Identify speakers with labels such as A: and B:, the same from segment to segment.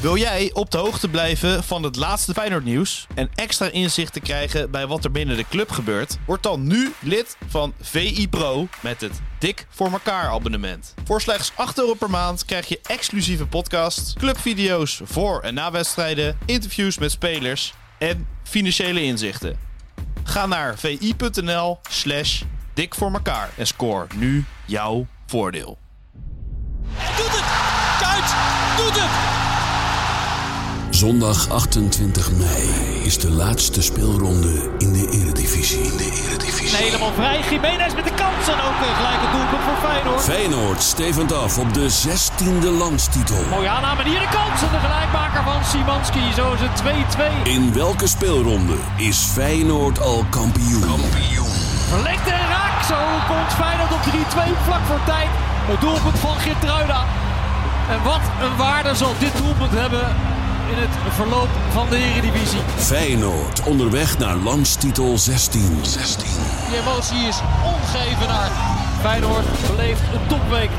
A: Wil jij op de hoogte blijven van het laatste Feyenoord nieuws en extra inzicht te krijgen bij wat er binnen de club gebeurt? Word dan nu lid van VI Pro met het Dik voor elkaar abonnement. Voor slechts 8 euro per maand krijg je exclusieve podcasts, clubvideo's voor en na wedstrijden, interviews met spelers en financiële inzichten. Ga naar vi.nl slash dik voor elkaar en score nu jouw voordeel.
B: Doet het! Kuit doet het!
C: Zondag 28 mei is de laatste speelronde in de Eredivisie. In de Eredivisie.
B: Helemaal vrij. Jiménez met de kans en ook een gelijke doelpunt voor Feyenoord.
C: Feyenoord stevend af op de 16e landstitel.
B: Mooie aanname en hier de kans en de gelijkmaker van Simanski. Zo is het 2-2.
C: In welke speelronde is Feyenoord al kampioen?
B: Verlengd en raak. Zo komt Feyenoord op 3-2 vlak voor tijd. Het doelpunt van Geertruida. En wat een waarde zal dit doelpunt hebben in het verloop van de Eredivisie.
C: Feyenoord onderweg naar landstitel 16. 16.
B: Die emotie is ongevenaard. Feyenoord beleeft een topweek.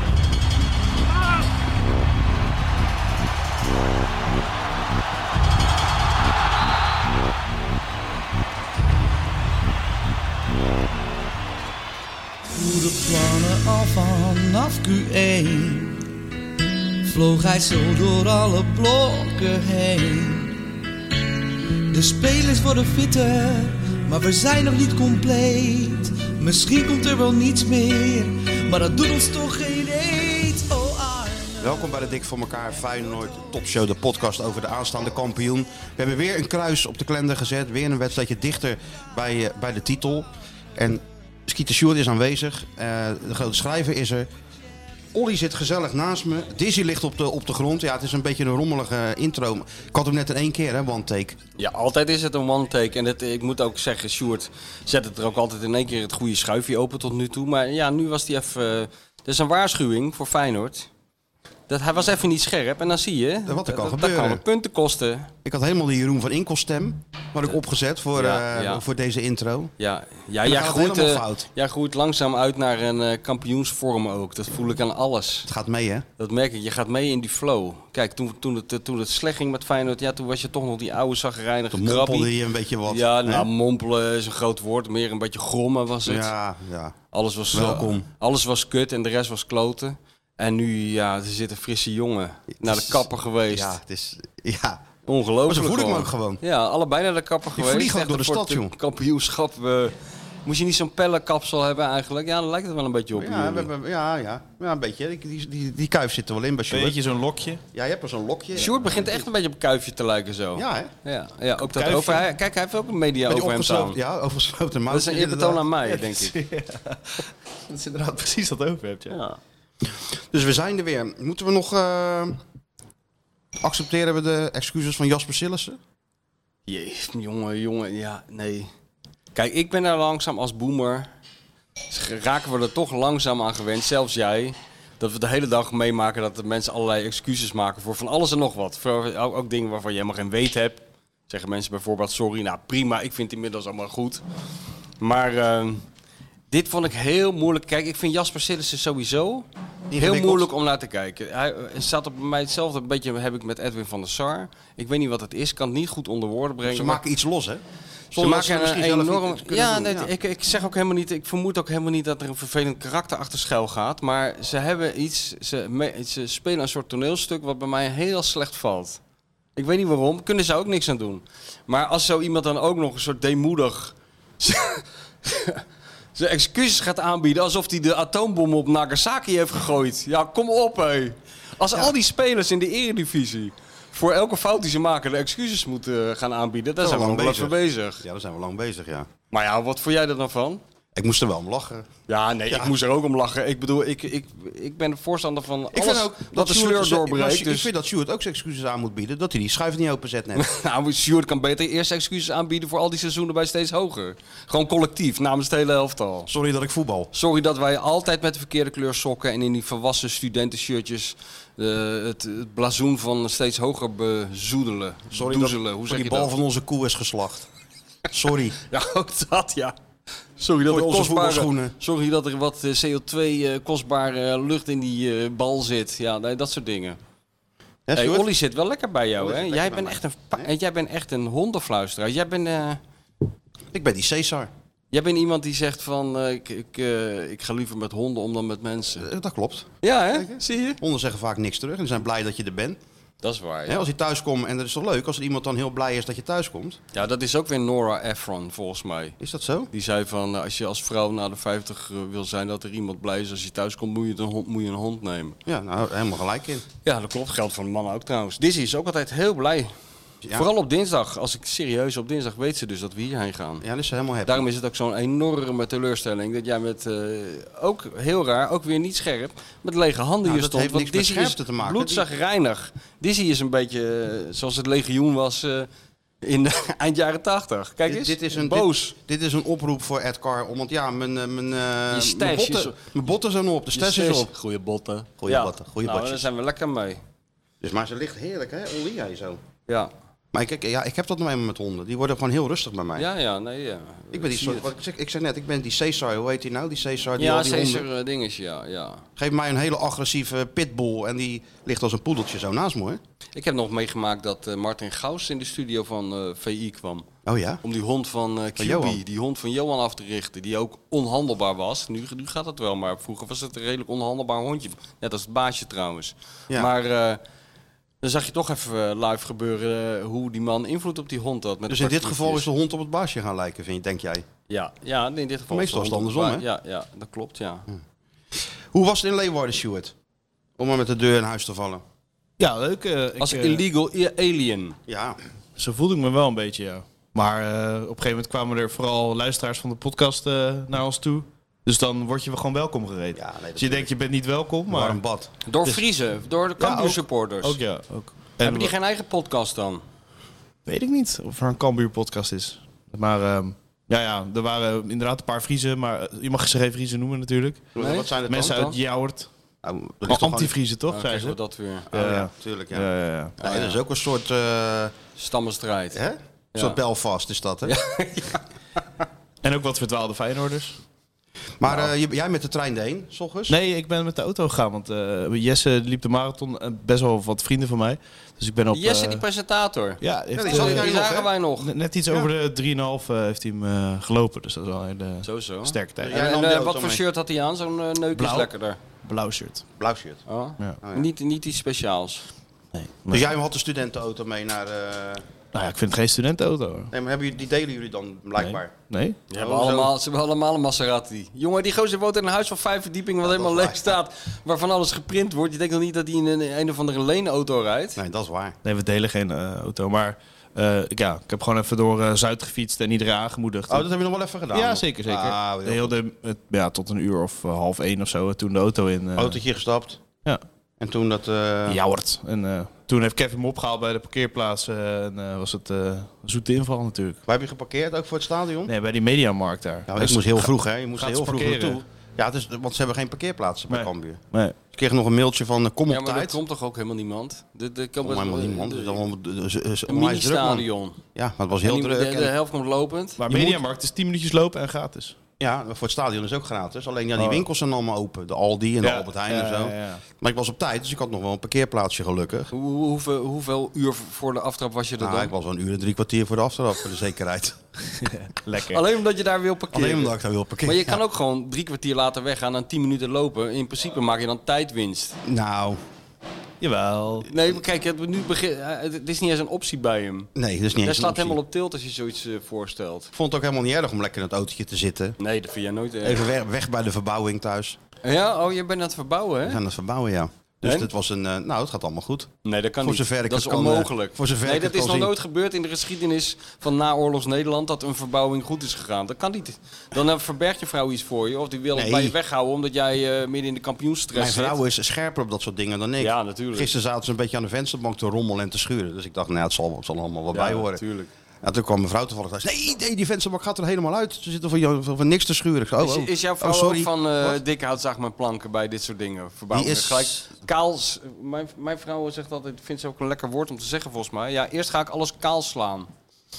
D: goede plannen al vanaf Q1 Vloog hij zo door alle blokken heen De spelers worden fitter, maar we zijn nog niet compleet Misschien komt er wel niets meer, maar dat doet ons toch geen eet Oh Arne
E: Welkom bij de Dik voor elkaar Feyenoord Topshow, de podcast over de aanstaande kampioen. We hebben weer een kruis op de kalender gezet, weer een wedstrijdje dichter bij, eh, bij de titel. En Skeeter Sjoerd is aanwezig, eh, de grote schrijver is er. Olly zit gezellig naast me, Dizzy ligt op de, op de grond. Ja, het is een beetje een rommelige eh, intro. Ik had hem net in één keer, hè, one take.
F: Ja, altijd is het een one take. En het, ik moet ook zeggen, Sjoerd zet het er ook altijd in één keer het goede schuifje open tot nu toe. Maar ja, nu was die even... eh, Dat is een waarschuwing voor Feyenoord. Dat, hij was even niet scherp en dan zie je...
E: er
F: dat-
E: kan
F: dat-
E: gebeuren.
F: Dat kan punten kosten.
E: Ik had helemaal die Jeroen van Inkelstem, had ik opgezet voor,
F: Ja,
E: eh,
F: ja.
E: voor deze intro.
F: Ja, ja
E: dan
F: jij,
E: gaat het
F: groeit,
E: helemaal
F: eh,
E: fout.
F: jij groeit langzaam uit naar een eh, kampioensvorm ook. Dat voel ik aan alles.
E: Het gaat mee, hè?
F: Dat merk ik. Je gaat mee in die flow. Kijk, toen, toen, het, eh, toen het slecht ging met Feyenoord... Ja, toen was je toch nog die oude zagrijnige
E: Dan
F: krabbie.
E: mompelde je een beetje wat.
F: Ja,
E: hè?
F: nou, mompelen is een groot woord. Meer een beetje grommen was het.
E: ja, ja.
F: Alles was, eh,
E: Welkom.
F: alles was kut en de rest was kloten. En nu, ja, er zit een frisse jongen naar de kapper geweest.
E: Ja, het is... Ja,
F: Ongelooflijk.
E: Maar zo voel ik me ook gewoon.
F: Ja, allebei naar de kapper
E: Die
F: geweest.
E: vliegen ook door
F: Echt
E: de
F: voor
E: stad,
F: het
E: joh.
F: Kampioenschap. eh, moest je niet zo'n pellenkapsel hebben eigenlijk? Ja, daar lijkt het wel een beetje op.
E: Ja, we hebben, ja, ja. ja, een beetje. Die, die, die, die kuif zit er wel in bij Sjoerd.
A: Beetje zo'n lokje.
E: Ja, je hebt wel zo'n lokje.
F: Sjoerd begint echt een beetje op een kuifje te lijken zo.
E: Ja, hè? Met
F: Ja, ja, ook dat
A: Kuifje.
F: over... hij- Kijk, hij heeft ook een media
E: die
F: over hem staan.
E: opgesloten- Ja, overgesloten mouw.
F: Dat is een eerbetoon aan mij, denk ik.
A: Dat is inderdaad precies wat over hebt,
F: Ja.
E: Dus we zijn er weer. Moeten we nog... eh, accepteren we de excuses van Jasper Sillissen?
F: Jezus, jongen, jongen, ja, nee. Kijk, ik ben daar langzaam als boomer. Dus raken we er toch langzaam aan gewend, zelfs jij. Dat we de hele dag meemaken dat de mensen allerlei excuses maken voor van alles en nog wat. Voor, ook, ook dingen waarvan je helemaal geen weet hebt. Zeggen mensen bijvoorbeeld, sorry, nou prima, ik vind het inmiddels allemaal goed. Maar ehm, dit vond ik heel moeilijk. Kijk, ik vind Jasper Sillissen sowieso heel
E: Ingewikkeld.
F: moeilijk om naar te kijken. Hij eh, staat op mij hetzelfde beetje heb ik met Edwin van der Sar. Ik weet niet wat het is, kan het niet goed onder woorden brengen.
E: Ze
F: maar-
E: maken iets los, hè?
F: ze maken
E: er misschien
F: een
E: zelf
F: enorm.
E: niet kunnen
F: Ja,
E: doen.
F: nee,
E: Ja.
F: Ik, ik zeg ook helemaal niet. Ik vermoed ook helemaal niet dat er een vervelend karakter achter schuil gaat. Maar ze hebben iets. Ze, me- ze spelen een soort toneelstuk wat bij mij heel slecht valt. Ik weet niet waarom. Kunnen ze ook niks aan doen. Maar als zo iemand dan ook nog een soort deemoedig. zijn excuses gaat aanbieden alsof hij de atoombom op Nagasaki heeft gegooid. Ja, kom op, hé. Als al die spelers in de eredivisie voor elke fout die ze maken de excuses moeten eh, gaan aanbieden, daar
E: Zijn
F: zijn
E: we
F: we
E: lang
F: nog wel even bezig.
E: Ja, daar zijn we lang bezig, ja.
F: Maar ja, wat vond jij er dan van?
E: Ik moest er wel om lachen.
F: Ja, nee, ik moest er ook om lachen. Ik bedoel, ik, ik, ik ben voorstander van alles
E: Ik vind ook
F: dat de
E: Sjoerd-
F: sleur
E: maar
F: doorbreekt.
E: Sjoerd-
F: Dus,
E: Ik vind dat Stuart ook zijn excuses aan moet bieden dat hij die schuif niet openzet net.
F: Nou, Sjoerd kan beter eerst excuses aanbieden voor al die seizoenen bij Steeds Hoger. Gewoon collectief, namens het hele elftal.
E: Sorry dat ik voetbal.
F: Sorry dat wij altijd met de verkeerde kleur sokken en in die volwassen studentenshirtjes eh, het, het blazoen van Steeds Hoger bezoedelen.
E: Sorry
F: doezelen.
E: dat
F: Hoe zeg
E: die
F: je
E: bal
F: dat?
E: van onze koe is geslacht. Sorry.
F: Ja, ook dat, ja. Sorry dat,
E: Voor
F: er
E: onze
F: kostbare,
E: voetbalschoenen.
F: sorry dat er wat eh, CO2 eh, kostbare lucht in die eh, bal zit. Ja, nee, dat soort dingen.
E: Hè,
F: Hey,
E: Sjoerd?
F: Olly zit wel lekker bij jou,
E: Olly
F: hè?
E: zit
F: Jij
E: lekker bij
F: bent,
E: mij.
F: echt een, pa- eh, jij bent echt een hondenfluisteraar. Jij bent, eh,
E: Ik ben die Cesar.
F: jij bent iemand die zegt van... eh, ik, ik, eh, ik ga liever met honden om dan met mensen.
E: Eh, Dat klopt.
F: Ja, hè? Zie je?
E: Honden zeggen vaak niks terug en die zijn blij dat je er bent.
F: Dat is waar,
E: Hè,
F: ja.
E: als je thuis komt, en dat is toch leuk als er iemand dan heel blij is dat je thuis komt.
F: Ja, dat is ook weer Nora Ephron, volgens mij.
E: Is dat zo?
F: Die zei van, eh, als je als vrouw na de 50 wil zijn dat er iemand blij is als je thuis komt, moet je, een hond, moet je een hond nemen.
E: Ja, nou, helemaal gelijk in.
F: Ja, dat klopt. Geldt voor de mannen ook trouwens. Dizzy is ook altijd heel blij.
E: Ja.
F: Vooral op dinsdag. Als ik serieus op dinsdag weet ze dus dat we hierheen gaan.
E: Ja, dat is helemaal happy.
F: Daarom is het ook zo'n enorme teleurstelling dat jij met, eh, ook heel raar, ook weer niet scherp, met lege handen
E: Nou,
F: hier
E: dat
F: stond.
E: heeft niks met
F: Dizzy
E: scherpte
F: is
E: te maken.
F: bloedzagrijnig. Dizzy is een beetje eh, zoals het legioen was eh, in de eind jaren tachtig. Kijk
E: Dit,
F: eens,
E: dit is een,
F: boos.
E: Dit, dit is een oproep voor Ed Car. om- Want ja, mijn, eh, mijn, eh,
F: Je stash
E: mijn,
F: is
E: botten,
F: op.
E: mijn botten zijn op. De
F: Je
E: stes is
F: steeds-
E: op.
F: Goeie botten.
E: Goeie botten, goeie
F: nou,
E: botjes.
F: daar zijn we lekker mee.
E: Dus, maar ze ligt heerlijk, hè? Ollie, hij zo.
F: Ja,
E: Maar ik, ik- ja, ik heb dat nou eenmaal met honden. Die worden gewoon heel rustig bij mij.
F: ja, ja, nee, ja.
E: Ik ben
F: Zie
E: die soort,
F: het.
E: wat ik, zeg, ik zei net, ik ben die Cesar, hoe heet die nou? Die Cesar, die
F: Ja,
E: al die honden-
F: Caesar eh, dingetje, ja, ja.
E: Geef mij een hele agressieve pitbull en die ligt als een poedeltje zo naast me, hè?
F: Ik heb nog meegemaakt dat eh, Martin Gaus in de studio van eh, VI kwam.
E: Oh ja?
F: Om die hond van eh QB,
E: Johan.
F: die hond van Johan af te richten, die ook onhandelbaar was. Nu, nu gaat het wel, maar vroeger was het een redelijk onhandelbaar hondje. Net als het baasje trouwens.
E: Ja.
F: Maar eh, dan zag je toch even eh, live gebeuren eh, hoe die man invloed op die hond had. Met
E: Dus
F: de
E: in dit geval is de
F: praktiekjes.
E: hond op het baasje gaan lijken, vind je, denk jij?
F: Ja, ja, nee, in dit geval...
E: Meestal
F: de
E: is het
F: hond op
E: andersom, Hm.
F: het ba- Ja, ja, dat klopt, ja.
E: Hoe was het in Leeuwarden, Stuart? Om maar met de deur in huis te vallen.
A: Ja, leuk. eh, ik,
F: Als
A: eh,
F: illegal i- alien.
E: Ja,
A: Zo voelde ik me wel een beetje, ja. Maar eh, op een gegeven moment kwamen er vooral luisteraars van de podcast eh, naar ons toe. Dus dan word je wel gewoon welkom gereden.
E: Ja, nee,
A: dus je
E: natuurlijk.
A: denkt, je bent niet welkom, maar...
E: warm bad.
F: Door Friese, door de Cambuur
A: ook-
F: supporters.
A: Ook ja, ook. En
F: Hebben die geen eigen podcast dan?
A: weet ik niet of er een Cambuur podcast is. Maar ehm, ja, ja, er waren inderdaad een paar Vriezen, maar eh, je mag ze geen Vriezen noemen natuurlijk.
F: Nee?
E: Wat zijn het
A: Mensen
E: dan?
A: uit Jouwert.
E: Nou, dat is
A: Maar
E: toch
A: anti-Vriezen toch,
F: Dan
A: zijn
F: krijgen we
A: ze?
F: Ah, dat weer.
E: gewoon-
A: Ja,
E: Oh,
A: ja.
E: ja, tuurlijk, ja.
A: Ja, ja, ja.
E: Nee, dat is ook een soort, eh
F: Stammenstrijd.
E: hè? Een soort Belfast is dat, hè?
A: En ook wat verdwaalde Feyenoorders.
E: Maar eh, je- jij met de trein erheen, s ochtends?
A: Nee, ik ben met de auto gegaan, want eh, Jesse liep de marathon. eh, best wel wat vrienden van mij. Dus ik ben op...
F: Jesse,
A: eh,
F: die presentator.
A: Ja, heeft,
E: die
A: eh,
E: zat
F: Die
E: jij nog,
F: zagen
E: hè?
F: wij nog.
A: Net- Net iets over de 3,5 eh, heeft hij hem eh, gelopen. Dus dat is wel een hele
F: Sowieso.
A: sterke tijd.
E: Ja. Jij
F: en
E: nam
F: eh,
E: die auto
F: wat voor
E: mee.
F: shirt had hij aan? Zo'n eh, neuk is
A: Blauw.
F: lekkerder.
A: Blauw shirt.
E: Blauw shirt.
F: Oh.
A: Ja.
E: ja.
F: Niet, niet iets speciaals.
A: Nee.
E: Dus jij had de studentenauto mee naar... eh,
A: Nou ja, ik vind het geen studentenauto.
E: Nee, maar hebben jullie, die delen jullie dan blijkbaar?
A: Nee?
F: Ze hebben, allemaal, ze hebben allemaal een Maserati. Jongen, die gozer woont in een huis van vijf verdiepingen wat helemaal
E: dat is
F: leeg staat. Waarvan alles geprint wordt. Je denkt nog niet dat hij in een, een of andere leenauto rijdt.
E: Nee, dat is waar.
A: Nee, we delen geen eh, auto. Maar eh, ik- ja, ik heb gewoon even door eh, Zuid gefietst en iedereen aangemoedigd.
E: Oh, dat heb je nog wel even gedaan?
A: ja, zeker, zeker.
E: Ah, heel
A: de heel de, het- ja, tot een uur of eh, half één of zo. eh, Toen de auto in eh
E: Autootje gestapt.
A: Ja.
E: En toen dat... eh,
A: Jouwert. En eh, toen heeft Kevin me opgehaald bij de parkeerplaats. eh, en eh, was het eh, zoete inval natuurlijk.
E: Waar heb je geparkeerd? Ook voor het stadion?
A: Nee, bij die mediamarkt daar.
E: Nou,
A: Dus
E: ik moest heel
A: ga-
E: vroeg, hè? Je moest
A: gaat
E: heel
A: ze
E: vroeg
A: parkeren.
E: naartoe. Ja, het is, want ze hebben geen parkeerplaatsen bij
A: Nee.
E: Cambuur.
A: Nee.
E: Ik kreeg nog een mailtje van eh, kom op
F: Ja, maar er
E: tijd.
F: komt toch ook helemaal niemand? De, de,
E: Kom helemaal niemand. Dus dan is is-
F: Een
E: onwijs druk, man. Ja,
F: mini-stadion.
E: maar het was
F: En
E: heel
F: die-
E: druk.
F: De,
E: En-
F: de helft komt lopend.
A: Maar
E: Je moet-
A: mediamarkt is 10 minuutjes lopen en gratis.
E: ja, voor het stadion is ook gratis. Alleen ja, die
A: Oh.
E: winkels zijn allemaal open. De Aldi en de Albert Heijn en
A: ja,
E: zo.
A: ja, ja.
E: Maar ik was op tijd, dus ik had nog wel een parkeerplaatsje gelukkig.
F: Hoe, hoe- hoeveel, hoeveel uur voor de aftrap was je er
E: Nou, ik
F: dan?
E: was wel een uur en drie kwartier voor de aftrap, voor de zekerheid.
A: Lekker.
F: Alleen omdat je daar wil parkeren.
E: Alleen omdat ik daar wil parkeren.
F: Maar je kan ook gewoon drie kwartier later weggaan en tien minuten lopen. In principe maak je dan tijdwinst.
E: Nou,
A: Jawel.
F: Nee, maar kijk, het, nu begin, eh, het het is niet eens een optie bij hem.
E: nee, dat is niet
F: Hij
E: eens
F: staat helemaal op tilt als je zoiets eh, voorstelt.
E: Ik vond het ook helemaal niet erg om lekker in het autootje te zitten.
F: Nee, dat vind jij nooit erg.
E: Even weg, weg bij de verbouwing thuis.
F: Ja, oh, je bent aan het verbouwen,
E: We
F: hè?
E: zijn aan het verbouwen, ja. Dus Dus
F: En?
E: het was een, eh, nou, het gaat allemaal goed.
F: Nee, dat kan
E: Voor
F: niet.
E: zover ik
F: dat
E: het
F: is
E: kan, eh,
F: onmogelijk.
E: voor zover
F: nee,
E: ik
F: dat is
E: het kan
F: nog
E: zien.
F: nooit gebeurd in de geschiedenis van naoorlogs Nederland dat een verbouwing goed is gegaan. Dat kan niet. Dan eh, verbergt je vrouw iets voor je of die wil het
E: Nee.
F: bij je weghouden omdat jij eh, midden in de kampioensstress
E: Mijn
F: zit.
E: vrouw is scherper op dat soort dingen dan ik.
F: Ja, natuurlijk.
E: Gisteren zaten ze een beetje aan de vensterbank te rommelen en te schuren. Dus ik dacht, nou, ja, het zal, het zal allemaal wel
F: Ja,
E: bij horen.
F: natuurlijk.
E: En toen kwam mijn vrouw toevallig thuis. Nee, nee, die vensterbank gaat er helemaal uit. Ze zitten van, jou- van, van niks te schuren. Ik zei, oh,
F: Is,
E: oh,
F: is jouw
E: oh,
F: vrouw
E: sorry.
F: ook van eh
E: Wat?
F: dikke houtzaag met planken bij dit soort dingen? Verbouwing.
E: Die is-
F: Gelijk, kaal, s- mijn, mijn vrouw zegt altijd, vindt ze ook een lekker woord om te zeggen volgens mij. Ja, eerst ga ik alles kaal slaan.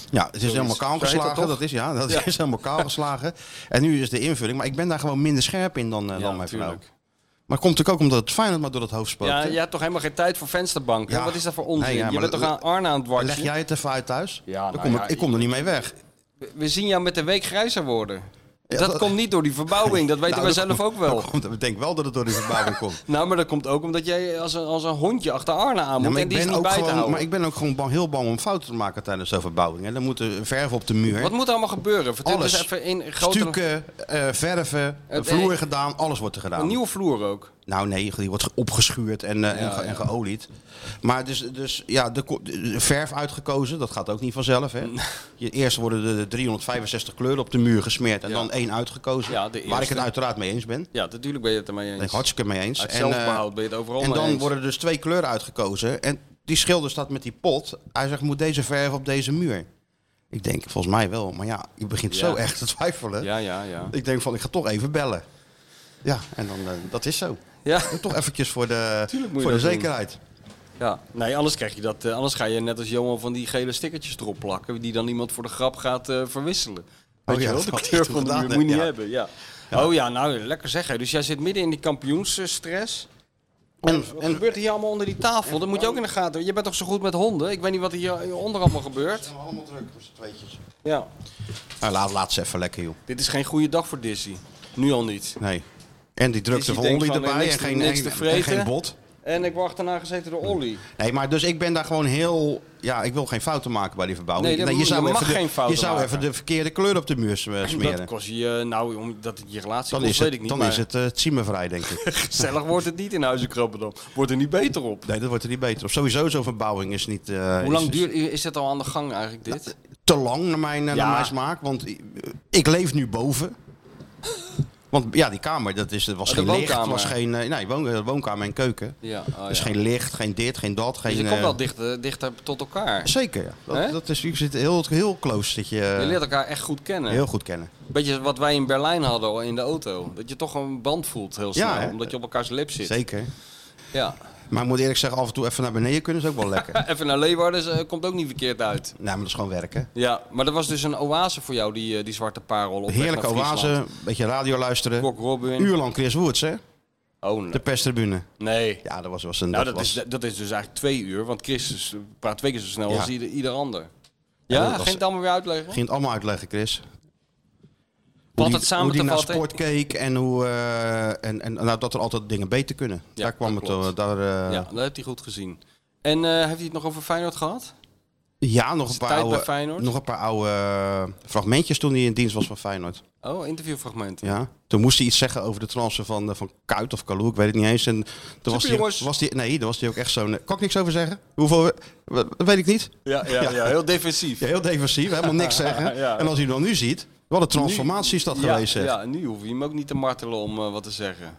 E: Ja, het is helemaal kaal
F: Zo heet dat
E: geslagen.
F: toch?
E: Dat, is, ja, dat
F: Ja.
E: is helemaal kaal geslagen. En nu is de invulling. Maar ik ben daar gewoon minder scherp in dan, eh, dan mijn vrouw.
F: natuurlijk.
E: Maar komt natuurlijk ook omdat het Feyenoord maar door het hoofd spookt.
F: Ja,
E: hè?
F: je hebt toch helemaal geen tijd voor vensterbanken?
E: Ja.
F: Wat is dat voor onzin?
E: Nee, ja,
F: je
E: maar
F: bent
E: dat-
F: toch aan Arne aan het
E: Leg
F: watje?
E: jij het even uit thuis?
F: Ja,
E: Dan
F: nou
E: kom
F: ja,
E: ik, ik kom er niet mee weg.
F: We zien jou met de week grijzer worden.
E: Ja,
F: dat,
E: dat-
F: komt niet door die verbouwing, Oh, dat weten
E: Nou,
F: wij
E: dat
F: zelf
E: komt-
F: ook wel.
E: dat komt- Ik denk wel dat het door die verbouwing komt.
F: Nou, maar dat komt ook omdat jij als een, als een hondje achter Arne aan
E: Ja,
F: moet
E: maar,
F: en
E: ik
F: die is
E: ben
F: niet
E: ook
F: bij te
E: gewoon,
F: houden.
E: maar ik ben ook gewoon bang, heel bang om fouten te maken tijdens zo'n verbouwing. En dan moet er verf op de muur.
F: Wat moet er allemaal gebeuren? Vertel
E: Alles.
F: eens even in grote...
E: Stukken, eh, verven,
F: Het-
E: vloer
F: eh,
E: gedaan, alles wordt er gedaan.
F: Een nieuwe vloer ook.
E: Nou nee, die wordt ge- opgeschuurd en, eh, en, ge- en geolied. Maar dus, dus ja, de, ko- de- de verf uitgekozen, dat gaat ook niet vanzelf. Hè? Je, eerst worden de, de 365 kleuren op de muur gesmeerd en
F: Ja.
E: dan één uitgekozen.
F: Ja, de
E: waar ik
F: eerste.
E: het uiteraard mee eens ben. Daar
F: Ja, natuurlijk ben je het ermee
E: ben ik
F: eens.
E: hartstikke mee eens.
F: Uit
E: eh,
F: zelfbehoud ben je het overal
E: En
F: mee
E: dan
F: eens.
E: worden er dus twee kleuren uitgekozen. En die schilder staat met die pot. Hij zegt, moet deze verf op deze muur? Ik denk, volgens mij wel. Maar ja, je begint
F: Ja.
E: zo echt te twijfelen.
F: Ja, ja, ja.
E: Ik denk van, ik ga toch even bellen. Ja, en dan, eh, dat is zo.
F: Ja.
E: Doe toch eventjes voor de,
F: Tuurlijk moet je
E: voor de
F: dat doen.
E: zekerheid.
F: ja. Nee, anders, krijg je dat, eh, anders ga je net als Johan van die gele stickertjes erop plakken... die dan iemand voor de grap gaat eh, verwisselen. Weet
E: Oh ja,
F: je wel,
E: dat
F: de
E: had ik
F: kleur
E: toen
F: van de
E: gedaan,
F: muur
E: hè.
F: moet je niet
E: Ja.
F: hebben. Ja. Oh ja, nou, lekker zeggen. Dus jij zit midden in die kampioensstress...
E: En,
F: Wat
E: en
F: gebeurt hier allemaal onder die tafel? Dat moet je ook in de gaten. Je bent toch zo goed met honden? Ik weet niet wat hier eh, onder allemaal gebeurt.
E: allemaal druk met z'n tweetjes.
F: Ja.
E: Nou, laat, laat ze even lekker, joh.
F: Dit is geen goede dag voor Dizzy. Nu al niet.
E: Nee. En die drukte
F: Dus je
E: van
F: denkt
E: Olly
F: van, eh,
E: erbij
F: niks
E: en
F: te-
E: geen,
F: niks
E: en-
F: te
E: en
F: vreten.
E: geen bot.
F: En ik word daarna gezeten door Olly.
E: Nee, maar dus ik ben daar gewoon heel... Ja, ik wil geen fouten maken bij die verbouwing.
F: Nee, dat
E: je
F: moet-
E: zou
F: je mag
E: even de,
F: geen fouten
E: Je zou
F: maken.
E: even de verkeerde kleur op de muur s- eh, smeren.
F: Dat kost je, eh, nou, omdat het je relatie
E: dan
F: kost,
E: is
F: weet
E: het,
F: ik niet.
E: dan
F: maar
E: is het eh Tsiemenvrij, denk ik.
F: gezellig wordt het niet in Huizen Krabbendam. Wordt er niet beter op.
E: nee, dat wordt er niet beter op. Sowieso zo'n verbouwing is niet... eh,
F: Hoe lang
E: is-
F: duurt, is dit al aan de gang eigenlijk dit?
E: te lang naar mijn, eh,
F: Ja.
E: naar mijn smaak. Want i- eh, ik leef nu boven. Want ja, die kamer, dat is, er was
F: Oh, de
E: geen licht.
F: woonkamer.
E: was geen, eh, nee, woon- eh, woonkamer en keuken.
F: Ja, oh ja.
E: Dus geen licht, geen dit, geen dat. Geen,
F: Dus je
E: eh,
F: komt wel dichter, dichter tot elkaar.
E: Zeker, ja.
F: Hè?
E: Dat, dat is, je zit heel, heel close, dat je
F: Je
E: eh,
F: leert elkaar echt goed kennen.
E: heel goed kennen.
F: Beetje wat wij in Berlijn hadden al in de auto. Dat je toch een band voelt heel snel.
E: Ja, hè?
F: omdat je op elkaars lip zit.
E: Zeker.
F: Ja.
E: Maar ik moet eerlijk zeggen, af en toe even naar beneden kunnen is ook wel lekker.
F: Even naar Leeuwarden eh, komt ook niet verkeerd uit.
E: nou, maar dat is gewoon werken.
F: Ja, maar dat was dus een oase voor jou, die, eh, die zwarte parel. Op
E: Heerlijke oase,
F: oase.
E: een beetje radio luisteren.
F: Bok Robin.
E: Een uur lang Chris Woods, hè?
F: Oh, nee.
E: De perstribune.
F: nee.
E: Ja, dat was, was een...
F: nou, dat,
E: dat was,
F: is, dat is dus eigenlijk twee uur, want Christus praat twee keer zo snel
E: Ja.
F: als ieder, ieder ander.
E: Ja,
F: Ja,
E: dat was-
F: ging het allemaal weer uitleggen?
E: Ging het allemaal uitleggen, Chris.
F: Wat
E: Hoe die-
F: het samen
E: hoe die
F: te
E: naar
F: vatten-
E: sport keek en, hoe, eh, en, en nou, dat er altijd dingen beter kunnen.
F: Ja,
E: daar kwam
F: dat
E: het eh,
F: klopt.
E: daar, eh,
F: Ja,
E: ja.
F: dat heeft hij goed gezien. En eh, heeft hij het nog over Feyenoord gehad?
E: nog, een
F: het
E: paar
F: tijd bij
E: oude,
F: Feyenoord?
E: nog een paar oude eh, fragmentjes toen hij in dienst was van Feyenoord.
F: Oh, interviewfragmenten.
E: Ja. Toen moest hij iets zeggen over de transfer van, eh, van Kuit of Kalou, ik weet het niet eens. En toen was hij,
F: jongens.
E: was hij, nee, daar was hij ook echt zo'n... eh, Kan ik niks over zeggen? Hoeveel, we- we- dat weet ik niet.
F: Ja, ja, ja, heel defensief.
E: Ja, heel defensief, helemaal niks zeggen.
F: Ja.
E: En als hij hem dan nu ziet, wat een transformatie is dat
F: Ja,
E: geweest. zeg.
F: ja, nu hoef je hem ook niet te martelen om eh, wat te zeggen.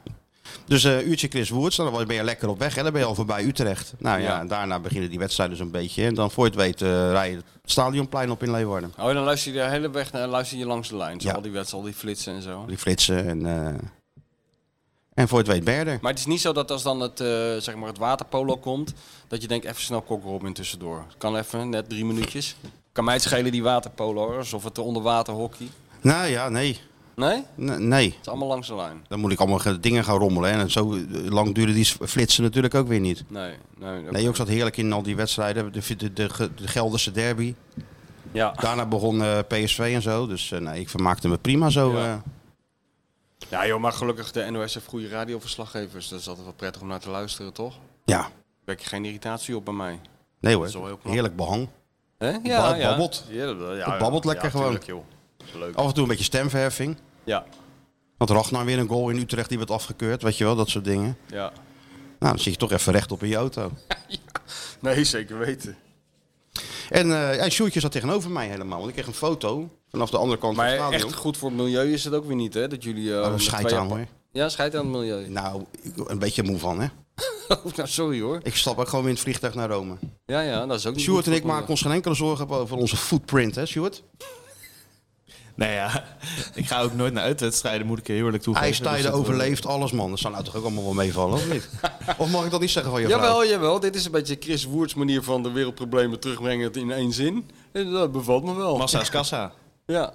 E: Dus een uurtje Chris Woerts, nou, dan ben je lekker op weg en dan ben je al voorbij Utrecht. Nou ja,
F: Ja.
E: en daarna beginnen die wedstrijden zo'n beetje. En dan voor je het weet eh rij je het stadionplein op in Leeuwarden.
F: Oh, en dan luister je de hele weg naar, luister je langs de lijn. Zo
E: Ja.
F: Al die wedstrijden, al die flitsen en zo.
E: Die flitsen en, eh, en voor het weet Berder.
F: Maar het is niet zo dat als dan het, eh, zeg maar het waterpolo komt, dat je denkt even snel kokrobin tussendoor. Kan even, net drie minuutjes. Kan mij het schelen die waterpolo, hoor. alsof het onderwaterhockey.
E: Nou ja, nee.
F: Nee? Het
E: N- nee.
F: is allemaal langs de lijn.
E: Dan moet ik allemaal ge- dingen gaan rommelen. Hè. En zo eh, lang duren die s- flitsen natuurlijk ook weer niet.
F: Nee, nee. oké.
E: Nee, ook zat heerlijk in al die wedstrijden. De, de, de, ge- de Gelderse derby.
F: Ja.
E: Daarna begon eh, PSV en zo. Dus eh, nee, ik vermaakte me prima zo.
F: Ja.
E: eh.
F: ja, joh, maar gelukkig de NOS heeft goede radioverslaggevers. Dat is altijd wel prettig om naar te luisteren, toch?
E: ja.
F: Wek je geen irritatie op bij mij.
E: Nee
F: is wel heel
E: hoor.
F: knap.
E: Heerlijk behang.
F: Hè? Ja,
E: Ba- babbelt.
F: Ja, dat- ja,
E: Het babbelt
F: ja,
E: lekker
F: ja,
E: gewoon.
F: tuurlijk, joh. Is Leuk.
E: Af en toe een beetje stemverheffing.
F: Ja,
E: Want Ragnar weer een goal in Utrecht die werd afgekeurd, weet je wel, dat soort dingen.
F: ja.
E: Nou, dan zit je toch even rechtop in je auto.
F: Nee, zeker weten.
E: En eh ja, Sjoerdje zat tegenover mij helemaal. Want ik kreeg een foto vanaf de andere kant
F: Maar
E: van het stadion.
F: echt goed voor het milieu is het ook weer niet, hè? Dat jullie... eh,
E: Oh,
F: met
E: schijt
F: twee-
E: aan, hoor.
F: Ja, schijt aan het milieu.
E: Nou, ik word een beetje moe van, hè?
F: Oh, nou, sorry hoor.
E: Ik stap ook gewoon weer in het vliegtuig naar Rome.
F: Ja, ja, dat is ook niet
E: Sjoerd
F: goed
E: en ik
F: voor het
E: maken ons geen enkele zorgen over onze footprint, hè, Sjoerd?
A: Nou ja, ik ga ook nooit naar uitwedstrijden, moet ik je eerlijk toegeven. Dus
E: IJstijden
A: dat, eh,
E: overleeft alles, man. Dat zou nou toch ook allemaal wel meevallen, of niet? of mag ik dat niet zeggen van je vrouw?
F: Jawel, jawel. Dit is een beetje Chris Woerts manier van de wereldproblemen terugbrengen in één zin. En Dat bevalt me wel.
A: Massa is kassa.
F: Ja.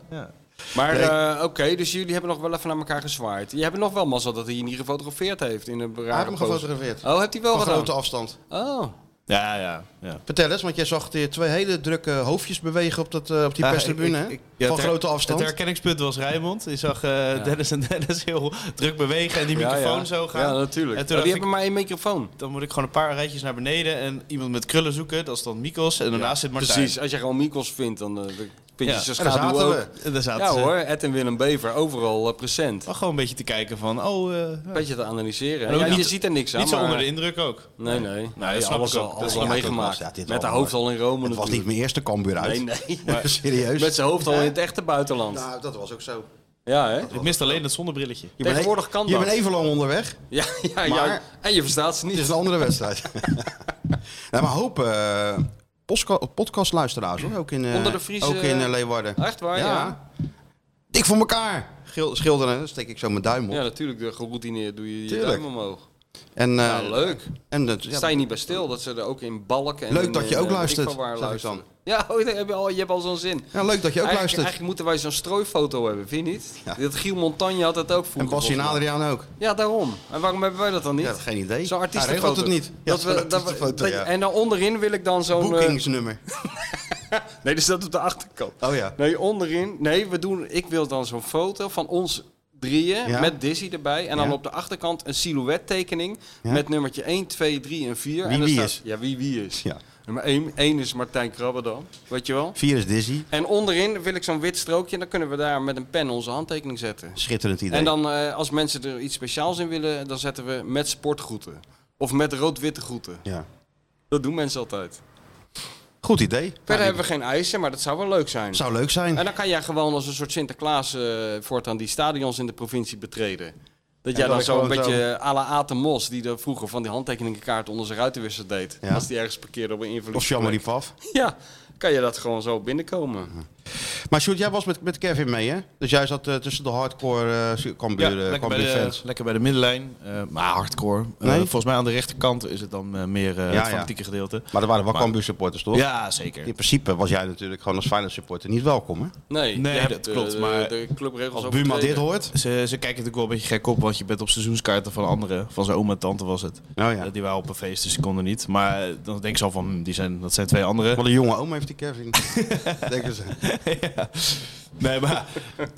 F: Maar eh, oké, dus jullie hebben nog wel even naar elkaar gezwaaid. Je hebt nog wel massa dat hij je niet gefotografeerd heeft in een
E: Hij
F: rare
E: heeft hem
F: pose.
E: gefotografeerd.
F: Oh, heeft hij wel
E: Van
F: gedaan?
E: grote afstand.
F: Oh.
A: Ja, ja, ja.
E: Vertel eens, want jij zag hier twee hele drukke hoofdjes bewegen op, dat, eh, op die
A: Ja,
E: perstribune,
A: Nou, ik-
E: hè?
A: ik- ja,
E: van
A: het her-
E: grote afstand.
A: Het herkenningspunt was Rijmond. Je zag eh, Dennis en Dennis heel druk bewegen en die
F: Ja,
A: microfoon
F: ja.
A: zo gaan.
F: Ja, natuurlijk.
A: En toen
F: Oh, die
A: dacht
F: hebben
A: ik,
F: maar één microfoon.
A: dan moet ik gewoon een paar rijtjes naar beneden en iemand met krullen zoeken. Dat is dan Mikos en daarnaast zit Martijn.
F: Precies, als je gewoon Mikos vindt, dan eh, dan vind je
A: Ja.
F: ze
E: En daar
F: schaduw
E: zaten
F: ook.
E: we.
A: En daar zaten
F: Ja
A: ze
F: hoor, Ed en Willem Bever, overal eh, present.
A: wel gewoon een beetje te kijken van, oh, eh, ja.
F: Beetje te analyseren.
A: En ook
F: Ja, je
A: niet-
F: ziet er niks aan.
A: niet zo
F: maar-
A: onder de indruk ook.
F: Nee, nee. nee
A: snap
F: alles
A: ik
F: al,
A: ook.
F: alles
A: Dat
F: al
E: snap ik ook
F: meegemaakt.
E: wel. Ja, dit
F: Met de
E: allemaal.
F: hoofd al in Rome
E: Het was niet
F: natuurlijk.
E: mijn eerste kambuur uit.
F: Nee, nee.
E: Serieus?
F: Met zijn hoofd al in het echte buitenland.
E: Nou, dat was ook zo.
F: Ja, hè?
A: Ik miste alleen dat zonnebrilletje.
E: Je
F: Tegenwoordig
E: bent,
F: kan
E: Je
F: dat.
E: bent even lang onderweg.
F: Ja, ja, ja.
E: Maar-
F: En je verstaat ze
E: Het is
F: niet.
E: een andere wedstrijd. nou, maar hoop eh postka- podcastluisteraars, hoor. Ook in, eh,
F: Onder de Friese-
E: ook in eh, Leeuwarden.
F: Echt waar, ja. ja.
E: Dik voor elkaar. Schil- Schilderen, dan steek ik zo mijn duim op.
F: natuurlijk. de Geroutineerd doe je je
E: Tuurlijk.
F: duim omhoog.
E: En, eh,
F: Ja, leuk.
E: En dat, ja,
F: Sta je niet bij stil dat ze er ook in balken en
E: Leuk
F: in,
E: dat je
F: eh,
E: ook
F: weet ik
E: luistert,
F: van waar
E: zeg ik
F: luisteren.
E: dan.
F: Ja, oh, daar heb je, al, je hebt al zo'n zin.
E: ja, leuk dat je ook
F: eigenlijk,
E: luistert.
F: eigenlijk moeten wij zo'n strooifoto hebben, vind je niet?
E: Ja.
F: Dat Giel Montagne had dat ook vroeger.
E: en Bassie en
F: volgens mij.
E: Adriaan ook.
F: Ja, daarom. En waarom hebben wij dat dan niet?
E: Ja, geen idee.
F: Zo'n
E: Hij
F: artiestenfoto.
E: regelt het niet. Ja,
F: Dat
E: zo'n
F: we, dat we,
E: artiestenfoto,
F: dat-
E: ja.
F: En dan onderin wil ik dan zo'n... eh,
E: Boekingsnummer.
F: nee, dat staat op de achterkant.
E: Oh ja.
F: Nee, onderin. Nee, we doen, ik wil dan zo'n foto van ons drieën
E: Ja.
F: met Dizzy erbij. En dan
E: Ja.
F: op de achterkant een silhouettekening
E: Ja.
F: met nummertje 1, 2, 3 en 4.
E: Wie
F: en dan
E: wie
F: staat-
E: is.
F: Ja, wie wie is.
E: Ja.
F: Nummer 1, 1 is Martijn Krabbe dan, weet je wel.
E: Virus Dizzy.
F: En onderin wil ik zo'n wit strookje en dan kunnen we daar met een pen onze handtekening zetten.
E: Schitterend idee.
F: En dan eh, als mensen er iets speciaals in willen, dan zetten we met sportgroeten. Of met rood-witte groeten.
E: ja.
F: Dat doen mensen altijd.
E: Goed idee.
F: Verder
E: Nou,
F: hebben we geen eisen, maar dat zou wel leuk zijn.
E: Zou leuk zijn.
F: En dan kan jij gewoon als een soort Sinterklaas eh, voortaan die stadions in de provincie betreden. Dat jij
E: En dat
F: dan
E: ik
F: zo een
E: gewoon zo-
F: beetje à la Aten Mos, die er vroeger van die handtekeningenkaart onder zijn ruitenwisser deed.
E: Ja.
F: Als die ergens parkeerde op een invalide
E: Of jammer die
F: plek.
E: paf.
F: Ja, kan je dat gewoon zo binnenkomen.
E: Maar Sjoerd, jij was met, met Kevin mee, hè? Dus jij zat eh, tussen de hardcore uh,
A: Ja,
E: Cambuur eh,
A: lekker, bij
E: Cambuur
A: de,
E: fans.
A: lekker bij de middenlijn, eh, maar hardcore. Eh,
E: Nee?
A: volgens mij aan de rechterkant is het dan eh, meer eh
E: Ja,
A: het
E: ja.
A: fanatieke gedeelte.
E: Maar er waren wel
A: Maar-
E: Cambuur supporters, toch?
A: Ja, zeker.
E: In principe was jij natuurlijk gewoon als Feyenoord supporter niet welkom, hè?
F: Nee,
A: Nee,
F: je hebt
A: dat
F: de-
A: klopt,
F: de-
A: maar
F: de clubregels
E: Als Buma
F: overtreden.
E: dit hoort. Oh,
A: Ze, ze kijken natuurlijk wel een beetje gek op, want je bent op seizoenskaarten van anderen. Van zijn oma en tante was het.
E: Oh ja.
A: Eh, Die waren op een feest, dus die konden niet. Maar eh, dan denk ze al van, hm, die zijn, dat zijn twee anderen.
E: Wat een jonge oom heeft die Kevin. Denken ze.
A: Ja. Nee, maar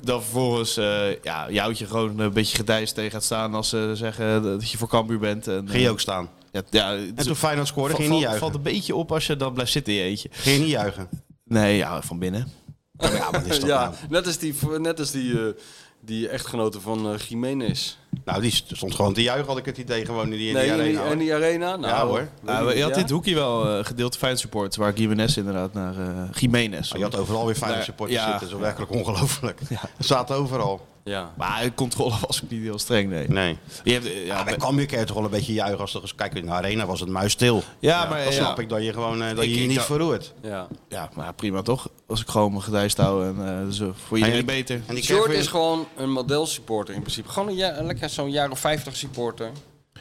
A: dan vervolgens eh ja, jouwtje gewoon een beetje gedijst tegen gaat staan als ze zeggen dat je voor Cambuur bent. En, eh,
E: Ging je ook staan.
A: Ja, ja, dus
E: En toen Feyenoord scoorde,
A: valt-
E: ging je niet
A: valt-
E: juichen.
A: valt een beetje op als je dan blijft zitten in je eentje.
E: Ging je niet juichen.
A: Nee, ja, van binnen.
E: Ja, wat is dat
F: Ja,
E: nou?
F: net als die, net als die, eh, die echtgenote van eh Jiménez.
E: Nou, die stond gewoon te juichen, had ik het idee, gewoon in die, in
F: Nee,
E: die arena. hoor.
F: in die arena? Nou,
E: Ja, hoor.
F: weet
A: Nou,
F: ik
A: je
F: niet,
A: had
F: ja.
A: dit hoekje wel eh, gedeeld fijn support, waar Jiménez inderdaad naar eh Jiménez.
E: Maar Ah, je had overal weer Feyenoord
A: Nee,
E: supporters
A: ja.
E: zitten. Dat is werkelijk ongelooflijk. Ze zaten overal.
F: Ja.
A: Maar de controle was ook niet heel streng, nee.
E: Nee.
A: Je hebt, eh, ja,
E: Ja, Ah, bij
A: bij-
E: Cambuur kan je toch wel een beetje juichen als er... Kijk, in de arena was het muisstil.
A: Ja, maar,
E: Dan
A: ja.
E: snap ik dat je gewoon eh, dat
A: Ik-
E: je, je
A: ik
E: niet
A: dacht-
E: verroert.
F: ja.
A: ja, maar prima toch? Als ik gewoon mijn gedijst hou en eh, dus, eh, voor iedereen
E: die-
A: beter.
E: En die
F: Short
E: Kevin-
F: is gewoon een model supporter in principe. Gewoon een, ja- een lekker zo'n jaren 50 supporter.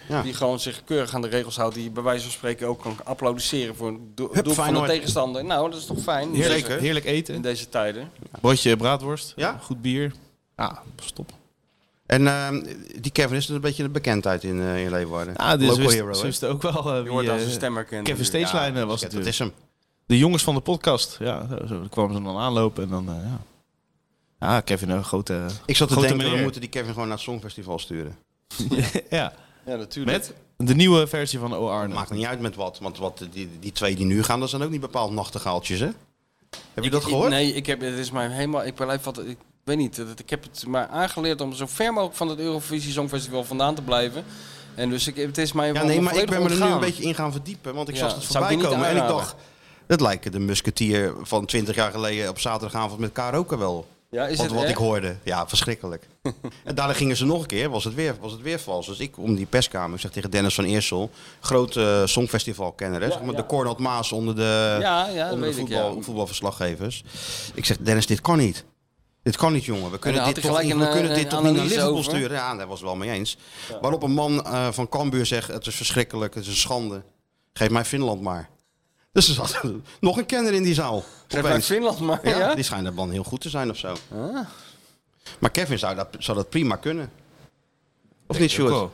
E: Ja.
F: Die gewoon zich keurig aan de regels houdt. Die bij wijze van spreken ook kan applaudisseren voor een do-
E: Hup,
F: doel van de
E: Feyenoord.
F: tegenstander. Nou, dat is toch fijn in
A: Heerlijk,
F: deze,
A: heerlijk
F: in
A: eten.
F: deze tijden.
A: Broodje eh, braadworst.
E: Ja?
A: Goed bier. Ja, stop.
E: En ehm, die Kevin is dus een beetje een bekendheid in, eh, in Leeuwarden.
A: Ah, dus
E: Local
A: wist,
E: hero, hè?
A: ze wisten ook wel eh,
F: Je
A: wie,
F: wordt als
A: eh,
F: een stemmer kent.
A: Kevin Steeslijn was
E: Ja,
A: het
E: dat is hem.
A: De jongens van de podcast. Ja, zo, zo. Dan kwamen ze dan aanlopen en dan, eh, ja. Ja, Kevin, een grote
E: Ik zat te
A: grote
E: denken, we
A: meneer.
E: moeten die Kevin gewoon naar het Songfestival sturen.
A: ja,
F: Ja, natuurlijk.
A: eh, met de nieuwe versie van O Arne.
E: Maakt niet uit met wat, want wat, die, die twee die nu gaan, dat zijn ook niet bepaald nachtegaaltjes, hè? Heb je
F: Ik-
E: dat
F: ik-
E: gehoord?
F: nee, ik heb, het is mij helemaal... Ik blijf wat... Ik weet niet. dat- Ik heb het maar aangeleerd om zo ver mogelijk van het Eurovisie Songfestival vandaan te blijven. En dus ik, het is mij
E: Ja,
F: wel
E: nee, maar ik
F: volledig
E: ben me er nu een
F: ontgaan.
E: beetje in gaan verdiepen. Want ik
F: Ja,
E: zag het
F: zou ik
E: voorbij
F: je niet
E: komen en ik
F: aanraden.
E: dacht... Dat lijken de musketier van 20 jaar geleden op zaterdagavond met karaoke wel.
F: Ja, is
E: wat
F: het
E: wat
F: echt?
E: ik hoorde. Ja, verschrikkelijk. en daarna gingen ze nog een keer, was het weer, was het weer vals. Dus ik om die perskamer, ik zeg tegen Dennis van Eersel, groot eh, songfestivalkenner, hè, zeg maar, de Cornel Maas onder de,
F: Ja, ja, dat
E: onder de
F: weet ik,
E: voetbal,
F: ja.
E: voetbalverslaggevers. Ik zeg, Dennis, dit kan niet. Dit kan niet, jongen. We kunnen
F: daar
E: dit
F: had
E: toch,
F: hij
E: niet,
F: gelijk
E: we
F: een,
E: kunnen
F: eh,
E: dit
F: een
E: toch niet naar
F: analyse
E: Liverpool
F: over.
E: sturen. Ja, daar was het wel mee eens. Waarop een man eh, van Cambuur zegt, het is verschrikkelijk, het is een schande. Geef mij Finland maar. Dus er zat nog een kenner in die zaal.
F: Geef maar
E: Opeens.
F: Finland maar,
E: Ja,
F: ja? Ah.
E: Die schijnt dan heel goed te zijn of zo. Maar Kevin zou dat, zou dat prima kunnen. Of niet, Sjoerd?
A: Cool.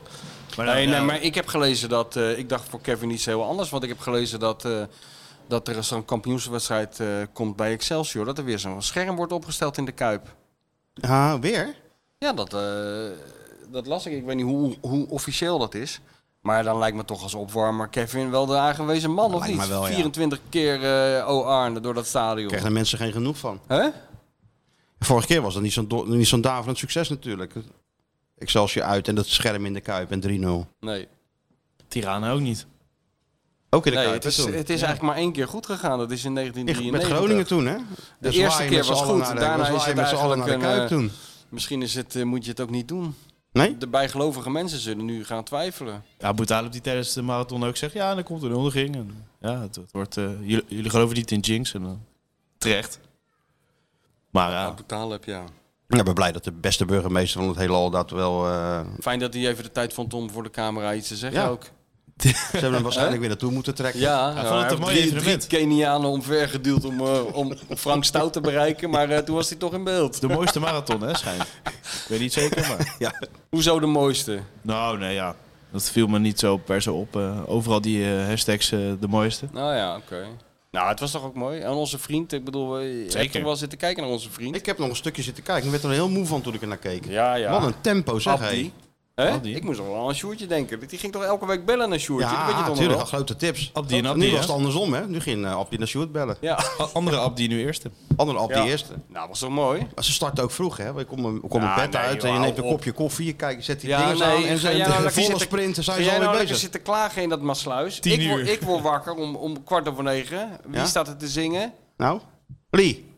A: Maar dan,
F: Nee, nee,
A: eh,
F: maar ik heb gelezen dat... eh, ik dacht voor Kevin iets heel anders. Want ik heb gelezen dat, eh, dat er zo'n kampioenswedstrijd eh, komt bij Excelsior. Dat er weer zo'n scherm wordt opgesteld in de Kuip.
E: Ja, weer?
F: Ja, dat, eh, dat las ik. Ik weet niet hoe, hoe officieel dat is. Maar dan lijkt me toch als opwarmer Kevin wel de aangewezen man, of
E: lijkt
F: niet?
E: me wel, ja.
F: 24 keer eh OR door dat stadion.
E: Krijgen de mensen geen genoeg van.
F: Hè?
E: Vorige keer was dat niet zo'n, do- niet zo'n daverend succes natuurlijk. Excelsior uit en dat scherm in de Kuip en 3-0.
F: Nee.
A: Tirana ook niet.
E: Ook in de
F: nee,
E: Kuip,
F: het is,
E: hè, toen.
F: het is eigenlijk maar één keer goed gegaan. Dat is in
E: In-
F: 1993.
E: Met Groningen toen, hè?
F: De
E: En zwaaien
F: eerste keer
E: met z'n
F: was
E: allen
F: goed,
E: naar de-
F: daarna
E: we zwaaien
F: is het
E: met z'n allen naar de Kuip
F: eigenlijk een,
E: toen.
F: Misschien is het, eh, moet je het ook niet doen.
E: Nee?
F: De bijgelovige mensen zullen nu gaan twijfelen.
A: Ja, Boetalip die tijdens de marathon ook zegt, ja, dan komt een onderging. En, ja, het, het wordt, eh, jullie, jullie geloven niet in Jinx. En, dan terecht. Maar ja,
F: Totaal heb ja.
E: Ja, ik ben blij dat de beste burgemeester van het hele al dat wel... eh,
F: Fijn dat hij even de tijd vond om voor de camera iets te zeggen
E: Ja.
F: ook.
E: ze hebben hem waarschijnlijk weer naartoe moeten trekken.
F: Ja, nou,
A: vond
F: hij
A: het een
F: heeft
A: mooi
F: drie,
A: evenement.
F: drie Kenianen omvergeduwd om, eh, om Frank Stout te bereiken, maar eh, toen was hij toch in beeld.
A: de mooiste marathon, hè, schijnt. Ik weet niet zeker, maar...
F: Hoezo de mooiste?
A: Nou, nee, ja. Dat viel me niet zo per se op. eh, overal die eh, hashtags eh, de mooiste.
F: Nou ja, oké. Nou, het was toch ook mooi. En onze vriend, ik bedoel, je hebt
A: Zeker.
F: toch wel zitten kijken naar onze vriend?
E: Ik heb nog een stukje zitten kijken. Ik werd er heel moe van toen ik er naar keek.
F: Ja, ja.
E: Wat een tempo, zeg
F: Abdi.
E: hij.
F: Hè?
A: Aldi.
F: Ik moest nog wel aan Sjoertje denken. Die ging toch elke week bellen naar Sjoertje? Dat weet je
E: Ja,
F: toch nog
E: natuurlijk.
F: wel?
E: Grote tips.
A: Abdi en Abdi,
E: Nu was
A: hè?
E: het andersom, hè? Nu ging eh, Abdi naar Sjoerd bellen.
F: Ja.
A: A- Andere Abdi nu eerste.
E: Andere Abdi
F: Ja.
E: eerst.
F: Nou, was toch mooi?
E: Maar Ze starten ook vroeg, hè? Ik kom, een- ik kom
F: Ja,
E: mijn bed
F: nee,
E: uit en
F: joh,
E: je neemt een
F: hou op.
E: kopje koffie, je kijkt, je zet die
F: Ja,
E: dingen aan
F: nee,
E: en
F: ga
E: zijn
F: jij nou lekker
E: volle
F: zitten-
E: sprinten zijn
F: Ga
E: ze
F: jij nou
E: alweer
F: lekker
E: bezig.
F: zitten klagen in dat Masluis?
A: Tien
F: ik, Word,
A: uur.
F: ik word wakker om, om kwart over negen. Wie
E: Ja?
F: staat er te zingen?
E: Nou, Lee.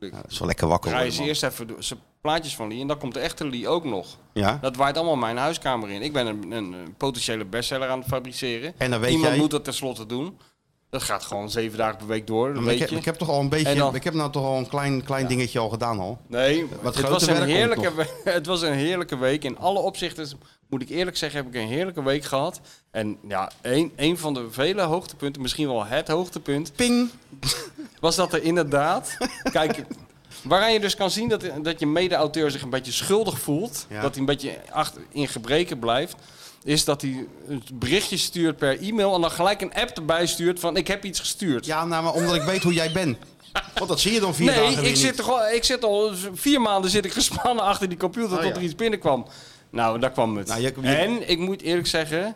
E: Ja, dat is wel lekker wakker
F: Ga je
E: worden,
F: ze
E: man.
F: eerst even do- ze plaatjes van Lee en dan komt de echte Lee ook nog.
E: Ja.
F: Dat waait allemaal mijn huiskamer in. Ik ben een, een, een potentiële bestseller aan het fabriceren.
E: En dan weet
F: Iemand
E: jij-
F: moet dat tenslotte doen. Dat gaat gewoon zeven dagen per week door. Dat
E: Maar Ik
F: weet
E: heb,
F: je.
E: ik heb toch al een beetje,
F: En dan-
E: ik heb nou toch al een klein, klein dingetje al gedaan al.
F: Nee,
E: Wat
F: het
E: grote
F: was,
E: werk
F: een
E: komt
F: heerlijke, we- het was een heerlijke week. In alle opzichten, moet ik eerlijk zeggen, heb ik een heerlijke week gehad. En ja, een, een van de vele hoogtepunten, misschien wel het hoogtepunt,
E: Ping.
F: was dat er inderdaad... kijk, waaraan je dus kan zien dat, dat je mede-auteur zich een beetje schuldig voelt.
E: Ja.
F: Dat hij een beetje achter, in gebreken blijft. Is dat hij een berichtje stuurt per e-mail en dan gelijk een app erbij stuurt van ik heb iets gestuurd.
E: Ja, nou, maar omdat ik weet hoe jij bent. Want dat zie je dan vier dagen
F: Nee,
E: weer
F: ik zit,
E: niet.
F: er gewoon, ik zit al vier maanden zit ik gespannen achter die computer
E: Oh,
F: tot
E: ja.
F: er iets binnenkwam. Nou, daar kwam het.
E: Nou, je- je-
F: En ik moet eerlijk zeggen,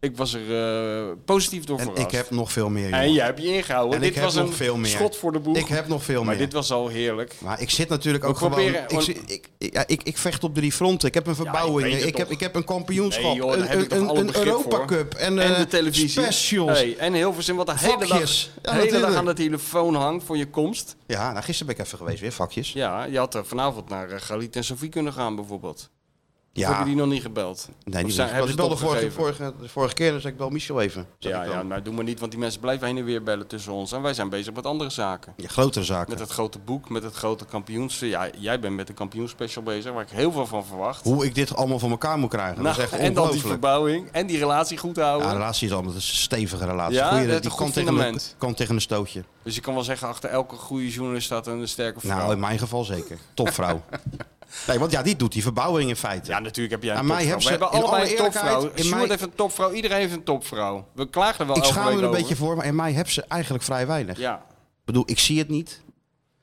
F: ik was er eh, positief door
E: En
F: verrast.
E: ik heb nog veel meer, jongen.
F: en jij hebt je ingehouden.
E: En
F: dit
E: ik heb
F: was
E: nog
F: een
E: veel meer.
F: schot voor de boeg.
E: Ik heb nog veel
F: maar
E: meer.
F: dit was al heerlijk.
E: Maar ik zit natuurlijk
F: We
E: ook
F: proberen-
E: gewoon... Ik,
F: want-
E: zit- ik, ik, ja, ik, ik vecht op drie fronten. Ik heb een verbouwing.
F: ik weet
E: ik,
F: het
E: heb,
F: toch.
E: ik heb een kampioenschap.
F: Nee, joh, daar
E: een
F: heb ik toch
E: een,
F: alle
E: een
F: begrip
E: Europa
F: voor.
E: Cup. En,
F: en
E: eh,
F: de televisie.
E: Specials.
F: Hey, en Hilversum, wat de hele
E: Vakjes.
F: dag,
E: Ja,
F: de hele dag
E: natuurlijk.
F: aan de telefoon hangt voor je komst.
E: Ja, nou, gisteren ben ik even geweest weer, vakjes. Ja,
F: Ja, je had eh, vanavond naar eh, Galit en Sofie kunnen gaan bijvoorbeeld. Ja. Of heb je die nog niet gebeld?
E: nee,
F: Of
E: niet
F: zijn-
E: meer.
F: hebben ze
E: Ik
F: het
E: belde vorige,
F: opgegeven?
E: vorige, vorige keer, dus ik bel Michel even. zeg
F: Ja,
E: ik dan.
F: ja, nou, maar doe maar niet, want die mensen blijven heen en weer bellen tussen ons. En wij zijn bezig met andere zaken.
E: Ja, grotere zaken.
F: Met het grote boek, met het grote kampioens. Ja, jij bent met de kampioenspecial bezig, waar ik heel veel van verwacht.
E: Hoe ik dit allemaal voor elkaar moet krijgen.
F: Nou,
E: dat is echt
F: en dan die
E: ongelooflijk.
F: verbouwing en die relatie goed houden.
E: Ja, de relatie is allemaal dat is een stevige relatie.
F: Ja,
E: Goeie-
F: dat is
E: die
F: een
E: kan
F: goed
E: tegen, een,
F: fundament.
E: kan tegen een stootje.
F: Dus je kan wel zeggen, achter elke goede journalist staat een sterke vrouw.
E: Nou, in mijn geval zeker. Topvrouw. nee, want ja, die doet die verbouwing in feite.
F: ja, natuurlijk heb jij een
E: Aan mij
F: topvrouw.
E: hebben ze-
F: We hebben
E: in
F: allebei een
E: alle
F: topvrouw.
E: eerlijkheid, in
F: Sjoerd
E: mijn-
F: heeft een topvrouw, iedereen heeft een topvrouw. We klagen er wel
E: ik
F: elke
E: schaam me
F: week
E: er een
F: over.
E: beetje voor, maar in mij heb ze eigenlijk vrij weinig.
F: Ja.
E: Ik bedoel, ik zie het niet.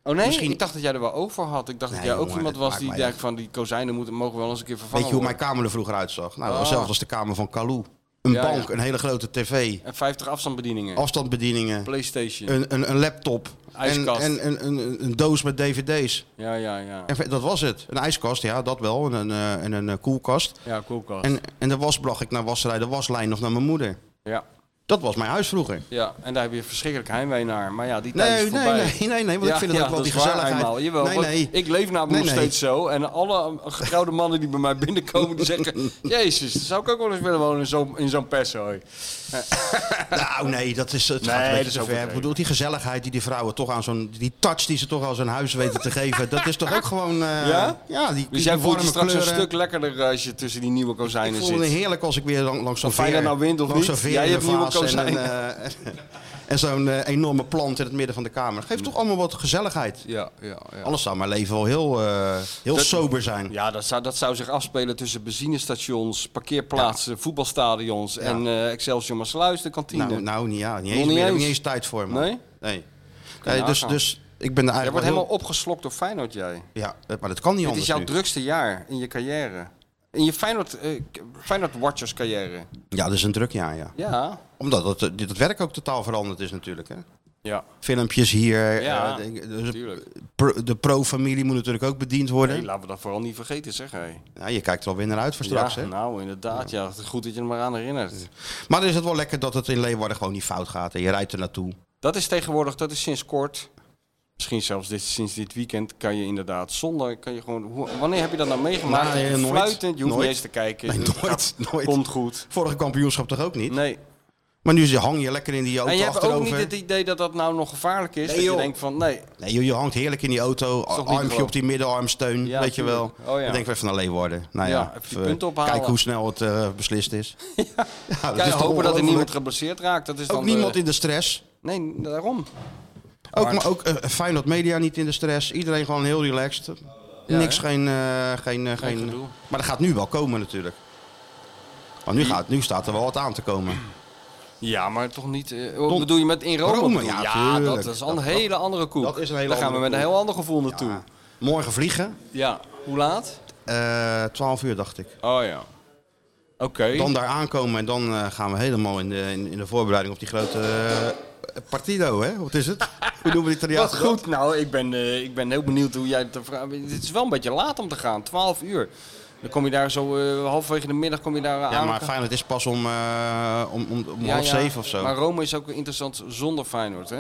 F: Oh nee,
E: Misschien-
F: ik dacht dat jij er wel over had. Ik dacht
E: Nee,
F: dat jij ook
E: jongen,
F: iemand
E: dat
F: was
E: maakt
F: die
E: mij
F: dacht
E: niet.
F: van die kozijnen moeten, mogen wel eens een keer vervangen
E: Weet je hoe mijn
F: worden.
E: kamer er vroeger uitzag? Nou,
F: Ah.
E: zelfs als de kamer van Calou. een
F: Ja,
E: bank,
F: ja.
E: een hele grote tv,
F: En 50 afstandsbedieningen.
E: Oh. afstandsbedieningen,
F: Playstation.
E: een, een, een laptop en,
F: Ijskast.
E: en een, een, een doos met dvd's.
F: Ja, ja, ja.
E: En ver- dat was het. Een ijskast, ja, dat wel. En een, eh, en een eh, koelkast.
F: Ja, koelkast.
E: En, en de was bracht ik naar wasserij, de waslijn of naar mijn moeder.
F: Ja.
E: Dat was mijn huis vroeger.
F: ja, en daar heb je verschrikkelijk heimwee naar. Maar ja, die tijd
E: Nee,
F: is
E: nee,
F: voorbij.
E: nee, nee, nee, want ik
F: Ja,
E: vind het
F: ja,
E: ook wel
F: dat
E: die
F: is waar
E: gezelligheid.
F: eenmaal. Jawel,
E: nee,
F: want
E: nee.
F: Ik leef namelijk
E: Nee,
F: nog
E: nee.
F: steeds zo. En alle getrouwde mannen die bij mij binnenkomen, die zeggen... Jezus, zou ik ook wel eens willen wonen in zo'n in zo'n pershooi.
E: Nou, nee, dat is het.
F: Nee,
E: gaat een beetje
F: dat is
E: te ver.
F: overdreven.
E: Ik bedoel, die gezelligheid die die vrouwen toch aan zo'n. die touch die ze toch aan zo'n huis weten te geven. dat is toch ook gewoon. eh,
F: Ja?
E: Ja, die,
F: Dus
E: die
F: jij voelt je
E: warme
F: straks
E: kleuren.
F: een stuk lekkerder eh, als je tussen die nieuwe
E: ik
F: kozijnen
E: voel me
F: zit.
E: heerlijk als ik weer lang, langs zo'n
F: Of Feyenoord
E: veer-
F: nou wint of
E: langs
F: niet,
E: zo'n veer
F: jij
E: in de
F: hebt nieuwe
E: vaas en, een, eh, en zo'n eh, enorme plant in het midden van de kamer. Dat geeft toch allemaal wat gezelligheid.
F: Ja, ja, ja.
E: Alles zou mijn leven wel heel, eh, heel
F: Dat-
E: sober zijn.
F: Ja, dat zou, dat zou zich afspelen tussen benzinestations, parkeerplaatsen, voetbalstadions en eh Excelsior Maasluis, de kantine.
E: Nou, nou niet, ja, niet
F: Nog
E: eens
F: niet
E: meer. Heb ik
F: eens?
E: niet eens tijd voor, man.
F: Nee?
E: Nee.
F: Kan je
E: Nee, dus,
F: nagaan.
E: dus
F: Jij
E: ik ben er eigenlijk
F: wordt
E: wel
F: helemaal opgeslokt door Feyenoord, jij.
E: heel- Ja, maar dat kan niet
F: Dit is
E: anders
F: jouw
E: nu.
F: drukste jaar in je carrière. In je Feyenoord, eh, k- Feyenoord Watchers carrière.
E: Ja, dat is een druk jaar, ja.
F: Ja.
E: Omdat het, eh, dit- het werk ook totaal veranderd is natuurlijk. Hè?
F: Ja,
E: Filmpjes hier.
F: Ja,
E: eh, denk- dus
F: natuurlijk.
E: pro- de pro-familie moet natuurlijk ook bediend worden.
F: Nee, laten we dat vooral niet vergeten, zeg hé.
E: Ja, je kijkt er alweer naar uit voor straks.
F: ja,
E: hè?
F: nou inderdaad. Ja. goed dat je er maar aan herinnert.
E: Maar dan is het wel lekker dat het in Leeuwarden gewoon niet fout gaat. En je rijdt er naartoe.
F: Dat is tegenwoordig, dat is sinds kort. Misschien zelfs dit, sinds dit weekend kan je inderdaad zonder, kan je gewoon, hoe- wanneer heb je dat nou meegemaakt?
E: Nou,
F: je
E: eh, nooit.
F: fluitend, je hoeft
E: Nooit.
F: niet eens te kijken.
E: Nee,
F: Het
E: nooit, nooit.
F: Komt goed.
E: Vorige kampioenschap toch ook niet?
F: Nee.
E: Maar nu hang je lekker in die
F: en je
E: auto
F: hebt ook niet
E: achterover.
F: het idee dat dat nou nog gevaarlijk is.
E: Nee,
F: dat
E: joh.
F: je denkt van, nee,
E: Nee, joh, je hangt heerlijk in die auto.
F: toch niet
E: Armpje
F: gewoon.
E: op die middenarmsteun.
F: Ja,
E: weet je wel.
F: tuurlijk. Oh, ja.
E: Dan denk ik even naar Leeuwarden. Nou ja,
F: Ja, even die punten ophalen.
E: Kijk hoe snel het eh, beslist is. ja. dat
F: kijk, hopen
E: is toch
F: dat er
E: ongelooflijk.
F: niemand geblesseerd raakt. Dat is dan
E: Ook
F: de-
E: niemand in de stress.
F: Nee, daarom.
E: Ook,
F: Maar-
E: maar ook eh, Feyenoord Media niet in de stress. Iedereen gewoon heel relaxed. Niks,
F: hè?
E: geen, eh, geen, eh, geen,
F: gedoe.
E: Maar dat gaat nu wel komen natuurlijk. Maar nu, gaat, nu staat er wel wat aan te komen.
F: Ja, maar toch niet. eh, wat bedoel je met in Rome?
E: Rome,
F: bedoel je?
E: ja, tuurlijk.
F: dat is een hele andere koek.
E: dat is een hele
F: Daar gaan we
E: andere
F: met een
E: koek.
F: heel ander gevoel naartoe.
E: Ja.
F: Ja.
E: Ah. Morgen vliegen.
F: Hoe laat?
E: Eh 12 uur dacht ik.
F: Oh ja. Oké.
E: Dan daar aankomen en dan eh, gaan we helemaal in de, in, in de voorbereiding op die grote eh, partido. Hè? Wat is het? Hoe noemen we het
F: Wat
E: Italiaanse dat?
F: goed. Nou, ik ben, eh, ik ben heel benieuwd hoe jij het vraagt. Het is wel een beetje laat om te gaan, 12 uur. Dan kom je daar zo eh, halverwege de middag kom je daar
E: Ja,
F: aan.
E: maar Feyenoord is pas om, eh, om, om, om
F: Ja,
E: half
F: ja.
E: zeven of zo.
F: Maar Rome is ook interessant zonder Feyenoord, hè?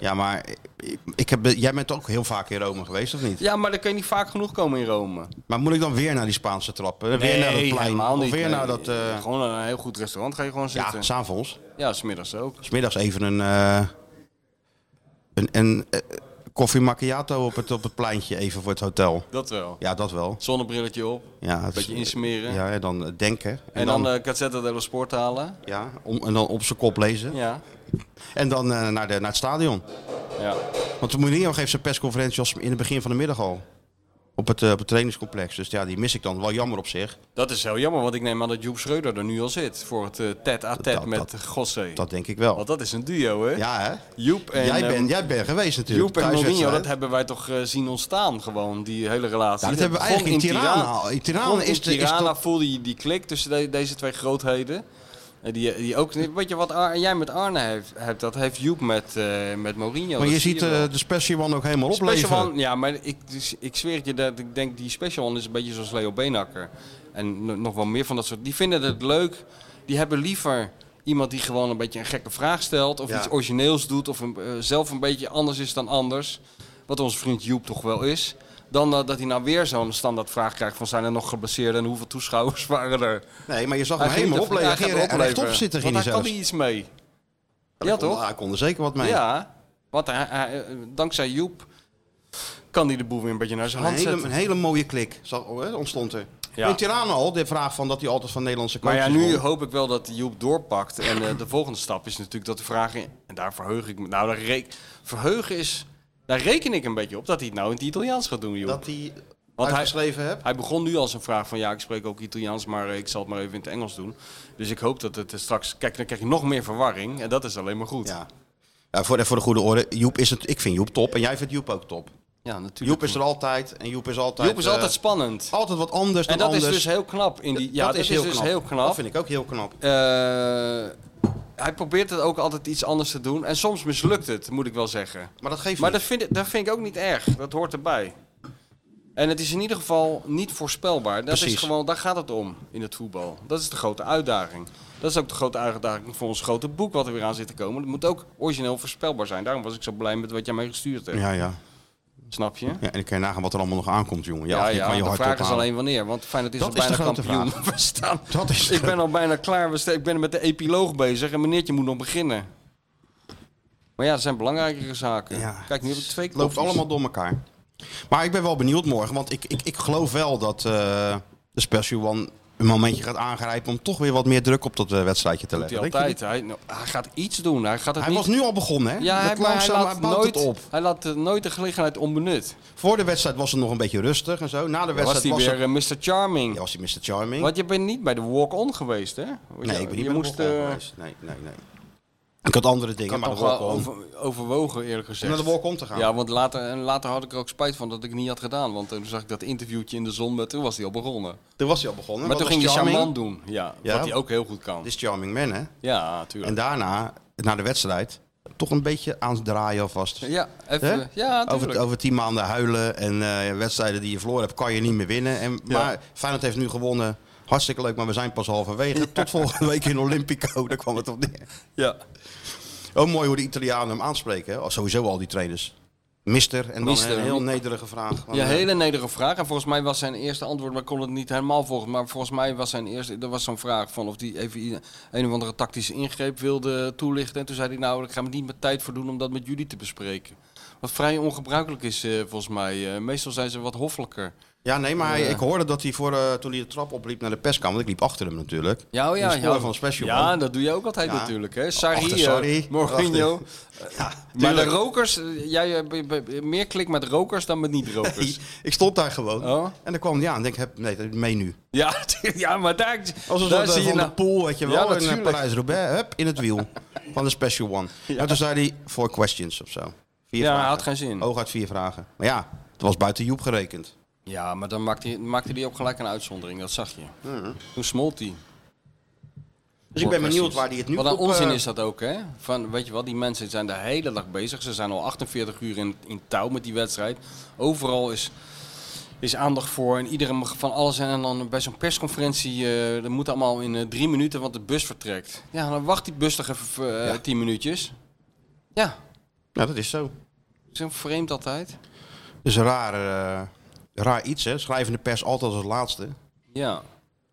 E: Ja, maar ik, ik heb, jij bent ook heel vaak in Rome geweest, of niet?
F: Ja, maar dan kun je niet vaak genoeg komen in Rome.
E: Maar moet ik dan weer naar die Spaanse trap? eh, Weer naar dat plein?
F: helemaal
E: Of
F: niet.
E: weer
F: nee.
E: naar dat... eh,
F: Gewoon naar een heel goed restaurant ga je gewoon
E: ja,
F: zitten.
E: s'avonds.
F: Ja, smiddags ook.
E: Smiddags even een... eh, een, een eh, koffie macchiato op het, op het pleintje even voor het hotel.
F: Dat wel.
E: Ja, dat wel.
F: Zonnebrilletje op,
E: Ja, het-
F: beetje insmeren.
E: Ja, en dan eh, denken. En,
F: En dan eh, de Gazzetta dello Sport halen.
E: ja, om, en dan op zijn kop lezen.
F: Ja.
E: En dan eh, naar, de, naar het stadion.
F: ja.
E: Want Mourinho geeft zijn persconferentie als in het begin van de middag al. Op het, eh, op het trainingscomplex. Dus ja, die mis ik dan. Wel jammer op zich.
F: Dat is heel jammer, want ik neem aan dat Joep Schreuder er nu al zit. Voor het eh
E: Dat-
F: tête-à-tête met
E: dat-
F: Gosse.
E: Dat denk ik wel.
F: Want dat is een duo, hè?
E: Ja, hè?
F: Joep en,
E: jij,
F: eh,
E: bent, jij bent geweest natuurlijk.
F: Joep en
E: Thuiswedstrijd.
F: Mourinho, dat hebben wij toch eh, zien ontstaan gewoon, die hele relatie.
E: Ja, dat hebben we
F: begon
E: eigenlijk in Tirana
F: Tirana.
E: al. In Tirana
F: Begon
E: is de- is
F: Tirana
E: dat-
F: voelde je die klik tussen de- deze twee grootheden. En die, die ook, weet je wat Ar- jij met Arne heeft, hebt, dat heeft Joep met, eh, met Mourinho.
E: Maar
F: Dat
E: je
F: zie
E: ziet
F: wel.
E: eh, de Special One ook helemaal opleven.
F: Special One, ja, maar ik, dus ik zweer het je dat ik denk die Special One is een beetje zoals Leo Beenakker. En no- nog wel meer van dat soort. Die vinden het leuk. Die hebben liever iemand die gewoon een beetje een gekke vraag stelt. Of
E: Ja.
F: iets origineels doet. Of een, eh, zelf een beetje anders is dan anders. Wat onze vriend Joep toch wel is. Dan eh, dat hij nou weer zo'n standaard vraag krijgt van zijn er nog geblesseerden en hoeveel toeschouwers waren er.
E: Nee, maar je zag
F: Hij
E: hem
F: ging
E: helemaal
F: ervan- hij
E: opleven.
F: ging
E: Hij
F: opleven.
E: ging rechtop zitten, ging
F: Want
E: hij
F: hij kan
E: zelfs. Nou,
F: hier iets mee. Ja, toch?
E: Hij kon er zeker wat mee.
F: Ja, want hij, hij- eh, dankzij Joep kan hij de boel weer een beetje naar zijn
E: Een
F: hand
E: hele,
F: zetten.
E: een hele mooie klik zag- hè, ontstond er.
F: Ja.
E: In Tirana al, de vraag van dat hij altijd van Nederlandse
F: Maar
E: coaches
F: ja, nu
E: won.
F: hoop ik wel dat Joep doorpakt. En eh, de volgende stap is natuurlijk dat de vraag... in- En daar verheug ik me... Nou, daar re- verheugen is... Daar reken ik een beetje op dat hij het nou in het Italiaans gaat doen, Joep.
E: Dat hij
F: Want hij,
E: uitgeschreven hebt.
F: hij begon nu als een vraag van... Ja, ik spreek ook Italiaans, maar eh, ik zal het maar even in het Engels doen. Dus ik hoop dat het eh, straks... Kijk, dan krijg je nog meer verwarring. En dat is alleen maar goed.
E: Ja. Ja, voor, de- voor de goede orde, Joep is het, ik vind Joep top en jij vindt Joep ook top.
F: Ja, natuurlijk.
E: Joep is er altijd en Joep is altijd...
F: Joep is
E: eh,
F: altijd spannend.
E: altijd wat anders dan
F: En dat
E: anders.
F: is dus heel knap. In die, ja, dat, is, dus heel knap.
E: Dat vind ik ook heel knap.
F: Eh, hij probeert het ook altijd iets anders te doen. En soms mislukt het, moet ik wel zeggen.
E: Maar dat geeft
F: Maar dat
E: niet.
F: vind, ik, dat vind ik ook niet erg. Dat hoort erbij. En het is in ieder geval niet voorspelbaar. Dat is
E: Precies.
F: gewoon, daar gaat het om in het voetbal. Dat is de grote uitdaging. Dat is ook de grote uitdaging voor ons grote boek wat er weer aan zit te komen. Dat moet ook origineel voorspelbaar zijn. Daarom was ik zo blij met wat jij mij gestuurd hebt.
E: Ja, ja.
F: Snap je?
E: ja. En dan kan je nagaan wat er allemaal nog aankomt, jongen. Ja,
F: Ja,
E: je
F: ja,
E: kan je
F: de
E: hart
F: vraag is
E: ophalen.
F: alleen wanneer. Want Feyenoord is
E: Dat
F: al
E: is de
F: bijna
E: grote
F: kampioen. We staan,
E: Dat is
F: ik ben al bijna klaar. We sta- Ik ben met de epiloog bezig. En meneertje moet nog beginnen. Maar ja, er zijn belangrijkere zaken.
E: Ja.
F: Kijk, nu heb ik twee
E: Het loopt
F: koffies.
E: allemaal door elkaar. Maar ik ben wel benieuwd morgen, want ik, ik, ik geloof wel dat eh, de Special One een momentje gaat aangrijpen om toch weer wat meer druk op dat eh, wedstrijdje te
F: Doet
E: leggen.
F: hij
E: Denk je
F: altijd. Hij, nou, hij gaat iets doen. Hij gaat het
E: niet? Hij
F: niet...
E: was nu al begonnen, hè?
F: ja,
E: Dat
F: hij, maar hij
E: langzaam,
F: laat
E: bouwt
F: nooit,
E: het op.
F: hij laat eh, nooit de gelegenheid onbenut.
E: Voor de wedstrijd was het nog een beetje rustig en zo. Na
F: Dan
E: de
F: was
E: wedstrijd
F: hij
E: was,
F: weer
E: het...
F: eh, Mr. Charming.
E: Ja, was hij Mr. Charming.
F: Want je bent niet bij de walk-on geweest, hè?
E: Nee, ik ben niet
F: je
E: bij de
F: moest,
E: walk-on
F: eh,
E: geweest. Nee, nee, nee. Ik had andere
F: Ik
E: dingen,
F: had
E: maar de
F: toch wel
E: walk-on.
F: over, overwogen, eerlijk
E: Om
F: gezegd.
E: naar de walk-on te gaan.
F: Ja, want later, en later had ik er ook spijt van dat ik het niet had gedaan. Want eh, toen zag ik dat interviewtje in de zon, maar toen was hij al begonnen.
E: Toen was hij al begonnen.
F: maar
E: Hm, Wat
F: toen
E: was
F: ging hij
E: Charming?
F: Shaman doen. Ja,
E: Ja.
F: wat hij ook heel goed kan.
E: Dit is Charming Man, hè?
F: Ja, tuurlijk.
E: En daarna, na de wedstrijd, toch een beetje aan het draaien alvast.
F: Ja,
E: Hè?
F: even. Ja,
E: Over,
F: tuurlijk.
E: over tien maanden huilen en eh, wedstrijden die je verloren hebt, kan je niet meer winnen. En, Maar Feyenoord heeft nu gewonnen. Hartstikke leuk, maar we zijn pas halverwege. Tot volgende week in Olympico, daar kwam het op neer.
F: Ja.
E: Ook mooi hoe de Italianen hem aanspreken. hè. Al- Sowieso al die trainers. Mister, en dan
F: Mister.
E: een heel nederige vraag. Want,
F: Ja,
E: eh,
F: hele nederige vraag. En volgens mij was zijn eerste antwoord, maar ik kon het niet helemaal volgen. Maar volgens mij was zijn eerste, er was zo'n vraag van of hij even i- een of andere tactische ingreep wilde toelichten. En toen zei hij, nou, ik ga me niet mijn tijd voor doen om dat met jullie te bespreken. Wat vrij ongebruikelijk is eh, volgens mij. Eh, meestal zijn ze wat hoffelijker.
E: Ja, nee, maar hij-
F: Ja.
E: ik hoorde dat hij voor, eh, toen hij de trap opliep naar de perskamer, want ik liep achter hem natuurlijk.
F: Ja, oh ja,
E: De sporen
F: ja.
E: van Special,
F: Ja,
E: man.
F: dat doe je ook altijd
E: Ja.
F: natuurlijk. Hè? Sarri,
E: Achter
F: eh,
E: Sarri,
F: Mourinho. Eh,
E: Ja,
F: Maar de
E: tuurlijk.
F: rokers, eh, jij eh, b- b- b- meer klik met rokers dan met
E: Ik-
F: niet-rokers.
E: Ik stond daar gewoon.
F: Dus- Oh.
E: En dan kwam hij aan en ik heb nee, dat- mee nu.
F: Ja, ja, maar daar,
E: Als een
F: daar
E: soort
F: zie
E: eh,
F: je
E: van
F: nou...
E: de pool, weet je
F: Ja,
E: wel, in eh,
F: natuurlijk.
E: Parijs-Roubaix, hup, in het wiel van de Special One. En toen zei hij, four questions of zo. Vier
F: Ja,
E: vragen.
F: had geen zin.
E: Hooguit vier vragen. Maar ja, het was buiten Joep gerekend.
F: Ja, maar dan maakte hij, maakte hij ook gelijk een uitzondering, dat zag je. Toen smolt hij.
E: Dus ik ben benieuwd waar hij het nu
F: Wat een
E: op,
F: onzin
E: eh,
F: is dat ook, hè? Van, weet je wat, die mensen zijn de hele dag bezig. Ze zijn al 48 uur in, in touw met die wedstrijd. Overal is, is aandacht voor en iedereen mag van alles. En en dan bij zo'n persconferentie, eh dat moet allemaal in eh, drie minuten, want de bus vertrekt. Ja, dan wacht die bus toch even eh,
E: Ja.
F: tien minuutjes. Ja,
E: Ja, dat is zo.
F: zo vreemd altijd.
E: Dus een raar, eh, raar iets, hè. Schrijvende pers altijd als laatste.
F: Ja.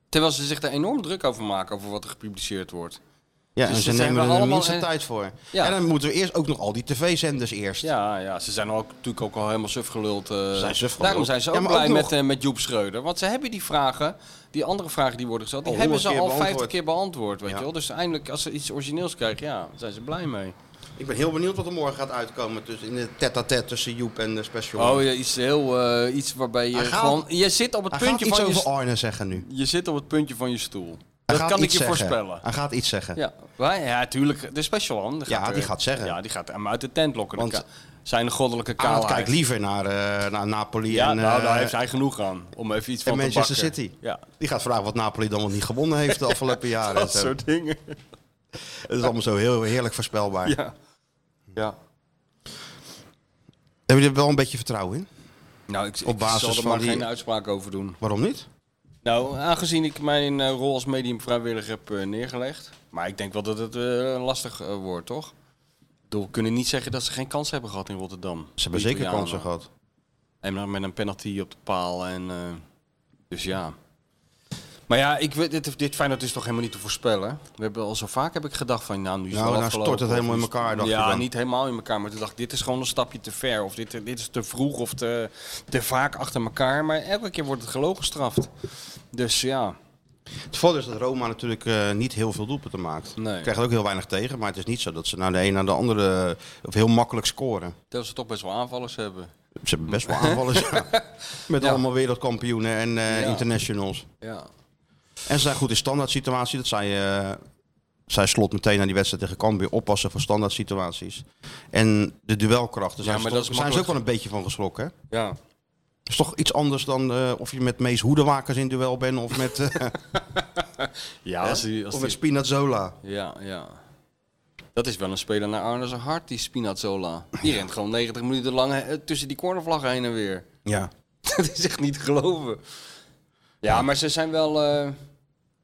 F: Terwijl ze zich daar enorm druk over maken, over wat er gepubliceerd wordt. Dus
E: Ja, en
F: dat
E: ze
F: zijn we
E: nemen er de
F: allemaal,
E: minste
F: eh,
E: tijd voor.
F: ja.
E: En dan moeten we eerst ook nog al die tv-zenders eerst.
F: Ja, ja, ze zijn ook, natuurlijk ook al helemaal suf geluld. eh.
E: zijn suf geluld.
F: Daarom zijn ze ook
E: Ja, maar
F: blij
E: ook nog-
F: met, eh, met Joep Schreuder. Want ze hebben die vragen, die andere vragen die worden gesteld, die
E: Al
F: hebben ze
E: honderd
F: al
E: Oh, keer
F: 50
E: beantwoord.
F: keer beantwoord. Weet
E: Ja.
F: je wel? Dus eindelijk, als ze iets origineels krijgen, ja, zijn ze blij mee.
E: Ik ben heel benieuwd wat er morgen gaat uitkomen. Dus in de tête-à-tête tussen Joep en de Special One.
F: Oh ja, iets heel, eh, iets waarbij je
E: Hij gaat-
F: gewoon, je zit op het
E: Hij gaat
F: puntje
E: iets
F: van je,
E: over
F: st-
E: Arne zeggen nu.
F: je zit op het puntje van je stoel.
E: Hij
F: Dat
E: gaat
F: kan ik
E: iets
F: je
E: zeggen.
F: voorspellen.
E: Hij gaat iets zeggen.
F: Ja, wij- ja, tuurlijk. De special one.
E: Ja, die
F: er-
E: gaat zeggen.
F: Ja, die gaat hem uit de tent lokken.
E: Want-
F: Want zijn goddelijke
E: Arnold
F: kaalheid.
E: kijkt liever naar, eh, naar Napoli
F: Ja,
E: en,
F: nou,
E: eh,
F: daar heeft hij genoeg aan. Om even iets van
E: en
F: te
E: Manchester
F: bakken.
E: City.
F: Ja,
E: Die gaat vragen wat Napoli dan wel niet gewonnen heeft de afgelopen jaren. en
F: dat
E: zo.
F: soort dingen.
E: Het is allemaal zo heel heerlijk voorspelbaar.
F: Ja. ja.
E: Hebben jullie er wel een beetje vertrouwen in?
F: Nou, ik,
E: Op
F: ik
E: basis
F: zal er
E: van
F: maar
E: die-
F: geen uitspraak over doen.
E: Waarom niet?
F: Nou, aangezien ik mijn eh, rol als medium vrijwillig heb eh, neergelegd. Maar ik denk wel dat het eh, lastig eh, wordt, toch? Ik bedoel, We kunnen niet zeggen dat ze geen kans hebben gehad in Rotterdam.
E: Ze hebben
F: Die
E: zeker
F: Italianen.
E: kansen gehad.
F: En dan nou met een penalty op de paal. En, eh, dus ja. Maar ja, ik weet, dit, dit Feyenoord is toch helemaal niet te voorspellen. We hebben al zo vaak heb ik gedacht van, nou nu is
E: Nou,
F: wel
E: nou
F: afgelopen,
E: stort het helemaal
F: of
E: in
F: nu is-
E: elkaar, dacht
F: Ja,
E: je dan.
F: niet helemaal in elkaar. Maar toen dacht ik, dit is gewoon een stapje te ver. Of dit, dit is te vroeg of te, te vaak achter elkaar. Maar elke keer wordt het geloof gestraft. Dus ja,
E: Het voordeel is dat Roma natuurlijk eh, niet heel veel doelpunten maakt.
F: Nee.
E: Ze Krijgen er ook heel weinig tegen. Maar het is niet zo dat ze naar de een naar de andere eh, of heel makkelijk scoren.
F: terwijl ze toch best wel aanvallers hebben.
E: Ze hebben best wel aanvallers. ja. Met
F: Ja.
E: allemaal wereldkampioenen en eh,
F: Ja.
E: internationals.
F: Ja.
E: En ze zijn goed in standaard situatie. Dat zei eh zei Slot meteen aan die wedstrijd tegen Cambuur oppassen voor standaard situaties. En de duelkrachten zijn,
F: Ja, maar
E: ze toch-
F: dat is
E: zijn ze ook
F: makkelijk.
E: wel een beetje van geschrokken. hè?
F: Ja.
E: is toch iets anders dan eh, of je met Mees Hoedewakers in duel bent of met, eh,
F: Ja, als die, als
E: of
F: die-
E: met Spinazzola.
F: ja, ja. Dat is wel een speler naar Arne zijn hart, die Spinazzola. Die rent gewoon 90 minuten lang eh, tussen die cornervlaggen heen en weer.
E: Ja.
F: dat is echt niet te geloven. Ja, maar ze zijn wel. eh,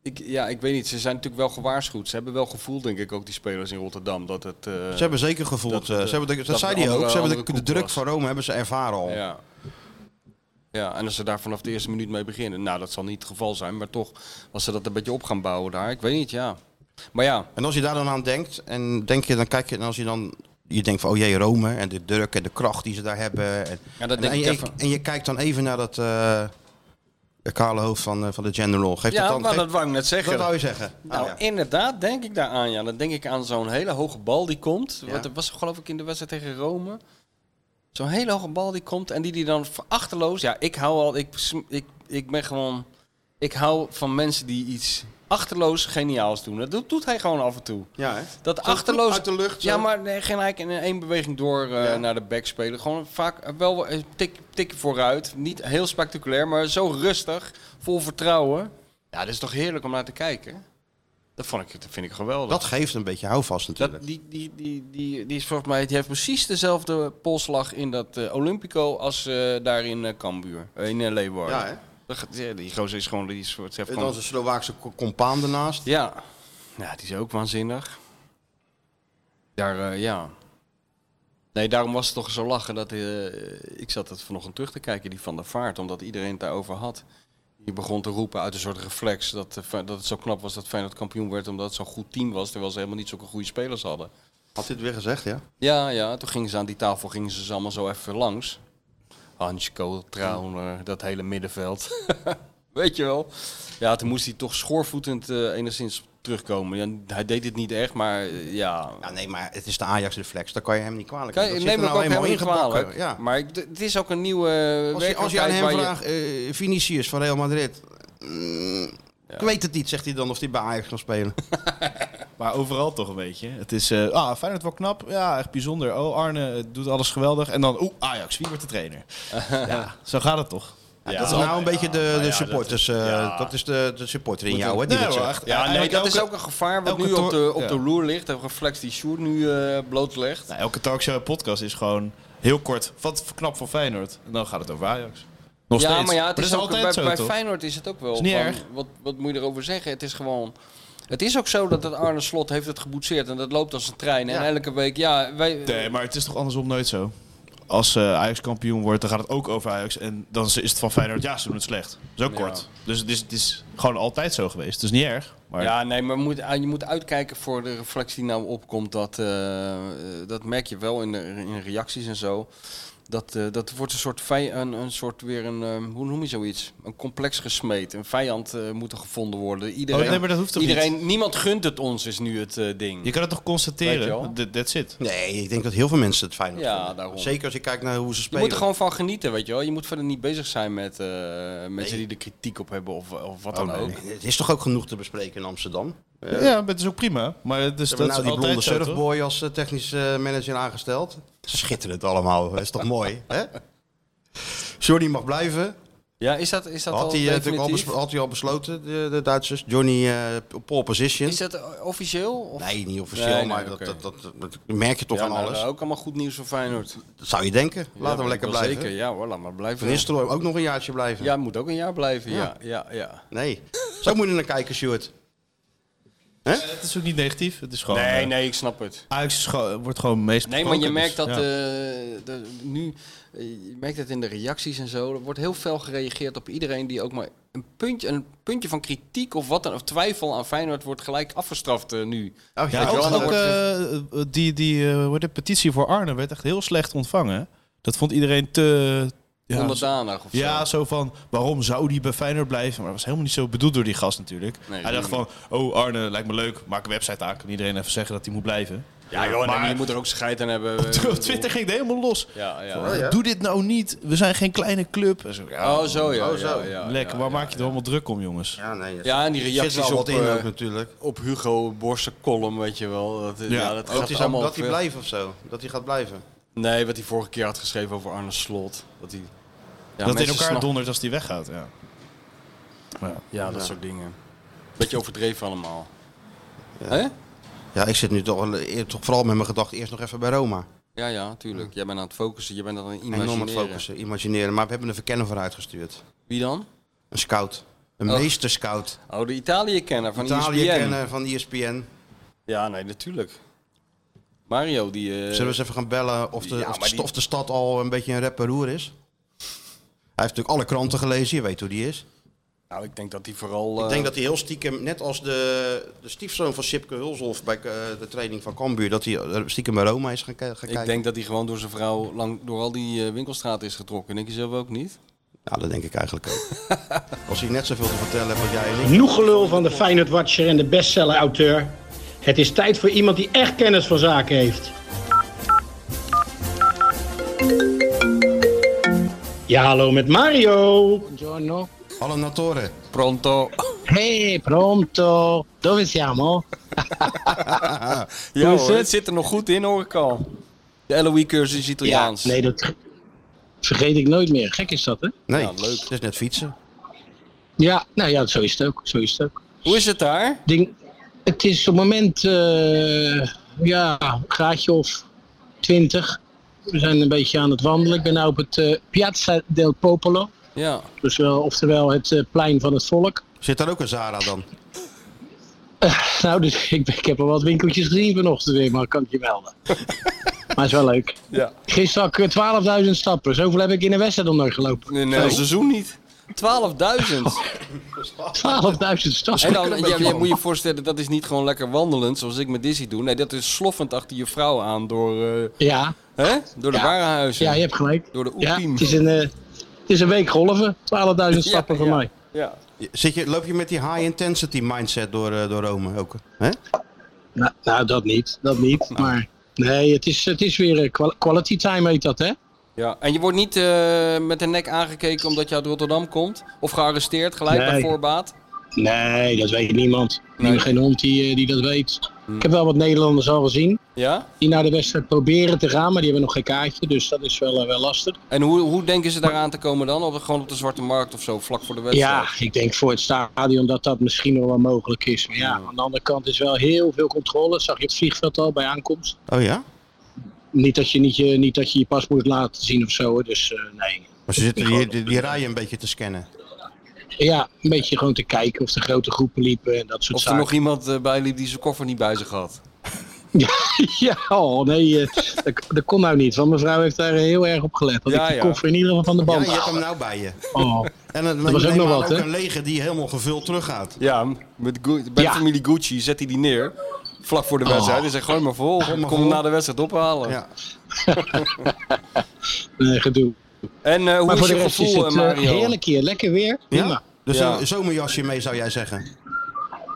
F: ik, ja, ik weet niet. Ze zijn natuurlijk wel gewaarschuwd. Ze hebben wel gevoel, denk ik, ook die spelers in Rotterdam. Dat het. eh,
E: Ze hebben zeker gevoeld,
F: Dat,
E: dat,
F: eh,
E: ze hebben de- dat,
F: dat
E: zei
F: de
E: hij ook,
F: andere-
E: ze hebben
F: andere
E: de, de
F: koek
E: druk
F: was.
E: van Rome hebben ze ervaren al.
F: Ja. ja, en als ze daar vanaf de eerste minuut mee beginnen. Nou, dat zal niet het geval zijn. Maar toch, als ze dat een beetje op gaan bouwen daar. Ik weet niet, ja. Maar ja,
E: En als je daar dan aan denkt, en denk je, dan kijk je, en als je dan, je denkt van, oh jee, Rome, en de druk en de kracht die ze daar hebben. En,
F: Ja, dat
E: en,
F: denk
E: en
F: ik
E: je,
F: even.
E: en je kijkt dan even naar dat eh, kale hoofd van, eh, van de general. Geeft
F: ja
E: dat dan,
F: maar
E: geeft-
F: dat wou ik net zeggen.
E: dat wou je zeggen.
F: Nou,
E: Ah, ja.
F: inderdaad, denk ik daar aan. Ja. Dan denk ik aan zo'n hele hoge bal die komt.
E: Ja.
F: Want Dat was geloof ik in de wedstrijd tegen Rome. Zo'n hele hoge bal die komt en die die dan achterloos. Ja, ik hou al. Ik, sm- ik, ik ben gewoon. Ik hou van mensen die iets achterloos geniaals doen. Dat doet, doet hij gewoon af en toe.
E: Ja, hè?
F: Dat
E: Zo
F: achterloos.
E: uit de lucht, zo.
F: Ja, maar nee, geen eigenlijk in één beweging door eh,
E: Ja.
F: naar de back spelen. Gewoon vaak eh, wel een tik, tikje vooruit. Niet heel spectaculair, maar zo rustig. Vol vertrouwen. Ja, dat is toch heerlijk om naar te kijken. Dat, vond ik, dat vind ik geweldig.
E: Dat geeft een beetje houvast natuurlijk.
F: Dat- die, die, die, die, die is volgens mij, die heeft precies dezelfde polslag in dat eh, Olympico als eh, daar in eh, Cambuur. Eh, in eh, Leeuwarden.
E: ja, hè?
F: Dat gaat- ja, die gozer is gewoon... Die is, het heeft
E: En
F: gewoon
E: dan zijn Slovaakse co- compaan ernaast.
F: ja. ja, die is ook waanzinnig. Daar, eh, ja. Nee, daarom was het toch zo lachen dat eh, ik zat het vanochtend terug te kijken, die van de vaart, omdat iedereen het daarover had. Die begon te roepen uit een soort reflex dat, eh, Fe- dat het zo knap was dat Feyenoord kampioen werd omdat het zo'n goed team was, terwijl ze helemaal niet zulke goede spelers hadden.
E: Had dit weer gezegd, ja?
F: Ja, ja, toen gingen ze aan die tafel gingen ze allemaal zo even langs. Hansko, Trauner, eh, dat hele middenveld. Weet je wel. Ja, toen moest hij toch schoorvoetend eh, enigszins terugkomen. Ja, hij deed het niet echt, maar eh, ja.
E: Ja, nee, maar het is de Ajax-reflex. Daar kan je hem niet kwalijk
F: Kijk,
E: nemen.
F: neem me
E: nou
F: ook
E: eenmaal
F: helemaal niet kwalijk.
E: ingebakken. Ja.
F: Maar ik- d- het is ook een nieuwe eh,
E: Als je, als je aan
F: werkelijkheid
E: hem
F: waar
E: vraagt, eh, Vinicius van Real Madrid. mm, Ik weet het niet, zegt hij dan, of hij bij Ajax kan spelen.
A: Maar overal toch een beetje. Het is, eh ah, Feyenoord wel knap. Ja, echt bijzonder. Oh, Arne eh, doet alles geweldig. En dan, oeh, Ajax, wie wordt de trainer? ja, zo gaat het toch?
E: Ja, dat is nou een beetje de, de supporters. eh, Dat is de, de supporter in jou, hè? Die
A: Nee,
E: dat
A: hoor,
E: zegt.
A: echt.
F: Ja, nee,
A: Eigenlijk
F: dat is
A: elke-
F: ook een gevaar wat
A: elke
F: nu op de,
A: tor-
F: op de
A: ja.
F: loer ligt. Een reflex die Sjoerd nu eh blootlegt.
A: Nou, elke talkshow en podcast is gewoon heel kort. Wat voor knap van Feyenoord. En dan gaat het over Ajax. Nog
F: ja,
A: steeds.
F: maar ja, het
A: dat
F: is, ook, bij,
A: altijd zo,
F: bij
A: toch?
F: Feyenoord is het ook wel.
A: Is niet
F: van,
A: erg.
F: Wat, wat moet je erover zeggen? Het is gewoon. Het is ook zo dat dat Arne Slot heeft het geboetseerd en dat loopt als een trein. En elke week, ja, wij.
A: Nee, maar het is toch andersom nooit zo? Als eh, Ajax kampioen wordt, dan gaat het ook over Ajax. En dan is het van Feyenoord, ja, ze doen het slecht. Zo kort. Dus het is, het is gewoon altijd zo geweest. Het is niet erg. Maar
F: Ja, nee, maar moet, ah, je moet uitkijken voor de reflectie die nou opkomt. Dat, eh, eh, dat merk je wel in, de, in reacties en zo. Dat, eh, dat wordt een soort, vij- een, een soort weer een, eh, hoe noem je zoiets? Een complex gesmeed. Een vijand eh, moet er gevonden worden. Iedereen,
A: Oh, nee, maar dat hoeft toch
F: iedereen, Niemand gunt het ons, is nu het eh, ding.
A: je kan het toch
F: Weet je wel?
A: constateren? That- That's it.
E: Nee, ik denk dat heel veel mensen het fijn
F: Ja,
E: vinden.
F: daarom.
E: Zeker als je kijkt naar hoe ze
F: Je
E: spelen.
F: moet er gewoon van genieten, weet je wel. Je moet verder niet bezig zijn met eh, mensen die er kritiek op hebben of, of wat
E: Oh,
F: dan ook.
E: Het is toch ook genoeg te bespreken in Amsterdam?
A: Ja, maar het is ook prima. Maar het is,
E: Ze
A: dat
E: hebben nou
A: is
E: die blonde
A: altijd zo, toch?
E: surfboy als eh, technisch eh, manager aangesteld. Schitterend allemaal, dat is toch mooi, hè? Johnny mag blijven.
F: Ja, is dat, is dat
E: Had
F: al
E: hij, eh, natuurlijk al,
F: definitief?
E: bes- had hij al besloten, de, de Duitsers? Johnny eh, op pole position.
F: Is dat eh, officieel? Of?
E: Nee, niet officieel,
F: Nee, nee,
E: maar
F: oké.
E: dat, dat, dat, dat merk je toch
F: Ja,
E: aan
F: nou,
E: alles.
F: Ook allemaal goed nieuws voor Feyenoord.
E: Dat zou je denken.
F: Ja, ben
E: Laten we
F: ik
E: lekker
F: wel
E: blijven.
F: Zeker, ja hoor, laat maar blijven.
E: Van Nistelrooy ook nog een jaartje blijven.
F: Ja, moet ook een jaar blijven, ja. ja, ja,
E: Nee. Zo moet je er naar kijken, Oh, Stuart.
A: Het is ook niet negatief. Het is gewoon...
F: Nee,
A: eh,
F: nee, ik snap het.
A: Ajax is gewoon- wordt gewoon meest
F: Nee, maar je
A: besproken,
F: merkt
A: dus,
F: dat eh
A: ja.
F: de- nu, eh, je merkt dat in de reacties en zo, er wordt heel fel gereageerd op iedereen die ook maar een puntje, een puntje van kritiek of wat dan, of twijfel aan Feyenoord wordt gelijk afgestraft eh, nu.
E: Oh,
A: Ja,
F: Weet je
A: ook,
F: wel, dan
A: ook,
F: wordt-
A: eh, die, die eh, hoe heet het, petitie voor Arne werd echt heel slecht ontvangen. Dat vond iedereen te... Ja,
F: onderdanig of zo.
A: Ja, zo van, waarom zou die bij Feyenoord blijven? Maar dat was helemaal niet zo bedoeld door die gast natuurlijk.
F: Nee,
A: hij dacht van, oh Arne, lijkt me leuk, maak een website aan. Kan iedereen even zeggen dat hij moet blijven?
F: Ja, joh, nee,
A: Maar-
F: maar je moet er ook scheid aan hebben.
A: Op Twitter ging het helemaal los.
F: Ja, ja.
E: Oh,
A: Doe dit nou niet. We zijn geen kleine club. En zo, ja,
F: Oh, zo ja.
E: Oh, zo.
F: ja, ja,
A: lekker,
F: ja,
A: waar
F: ja.
A: maak je er allemaal druk om, jongens?
E: Ja, nee. er
F: Ja, en die
E: zit
F: reacties
E: wel
F: op,
E: wat in
F: eh,
E: ook natuurlijk.
F: Op Hugo Borsten column, weet je wel. Dat, ja. dat
E: Oh, Ook
F: gaat
E: die zou,
F: allemaal eh,
E: dat hij
F: veel-
E: blijft of zo. Dat hij gaat blijven.
F: Nee, wat hij vorige keer had geschreven over Arne Slot. Dat hij... Ja,
A: dat
F: mensen
A: in elkaar
F: snappen-
A: dondert als die weggaat. Ja.
F: Ja, dat
E: Ja.
F: soort dingen. Beetje overdreven allemaal. Hè?
E: Ja, ik zit nu toch, wel- eh, toch vooral met mijn gedachten eerst nog even bij Roma.
F: Ja, ja, tuurlijk. Jij bent aan het focussen, jij bent aan het imagineren.
E: Enorm aan het focussen, imagineren. Maar we hebben een verkenner vooruit gestuurd.
F: Wie dan?
E: Een scout. Een
F: Oh.
E: meester scout.
F: Oh, de Italië-kenner van E
E: Italië
F: ESPN.
E: kennen van E ESPN.
F: Ja, nee, natuurlijk. Mario, die... eh,
E: Zullen we eens even gaan bellen of de,
F: ja,
E: of, de
F: maar
E: st-
F: die-
E: of de stad al een beetje een rep en roer is? Hij heeft natuurlijk alle kranten gelezen, je weet hoe die is.
F: Nou, ik denk dat die vooral...
E: Ik
F: eh,
E: denk dat hij heel stiekem, net als de, de stiefzoon van Sipke Hulshoff bij eh, de training van Cambuur, dat hij eh, stiekem bij Roma is gaan, ki- gaan
F: Ik
E: kijken.
F: denk dat hij gewoon door zijn vrouw lang door al die eh, winkelstraten is getrokken. Denk je zelf ook niet?
E: Nou, dat denk ik eigenlijk ook. als hij net zoveel te vertellen heeft als jij en ik.
G: Genoeg gelul van de Feyenoord Watcher en de bestseller auteur. Het is tijd voor iemand die echt kennis van zaken heeft. Ja, hallo met Mario. Buongiorno.
E: Hallo Natore.
F: Pronto.
G: Hey, pronto. Dove siamo?
F: Ja
G: is
F: hoor,
G: het?
F: het zit er nog goed in hoor ik al. De LOE-cursus is Italiaans.
G: nee, dat vergeet ik nooit meer. Gek is dat, hè?
E: Nee,
F: Ja, leuk.
E: het is net fietsen.
G: Ja, nou ja, zo is het ook. Zo is het ook.
F: Hoe is het daar?
G: Ding, het is op het moment, eh, ja, een graadje of twintig. We zijn een beetje aan het wandelen. Ik ben nu op het eh, Piazza del Popolo.
F: Ja.
G: Dus wel, oftewel het eh, plein van het volk.
E: Zit daar ook een Zara dan?
G: Nou, dus ik, ben- ik heb al wat winkeltjes gezien vanochtend weer, maar kan ik je melden. maar het is wel leuk.
F: Ja.
G: Gisteren had ik eh, 12.000 stappen. Zoveel heb ik in een wedstrijd nog nooit gelopen.
F: Nee, nee, seizoen niet. 12.000.
G: 12.000 stappen.
F: En dan,
E: een
F: ja,
E: beetje
F: je
E: om.
F: moet je voorstellen, dat is niet gewoon lekker wandelend zoals ik met Dizzy doe. Nee, dat is sloffend achter je vrouw aan door, eh,
G: Ja,
F: hè? door de
G: Ja.
F: warenhuizen.
G: ja, je hebt gelijk.
F: Door de
G: Ja,
F: Oepiem.
G: het, is een, eh, het is een week golven. 12.000 stappen
F: Ja,
G: voor
F: ja.
G: mij.
F: Ja.
E: Zit je, loop je met die high intensity mindset door, eh, door Rome ook? Hè?
G: Nou, nou, dat niet. Dat niet.
F: Nou.
G: Maar nee, het is, het is weer eh, kwa- quality time heet dat, hè?
F: Ja. En je wordt niet eh, met de nek aangekeken omdat je uit Rotterdam komt? Of gearresteerd gelijk bij
G: Nee.
F: voorbaat?
G: Nee, dat weet niemand.
F: Nee. Hmm.
G: Geen hond die, eh, die dat weet. Ik heb wel wat Nederlanders al gezien.
F: Ja?
G: die naar de wedstrijd proberen te gaan, maar die hebben nog geen kaartje, dus dat is wel, eh, wel lastig.
F: En hoe, hoe denken ze daaraan te komen dan? Op, gewoon op de Zwarte Markt of zo, vlak voor de wedstrijd?
G: Ja, ik denk voor het stadion dat dat misschien nog wel mogelijk is. Maar ja, aan de andere kant is wel heel veel controle. Dat zag je op het vliegveld al bij aankomst.
E: Oh ja?
G: Niet dat je niet je, niet dat je, je pas moet laten zien of zo, hoor. dus eh, nee.
E: Maar ze zitten die, die, die rijen een beetje te scannen.
G: Ja, een beetje gewoon te kijken of de grote groepen liepen en dat soort
F: Of er
G: zaken.
F: nog iemand eh, bij liep die zijn koffer niet bij zich had?
G: Ja, oh, nee, eh, dat, dat kon nou niet, want mevrouw heeft daar heel erg op gelet. Dat
F: Ja,
G: ik die
F: ja.
G: koffer in ieder geval van de
E: Ja,
G: band
E: je hebt hem
G: haalde.
E: nou bij je.
G: Oh.
E: En dan
G: was ook
E: neem
G: nog
E: aan
G: wat,
E: ook
G: hè?
E: een lege die helemaal gevuld teruggaat.
F: Ja, met Gu- bij
G: Ja. Oh.
F: de familie Gucci zet hij die neer. Vlak voor de wedstrijd. Hij zegt, gooi maar vol.
E: maar
F: Kom hem
E: vol.
F: na de wedstrijd ophalen.
E: Ja.
G: Nee, gedoe.
F: En eh, hoe
G: Maar
F: is
G: voor de
F: je
G: rest is
F: gevoel,
G: het
F: eh,
G: eh,
F: Mario?
G: heerlijk hier, lekker weer. Prima.
E: ja? Dus
F: Ja.
E: een zomerjasje mee zou jij zeggen.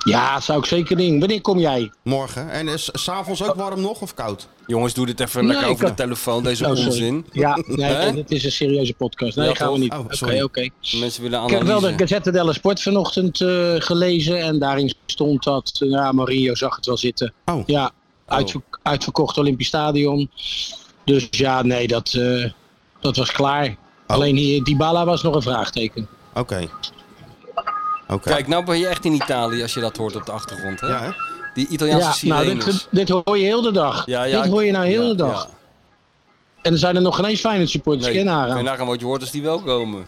G: Ja, zou ik zeker doen. Wanneer kom jij?
E: Morgen. En is s'avonds ook warm nog of koud?
F: Jongens, doe dit even
G: Nee,
F: lekker
G: ik
F: over de
G: had-
F: telefoon, deze
G: Oh, sorry.
F: onzin.
G: Ja, nee,
F: Hè?
G: het is een serieuze podcast. Nee,
F: Ja,
G: gaan we
F: toch?
G: niet.
E: Oh,
G: Oké, oké.
E: sorry.
F: Mensen willen
G: Ik heb wel de
F: analyse.
G: Gazette della Sport vanochtend eh, gelezen en daarin stond dat, eh, ja, Mario zag het wel zitten.
E: Oh.
G: Ja, uitver- uitverkocht Olympisch Stadion. Dus ja, nee, dat, eh, dat was klaar.
F: Oh.
G: Alleen hier, Dybala was nog een vraagteken.
E: Oké. Oké.
F: Kijk, nou ben je echt in Italië als je dat hoort op de achtergrond, hè?
E: Ja, hè?
F: Die Italiaanse
G: nou,
F: sirenes.
G: dit, dit hoor je heel de dag.
F: Ja, ja,
G: dit hoor je nou heel
F: ja,
G: de dag.
F: ja.
G: En er zijn er nog geen eens Feyenoord supporters.
F: Nee,
G: Ken je
F: kun je
G: nagaan.
F: nagaan wat je hoort als die wel komen.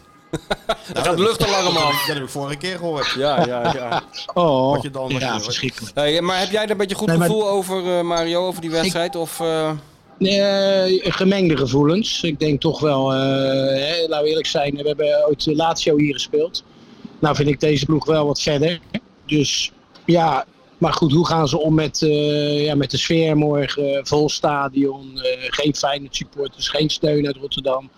F: Hij gaat luchtalarm af.
E: Dat heb ik vorige keer gehoord.
F: Nou, Ja, ja, ja.
G: Oh,
E: je dan- wat je-
G: ja,
E: wat-
G: verschrikkelijk.
F: Hey, maar heb jij daar een beetje goed
G: Nee, maar-
F: gevoel over, eh, Mario, over die wedstrijd? Of, eh,
G: Nee, Eh, gemengde gevoelens. Ik denk toch wel, eh, hè, laten we eerlijk zijn, we hebben ooit Lazio hier gespeeld. Nou vind ik deze ploeg wel wat verder. Dus ja, maar goed, hoe gaan ze om met, eh, ja, met de sfeer morgen? Vol stadion, eh, geen Feyenoord supporters, geen steun uit Rotterdam.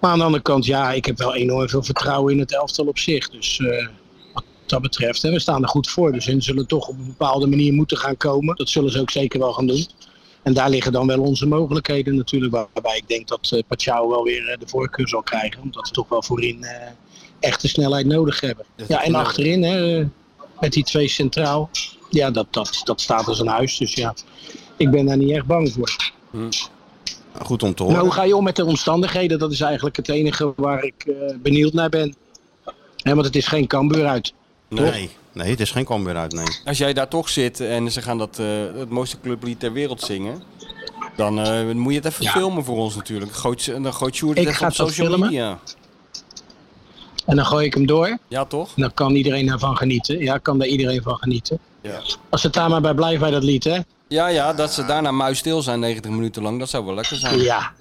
G: Maar aan de andere kant, ja, ik heb wel enorm veel vertrouwen in het elftal op zich. Dus eh, wat dat betreft. En we staan er goed voor. Dus hun zullen toch op een bepaalde manier moeten gaan komen. Dat zullen ze ook zeker wel gaan doen. En daar liggen dan wel onze mogelijkheden natuurlijk. Waarbij ik denk dat eh Pachau wel weer eh, de voorkeur zal krijgen. Omdat we toch wel voorin eh, echt de snelheid nodig hebben.
E: Dat
G: ja,
E: is
G: en
E: nodig.
G: achterin hè, met die twee centraal. Ja, dat, dat, dat staat als een huis. Dus ja, ik ben daar niet echt bang voor.
E: Goed om te
G: Maar Nou, hoe
E: horen.
G: ga je om met de omstandigheden? Dat is eigenlijk het enige waar ik eh, benieuwd naar ben. Hè, want het is geen Cambuur uit.
E: Nee, nee, het is geen kwam weer uit, nee.
F: Als jij daar toch zit en ze gaan dat, eh, het mooiste clublied ter wereld zingen, dan eh, moet je het even
G: Ja.
F: filmen voor ons natuurlijk. Gooit, ze- dan gooit Sjoerd
G: Ik
F: het even
G: ga
F: op
G: dat
F: social
G: filmen.
F: media.
G: En dan gooi ik hem door.
F: Ja, toch?
G: En dan kan iedereen daarvan genieten. Ja, kan daar iedereen van genieten.
F: Ja.
G: Als het daar maar bij blijft bij dat lied, hè?
F: Ja, ja, dat ze daarna muisstil zijn 90 minuten lang, dat zou wel lekker zijn.
G: Ja,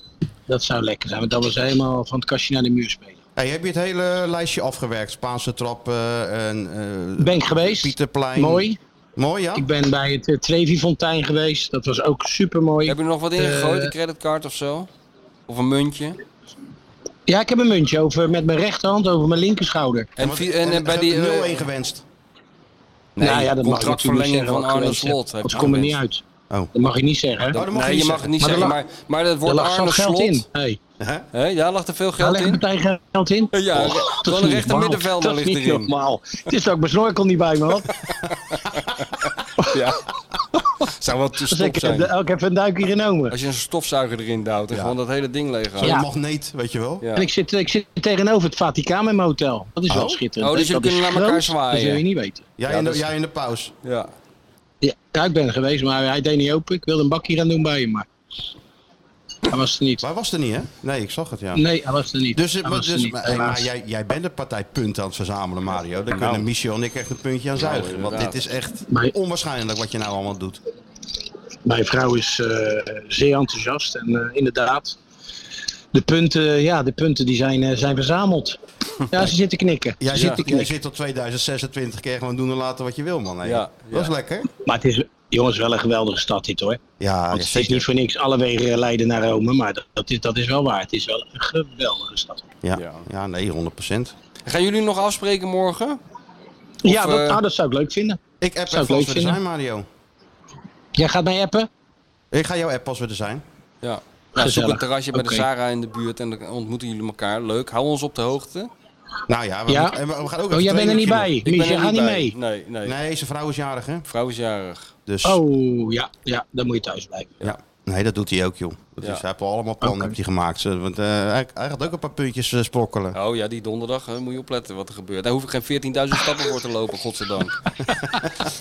G: dat zou lekker zijn. Want dan was helemaal van het kastje naar de muur spelen.
E: Hey, heb je het hele lijstje afgewerkt? Spaanse trappen en... eh,
G: Ben ik geweest.
E: Pieterplein.
G: Mooi.
E: Mooi, ja?
G: Ik ben bij het eh, Trevi-fontein geweest. Dat was ook super mooi.
F: Heb je er nog wat ingegooid, een creditcard of zo? Of een muntje?
G: Ja, ik heb een muntje over, met mijn rechterhand over mijn linkerschouder.
F: En, vi- en, eh, bij die...
E: Ze hebben
F: eh,
E: 0-1 gewenst.
F: nee,
G: nou ja, dat mag ik natuurlijk
F: contractverlenging
G: niet zeggen.
F: van
G: wat ik
F: Arne
G: gewenst heb.
F: Slot. heeft
G: Dat
F: hij
G: komt er niet
F: gewenst.
G: uit.
E: Oh.
G: Dat mag je niet zeggen.
E: Oh, dat mag
F: Nee,
E: je
F: je mag
E: zeggen.
F: het niet
G: Maar er
F: zeggen, maar,
G: lag-
F: maar dat
G: Daar
F: wordt
G: lag
F: Arne
G: zat geld
F: Slot.
G: in. Hey.
F: Hè? Ja, lag er veel
G: Daar
F: geld
G: legt
F: in?
G: partij geld in?
F: Ja,
G: Och,
F: gewoon
G: dat is
F: een
G: niet
F: rechter
G: normaal.
F: middenvelder
G: Dat is
F: ligt
G: niet
F: erin.
G: normaal. Het is dat ik mijn snorkel niet bij me had.
F: Ja. Zou wel te
G: Dus
F: stop
G: ik, heb,
F: zijn.
G: ik heb een duikje genomen.
F: Als je een stofzuiger erin duwt en gewoon dat hele ding leeg haalt.
E: Een
G: Ja.
E: magneet, weet je wel.
F: Ja.
G: En ik zit, ik zit tegenover het Vaticaan met mijn hotel. Dat is wel
E: Oh.
G: schitterend.
F: Oh, dus
G: hè?
F: jullie
G: Dat is
F: kunnen naar elkaar
G: groot.
F: zwaaien.
G: Dat zul je niet weten.
F: Ja,
E: Jij, in de,
F: dat is-
E: jij in de pauze.
F: Ja.
G: Ja, ja, ik ben er geweest, maar hij deed niet open. Ik wilde een bakje gaan doen bij hem, maar hij was er niet.
E: Maar hij was er niet, hè? Nee, ik zag het, ja.
G: Nee, hij was er niet.
E: Dus, eh,
G: Hij
E: maar-
G: was er
E: dus
G: niet,
E: maar, hey,
G: helaas.
E: maar jij, jij bent een partij punten aan het verzamelen, Mario. Daar kunnen Michel en ik echt een puntje aan zuigen. want dit
F: Nou. inderdaad.
E: is echt
G: Maar-
E: onwaarschijnlijk wat je nou allemaal doet.
G: Mijn vrouw is eh, zeer enthousiast en eh, inderdaad, de punten, ja, de punten die zijn, eh, zijn verzameld. Ja, ze zitten knikken. Ze
E: Jij,
G: zitten
E: zit, jij
G: knikken.
E: zit tot 2026 keer gewoon doen en laten wat je wil, man. Hey.
F: Ja,
E: Dat is lekker.
G: Maar het is, jongens, wel een geweldige stad dit hoor.
E: Ah, Ja,
G: Want het is niet voor niks alle wegen leiden naar Rome, maar dat, dat, is, dat is wel waar. Het is wel een geweldige stad.
E: Ja. ja, nee, 100%.
F: Gaan jullie nog afspreken morgen?
G: ja, dat,
F: eh,
G: ah, dat zou ik leuk vinden.
E: Ik app
G: Zou
E: er
G: ik
E: vast
G: leuk
E: weer er
G: vinden.
E: zijn, Mario.
G: Jij gaat mij appen?
E: Ik ga jouw app pas weer er zijn.
F: Ja. Nou, zoek
G: Gezellig.
F: een terrasje bij
G: Oké.
F: de Sarah in de buurt en dan ontmoeten jullie elkaar. Leuk. Hou ons op de hoogte.
E: Nou ja, we,
G: Ja.
E: en we- we gaan ook
G: Oh,
E: even
G: jij bent er
E: trainingsje
G: niet bij.
F: Ik
G: Mies,
F: ben
G: jij
F: er
G: gaat niet
F: bij.
G: mee.
F: Nee, nee.
E: doen. Nee, zijn vrouw is jarig, hè?
F: Vrouw is jarig.
E: Dus,
G: Oh, ja, ja, dan moet je thuis blijven.
E: ja. Nee, dat doet hij ook, joh. Dat
F: Ja.
E: is, hij heeft al
G: Oh.
E: allemaal plannen heeft hij gemaakt. Ze- Want, eh, hij, hij gaat ook een paar puntjes eh, sprokkelen.
F: Oh ja, die donderdag hè, moet je opletten wat er gebeurt. Daar hoef ik geen 14.000 stappen voor te lopen, godzijdank.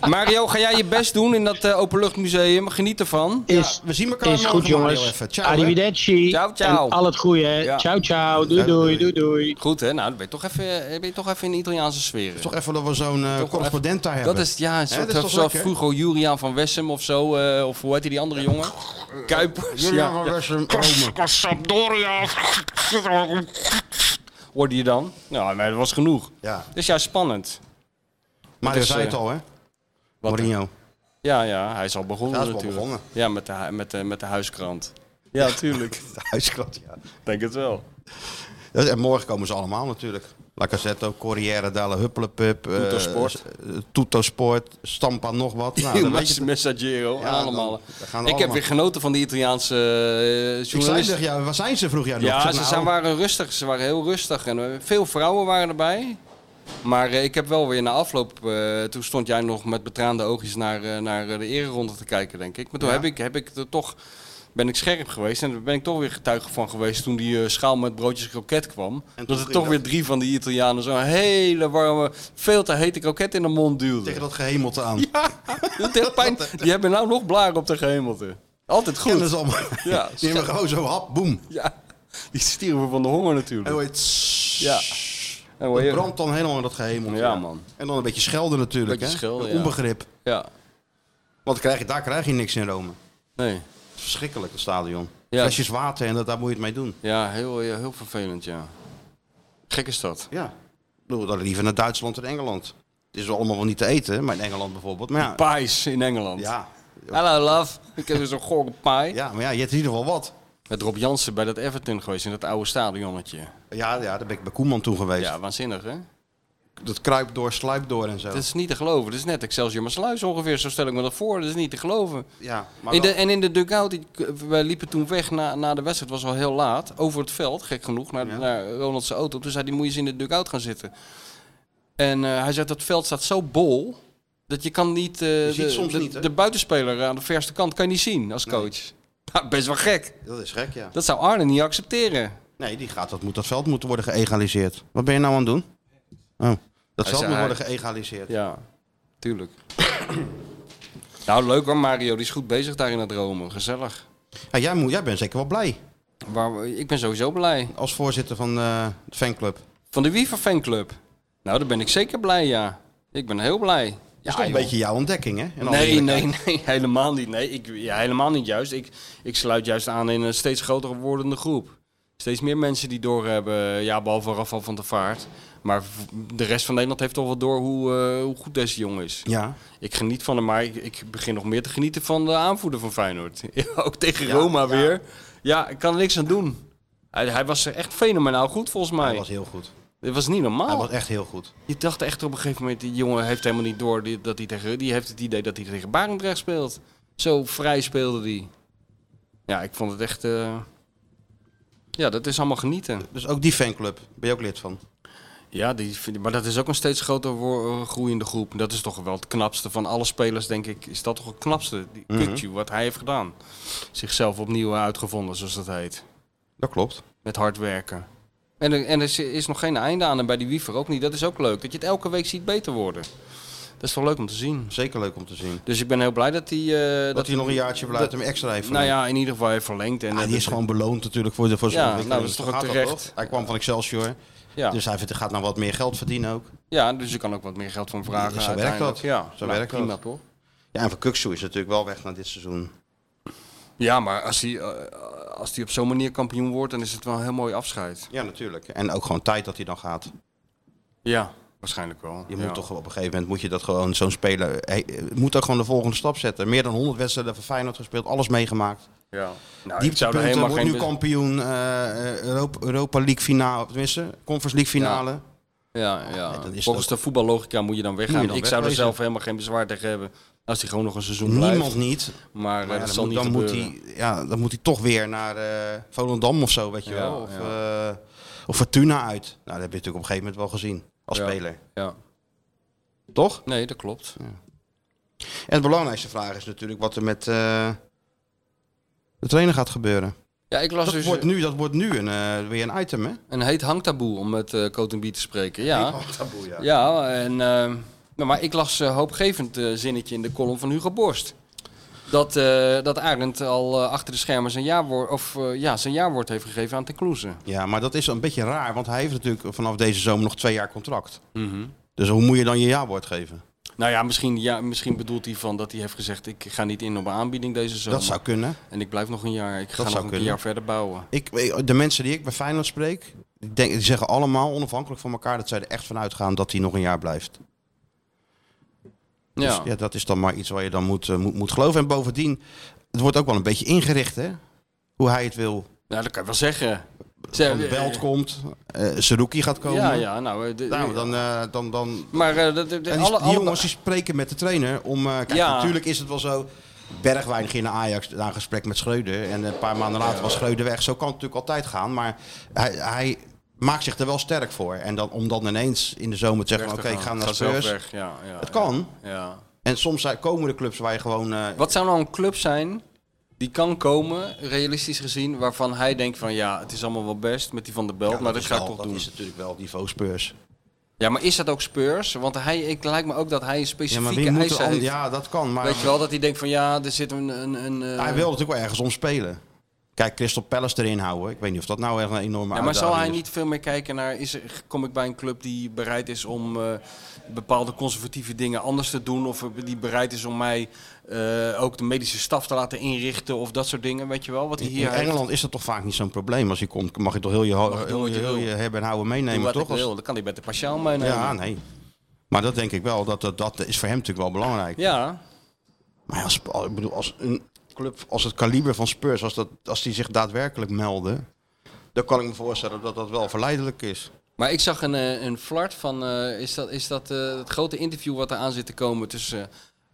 F: Mario, ga jij je best doen in dat eh, openluchtmuseum. Geniet ervan.
G: Is,
E: We zien elkaar
G: is
E: morgen,
G: goed,
E: Mario,
G: jongens.
E: even. Ciao, hè.
G: Arrivederci.
F: Ciao, ciao.
G: En al het goede, hè.
F: Ja.
G: Ciao, ciao. Doei, doei, doei, doei.
F: Goed hè, nou dan ben je toch even, eh, ben je toch even in de Italiaanse sfeer.
E: Toch even dat we zo'n eh
F: Toch wel
E: correspondent daar hebben.
F: Dat is ja, een
E: Hè,
F: soort
E: dat is toch
F: zoals
E: leuk, hè?
F: Hugo Juriaan van Wessem of zo. eh, of hoe heette die andere jongen? Kuipers.
E: Julian
F: Ja.
E: van Wessem, Rome.
F: Hoorde je dan? Nou, nee, dat was genoeg.
E: Ja,
F: Dus ja, spannend.
E: Mario
F: is,
E: zei
F: eh,
E: het al, hè?
F: Wat-
E: Mourinho.
F: Ja, ja, hij is al begonnen
E: Hij is al
F: natuurlijk.
E: begonnen.
F: Ja, met de, hu- met, de, met de huiskrant. Ja, tuurlijk.
E: De huisklant, ja.
F: Denk het wel.
E: Dat- En morgen komen ze allemaal natuurlijk. La Cassetto, Corriere della Huppelepup, eh,
F: Tuttosport.
E: eh, Tuttosport, Stampa nog wat. Nou, dan weet je
F: Mas-
E: het.
F: Messaggero,
E: Ja,
F: allemaal.
E: dan- dan gaan
F: ik
E: we
F: heb
E: allemaal.
F: weer genoten van de Italiaanse eh,
E: Ik zei
F: journalisten.
E: tegen jou, waar zijn ze, vroeg jij nog. Ik
F: Ja,
E: zeg,
F: ze
E: nou,
F: zijn, waren rustig. Ze waren heel rustig. En eh, veel vrouwen waren erbij. Maar eh, ik heb wel weer na afloop... eh, toen stond jij nog met betraande oogjes naar, eh, naar eh, de ereronde te kijken, denk ik. Maar toen
E: Ja.
F: heb ik, heb ik er toch, ben ik scherp geweest. En daar ben ik toch weer getuige van geweest toen die eh, schaal met broodjes kroket kwam.
E: toen
F: dat er
E: ging
F: toch
E: dat.
F: weer drie van die Italianen zo'n hele warme, veel te hete kroket in de mond duwden.
E: Tegen dat gehemelte aan.
F: Dat deed pijn. Die hebben nou nog blaren op de gehemelte. Altijd goed.
E: Kennen ze allemaal.
F: Ja,
E: Die hebben gewoon zo hap, boem.
F: Ja, die stierven van de honger
E: En
F: natuurlijk.
E: hoe heet het?
F: Ja. En hoe
E: Het
F: heet-
E: brandt dan helemaal in dat gehemelte.
F: Ja, man.
E: En dan een beetje schelden natuurlijk,
F: Beetje
E: hè?
F: schelden,
E: Een
F: ja.
E: Onbegrip.
F: Ja,
E: Want krijg je, daar krijg je niks in Rome.
F: nee.
E: Het is verschrikkelijk, het stadion.
F: Ja.
E: Flesjes water en dat, daar moet je het mee doen.
F: Ja, heel, ja, heel vervelend, ja. Gek is dat.
E: Ja. Ik bedoel, dan liever naar Duitsland en Engeland. Het is wel allemaal wel niet te eten, maar in Engeland bijvoorbeeld. Maar ja,
F: Pies in Engeland.
E: ja,
F: Hello, love. Ik heb dus weer zo'n gore pie.
E: ja, maar ja, je hebt in ieder geval wat.
F: Met Rob Jansen bij dat Everton geweest, in dat oude stadionnetje.
E: Ja, ja, daar ben ik bij Koeman toen geweest.
F: Ja, waanzinnig, hè?
E: dat kruipt door, sluipt door en zo.
F: Dat is niet te geloven. Dat is net Excelsior Maasluis ongeveer, zo stel ik me dat voor. Dat is niet te geloven.
E: ja, maar
F: In de,
E: wel-
F: en in de dugout, die- wij liepen toen weg na, na de wedstrijd, was al heel laat, over het veld, gek genoeg, naar,
E: Ja.
F: naar Ronald zijn auto. Toen zei hij, moet je eens in de dugout gaan zitten. En eh, hij zegt, dat veld staat zo bol, dat je kan niet, eh,
E: ziet
F: de,
E: soms
F: de,
E: niet, hè?
F: de buitenspeler aan de verste kant kan je niet zien als coach. Nou, best wel gek.
E: dat is gek, ja.
F: Dat zou Arne niet accepteren.
E: Nee, die gaat, dat, moet, dat veld moet worden geëgaliseerd. Wat ben je nou aan het doen? Oh, dat veld
F: zei
E: moet
F: hij-
E: worden geëgaliseerd.
F: Ja, tuurlijk. nou, leuk hoor, Mario. Die is goed bezig daar in het Rome. Gezellig.
E: Ja, jij, moet, jij bent zeker wel blij
F: Waar, ik ben sowieso blij.
E: als voorzitter van eh, de fanclub.
F: Van de Wiever fanclub. Nou, daar ben ik zeker blij, ja. Ik ben heel blij.
E: Dat
F: Ja,
E: is toch een
F: joh.
E: beetje jouw ontdekking, hè? In alle
F: Nee,
E: eerlijkheid.
F: nee, nee, helemaal niet. Nee, ik, ja, helemaal niet juist. Ik, ik sluit juist aan in een steeds groter wordende groep. Steeds meer mensen die doorhebben, ja, behalve Rafal van der Vaart. Maar v- de rest van Nederland heeft toch wel door hoe, eh, hoe goed deze jongen is.
E: Ja,
F: Ik geniet van hem, maar ik, ik begin nog meer te genieten van de aanvoerder van Feyenoord. Ja, Ook tegen Roma weer. Ja, ik kan er niks aan doen. Hij, hij was echt fenomenaal goed volgens mij.
E: hij was heel goed.
F: Dit was niet
E: Hij
F: normaal.
E: was echt heel goed.
F: Je dacht echt op een gegeven moment, die jongen heeft helemaal niet door die- dat hij tegen... Die heeft het idee dat hij tegen Barendrecht speelt. Zo vrij speelde hij. Ja, ik vond het echt... eh, Ja, dat is allemaal genieten.
E: Dus ook die fanclub, ben je ook lid van?
F: Ja, die, vind- maar dat is ook een steeds groter wo- eh, groeiende groep. En Dat is toch wel het knapste van alle spelers, denk ik. Is dat toch het knapste? Die Kukçu, wat hij heeft gedaan. Zichzelf opnieuw uitgevonden, zoals dat heet.
E: Dat klopt.
F: Met hard werken. En er, en er is- is nog geen einde aan. En bij die Wiever ook niet. Dat is ook leuk. Dat je het elke week ziet beter worden. Dat is toch leuk om te zien.
E: Zeker leuk om te zien.
F: Dus ik ben heel blij dat hij... eh,
E: Dat, hij nog een jaartje blijft en hem extra heeft
F: Nou
E: verlengd.
F: ja, in ieder geval heeft verlengd. En
E: Ja,
F: dat
E: Ah, die is
F: het-
E: gewoon beloond natuurlijk voor, de- voor zijn
F: Ja, nou,
E: ontwikkeling.
F: dat is toch
E: Dus zo
F: ook
E: gaat dat,
F: terecht.
E: toch? Hij kwam van Excelsior,
F: Ja.
E: dus hij vindt- gaat nou wat meer geld verdienen ook.
F: ja, dus je kan ook wat meer geld van vragen.
E: Zo werkt
F: uiteindelijk.
E: dat.
F: Ja,
E: Zo
F: nou,
E: werkt
F: prima,
E: dat.
F: toch?
E: Ja, en van Kuksu is natuurlijk wel weg naar dit seizoen.
F: Ja, maar als hij, eh, als hij op zo'n manier kampioen wordt, dan is het wel een heel mooi afscheid.
E: Ja, natuurlijk. En ook gewoon tijd dat hij dan gaat.
F: Ja, waarschijnlijk wel.
E: Je
F: Ja.
E: moet toch op een gegeven moment moet je dat gewoon zo'n speler hij, eh, moet ook gewoon de volgende stap zetten. Meer dan 100 wedstrijden voor Feyenoord gespeeld, alles meegemaakt.
F: Ja. Nou, ik zou er
E: Dieptepunten,
F: helemaal
E: wordt
F: geen...
E: nu kampioen, eh, eh, Europa, Europa League finale, tenminste Conference League finale.
F: Ja, ja.
E: dan is het
F: Volgens de voetballogica moet je dan weggaan.
E: Moet je dan
F: ik zou er
E: wegwezen.
F: zelf helemaal geen bezwaar tegen hebben als hij gewoon nog een seizoen
E: Niemand
F: blijft.
E: niet.
F: Maar, eh,
E: Maar ja,
F: dat zal
E: dan, moet,
F: niet
E: dan, moet
F: gebeuren.
E: hij, ja, dan moet hij toch weer naar eh, Volendam of zo, weet je
F: Ja,
E: wel. Of,
F: ja.
E: eh, of Fortuna uit. Nou, dat heb je natuurlijk op een gegeven moment wel gezien als
F: Ja.
E: speler.
F: Ja.
E: Toch?
F: Nee, dat klopt.
E: En de belangrijkste vraag is natuurlijk wat er met eh, de trainer gaat gebeuren.
F: Ja, ik las
E: Dat
F: dus
E: wordt nu, dat wordt nu een, eh, weer een item, hè?
F: een heet hangtaboe, om met eh Cotonbie te spreken. Ja.
E: Taboe, ja.
F: Ja, en, eh, nou, maar ik las een hoopgevend eh, zinnetje in de column van Hugo Borst. Dat, eh dat Arendt al eh, achter de schermen zijn jaarwoord, of, eh, ja, zijn jaarwoord heeft gegeven aan Ten Kloeze.
E: Ja, maar dat is een beetje raar, want hij heeft natuurlijk vanaf deze zomer nog twee jaar contract.
F: Mhm.
E: Dus hoe moet je dan je ja-woord geven?
F: Nou ja misschien, ja, misschien bedoelt hij van dat hij heeft gezegd... ik ga niet in op een aanbieding deze zomer.
E: Dat zou kunnen.
F: En ik blijf nog een jaar. Ik ga
E: zou
F: nog een
E: kunnen.
F: jaar verder bouwen.
E: Ik, de mensen die ik bij Feyenoord spreek, die, denk, die zeggen allemaal onafhankelijk van elkaar dat zij er echt van uitgaan dat hij nog een jaar blijft.
F: Ja,
E: Dus ja, dat is dan maar iets waar je dan moet, eh, moet, moet geloven. En bovendien, het wordt ook wel een beetje ingericht, hè? Hoe hij het wil.
F: nou, dat kan je wel zeggen.
E: Van de belt komt, eh Saruki gaat komen.
F: Ja, ja, nou... eh, de-
E: Nou, dan, eh, dan, dan,
F: Maar eh, dat- dat-
E: En die,
F: alle,
E: die
F: alle-
E: jongens die spreken met de trainer om. eh, kijk,
F: Ja.
E: natuurlijk is het wel zo. Bergwijn ging naar Ajax na een gesprek met Schreuder. En een paar maanden later was Schreuder weg. Zo kan het natuurlijk altijd gaan. Maar hij, hij maakt zich er wel sterk voor. En dan, om dan ineens in de zomer te zeggen:
F: Weg
E: Oké,
F: te
E: ik ga
F: gaan.
E: naar
F: zelf
E: Spurs.
F: weg, Ja, ja,
E: Het kan.
F: Ja.
E: En soms zijn- komen er clubs waar je gewoon. eh,
F: Wat zou nou een club zijn die kan komen, realistisch gezien, waarvan hij denkt van ja, het is allemaal wel best met die van de Belt,
E: ja,
F: maar dat
E: dat is
F: ga ik
E: wel-
F: toch
E: dat
F: doen.
E: is natuurlijk wel het niveau Spurs.
F: Ja, maar is dat ook Spurs? Want hij, ik lijkt me ook dat hij een
E: Ja, maar
F: specifieke
E: wie moet
F: eisen
E: er an-
F: heeft.
E: Ja, dat kan. Maar
F: Weet je wel, dat hij denkt van ja, er zit een... een, een eh,
E: hij wil natuurlijk wel ergens om spelen. Kijk, Crystal Palace erin houden. Ik weet niet of dat nou echt een enorme
F: Ja, maar zal
E: uitdaging
F: hij
E: is.
F: niet veel meer kijken naar, is er, kom ik bij een club die bereid is om eh, bepaalde conservatieve dingen anders te doen? Of die bereid is om mij eh, ook de medische staf te laten inrichten of dat soort dingen, weet je wel? Wat hij
E: In
F: hier heeft.
E: Engeland is dat toch vaak niet zo'n probleem. Als je komt, mag je toch heel je, ho-
F: Mag je doen
E: heel
F: wat
E: je,
F: je
E: heel
F: wil.
E: je hebben en houden
F: Doe
E: meenemen,
F: wat
E: toch?
F: ik
E: Als-
F: wil, dan kan hij bij de Paschaal meenemen.
E: ja, nee. Maar dat denk ik wel. Dat, dat, dat is voor hem natuurlijk wel belangrijk.
F: Ja,
E: Maar als, al- ik bedoel, als een club, als het kaliber van Spurs, als, dat, als die zich daadwerkelijk melden... dan kan ik me voorstellen dat dat wel verleidelijk is.
F: Maar ik zag een, eh, een flart van, eh, is dat, is dat eh, het grote interview wat er aan zit te komen tussen eh,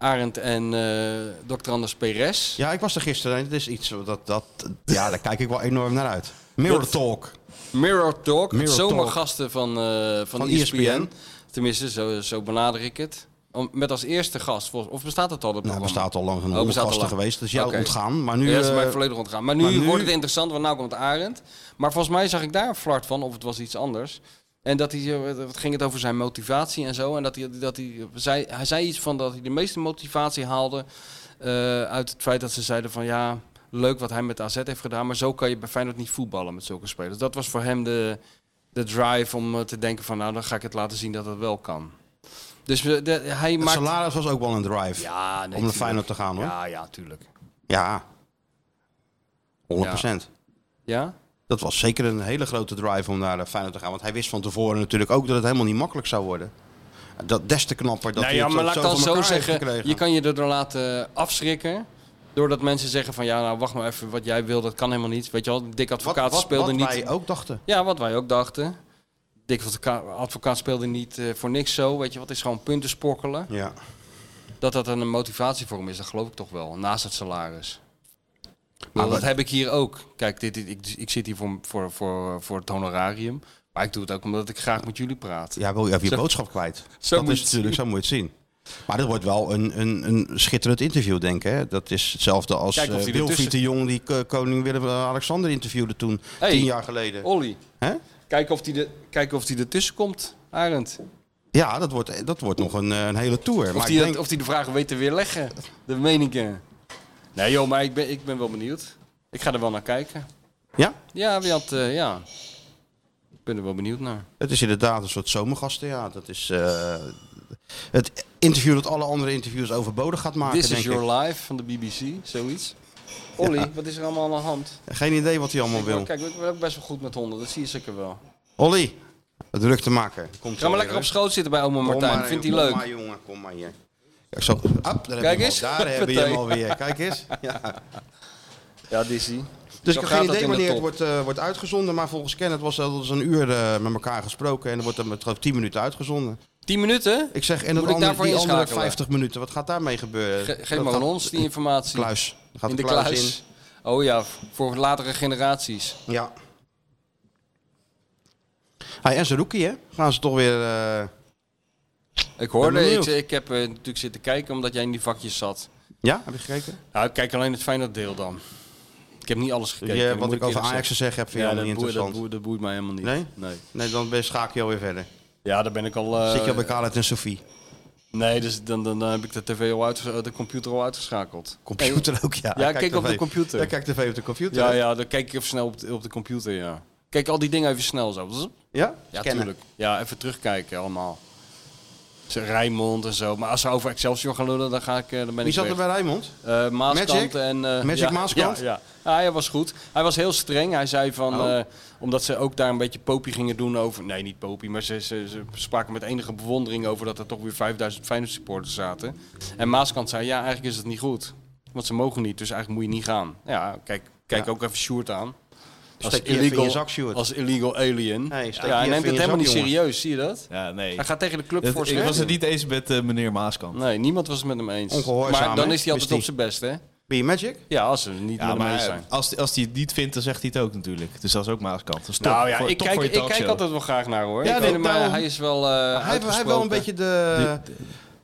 F: Arend en eh Dr. Anders Perez?
E: Ja, ik was er gisteren en het is iets dat, dat... Ja, daar kijk ik wel enorm naar uit. Mirror
F: Dat-
E: Talk.
F: Mirror Talk,
E: Mirror
F: het
E: Talk.
F: zomergasten van, eh, van,
E: Van E
F: ESPN.
E: ESPN.
F: Tenminste, zo, zo benader ik het. Om- met als eerste gast, vol- of bestaat het al? Dat
E: Nou,
F: programma?
E: bestaat al lang
F: Oh,
E: genoeg
F: bestaat al
E: gasten
F: lang.
E: geweest. Dus jou
F: Oké.
E: ontgaan. Maar nu...
F: ja, dat is
E: eh,
F: mij volledig ontgaan. Maar nu,
E: maar nu-
F: wordt het interessant, want nou komt Arend. Maar volgens mij zag ik daar een flart van, of het was iets anders. En dat hij, eh, wat ging het over zijn motivatie en zo. En dat hij, dat hij, eh, zei, hij zei iets van dat hij de meeste motivatie haalde eh, uit het feit dat ze zeiden van ja, leuk wat hij met AZ heeft gedaan. Maar zo kan je bij Feyenoord niet voetballen met zulke spelers. Dat was voor hem de, de drive om eh, te denken van nou, dan ga ik het laten zien dat het wel kan. Dus eh, de- hij
E: het
F: maakt...
E: salaris was ook wel een drive.
F: Ja, nee,
E: om naar
F: tuurlijk.
E: Feyenoord te gaan, hoor. Ja.
F: Ja, ja, tuurlijk.
E: 100 procent.
F: Ja?
E: Dat was zeker een hele grote drive om naar eh, Feyenoord te gaan. Want hij wist van tevoren natuurlijk ook dat het helemaal niet makkelijk zou worden. Dat des te knapper dat
F: nou
E: hij
F: ja,
E: het
F: maar laat ik
E: zo
F: dan
E: voor
F: zo
E: elkaar heeft
F: zeggen,
E: gekregen.
F: je kan je erdoor laten afschrikken. Doordat mensen zeggen van ja, nou wacht maar even, wat jij wil, dat kan helemaal niet. Weet je wel, Dick
E: Wat-
F: Advocaat
E: wat,
F: speelde
E: wat
F: niet.
E: wij ook dachten.
F: Ja, wat wij ook dachten. Dick Advoca- Advocaat speelde niet eh, voor niks zo. Weet je wat, is gewoon punten sporkelen.
E: Ja.
F: Dat dat een motivatie voor hem is, dat geloof ik toch wel. Naast het salaris. Maar
E: Maar
F: dat
E: wat-
F: heb ik hier ook. Kijk, dit, dit- ik, ik zit hier voor, voor, voor, voor het honorarium. Maar ik doe het ook omdat ik graag met jullie praat.
E: Ja, wil je even je
F: Zo-
E: boodschap kwijt.
F: zo
E: dat
F: moet
E: is
F: je het
E: natuurlijk, zo moet je het zien. Maar dat wordt wel een, een, een schitterend interview, denk ik. Hè? Dat is hetzelfde als
F: Kijk of
E: eh,
F: die
E: Wilfried
F: ertussen-
E: de Jong die eh, koning Willem-Alexander interviewde toen.
F: Hey.
E: Tien jaar geleden.
F: Olly,
E: Hè?
F: kijk of die de- kijk of die ertussen komt, Arend.
E: Ja, dat wordt, dat wordt nog een, eh, een hele tour.
F: Of
E: maar
F: die,
E: ik
F: dat-
E: denk,
F: of die de vragen weet te weerleggen. De meningen. Nee joh, maar ik ben, ik ben wel benieuwd. Ik ga er wel naar kijken.
E: Ja?
F: Ja, wie had, eh, ja. Ik ben er wel benieuwd naar.
E: Het is inderdaad een soort zomergasten, ja. Dat is eh, het interview dat alle andere interviews overbodig gaat maken,
F: This is
E: denk
F: Your
E: ik.
F: Life van de BBC, zoiets. Olly, wat is er allemaal aan de hand?
E: Geen idee wat hij allemaal
F: Ik wil-
E: wil.
F: Kijk, ik ben ook best wel goed met honden, dat zie je zeker wel.
E: Olly, het druk te maken. Komt
F: Ga maar lekker op schoot zitten bij oma Martijn, vindt hij
E: kom
F: leuk.
E: maar jongen, kom maar hier. Kijk, zo, op, daar heb
F: Kijk
E: je
F: eens.
E: hem al. Daar hebben je hem
F: Partij.
E: alweer. Kijk eens. Ja.
F: Ja, Dizzy.
E: Dus
F: Zo
E: ik
F: gaat
E: heb geen
F: dat in
E: idee
F: de
E: wanneer het
F: top.
E: wordt, eh, wordt uitgezonden. Maar volgens Kenneth was dat een uur eh, met elkaar gesproken. En er wordt er met geloof ik, 10 minuten uitgezonden.
F: 10 minuten?
E: Ik zeg, en dat
F: Moet ik
E: andere,
F: daarvoor
E: die andere
F: inschakelen?
E: 50 minuten, wat gaat daarmee gebeuren?
F: Ge- geef
E: Dat
F: maar aan
E: gaat-
F: ons die informatie.
E: Kluis. Dan Gaat
F: in
E: de
F: de
E: kluis,
F: kluis. Oh ja, voor latere generaties.
E: in. Ja. Hey, en Zerouki, hè? Gaan ze toch weer... eh,
F: Ik
E: Ben
F: hoorde, ik,
E: benieuwd.
F: ik heb eh, natuurlijk zitten kijken omdat jij in die vakjes zat.
E: Ja, heb je gekeken?
F: Nou, ik kijk alleen het fijne deel dan. Ik heb niet alles gekeken.
E: Je-
F: dat
E: wat
F: moet
E: ik over
F: eerlijk
E: Ajax te
F: zeggen.
E: zeggen heb, vind je
F: Ja,
E: helemaal
F: dat,
E: niet
F: boeit, dat,
E: interessant.
F: boeit, dat boeit mij helemaal niet.
E: Nee? Nee, dan ben je- schaak je alweer verder.
F: Ja, daar ben ik al... eh,
E: Zit je al bij Khaled en Sofie.
F: Nee, dus dan, dan, dan heb ik de tv al uit, de computer al uitgeschakeld.
E: Computer ook, ja.
F: Ja,
E: Hij
F: kijk
E: kijkt
F: op de
E: tv.
F: computer.
E: Ja, kijk tv op de computer.
F: Ja,
E: hè?
F: ja, dan kijk ik even snel op de, op de computer, ja. Kijk al die dingen even snel zo. Zzz.
E: Ja,
F: Ja,
E: Scannen.
F: tuurlijk. Ja, even terugkijken allemaal. Ze- Rijnmond en zo. Maar als ze over Excelsior gaan lullen, dan, ga ik, eh, dan ben
E: Wie
F: ik
E: zat
F: weg.
E: er bij Rijmond?
F: Eh, Maaskant
E: Magic?
F: en... eh,
E: Magic
F: ja,
E: Maaskant?
F: Ja, ja. Ah, hij was goed. Hij was heel streng. Hij zei van...
E: Oh.
F: eh, omdat ze ook daar een beetje popie gingen doen over... Nee, niet popie, maar ze, ze, ze spraken met enige bewondering over dat er toch weer 5000 Feyenoord supporters zaten. En Maaskant zei, ja, eigenlijk is het niet goed. Want ze mogen niet, dus eigenlijk moet je niet gaan. Ja, kijk, kijk
E: Ja.
F: ook even Sjoerd aan.
E: Steek je even in je zak, Sjoerd.
F: als illegal alien.
E: Nee, steek je
F: ja, hij neemt
E: even in
F: het
E: je
F: helemaal
E: zak,
F: niet
E: jongen.
F: serieus, zie je dat?
A: Ja, nee.
F: Hij gaat tegen de club
A: Dat-
F: voor
A: ik
F: zijn
A: was
F: recht.
A: het niet eens met eh, meneer Maaskant.
F: Nee, niemand was het met hem eens.
E: Ongehoorzaam,
F: Maar dan
E: hè?
F: is hij altijd
E: Is
F: op zijn best, hè?
E: Be Magic?
F: Ja, als ze niet
A: Ja,
F: met hem
A: maar
F: eens zijn.
A: als, die- als hij het niet vindt, dan zegt hij het ook natuurlijk. Dus dat is ook Maaskant. Dat is top.
F: nou ja,
A: Voor-
F: ik
A: top
F: kijk,
A: voor je
F: ik kijk
A: talkshow.
F: altijd wel graag naar hoor.
E: Ja,
F: Ik
E: nee,
F: vind hem, eh,
E: daarom-
F: hij is wel. eh,
E: hij heeft hij heeft wel een
F: uitgesproken.
E: beetje de,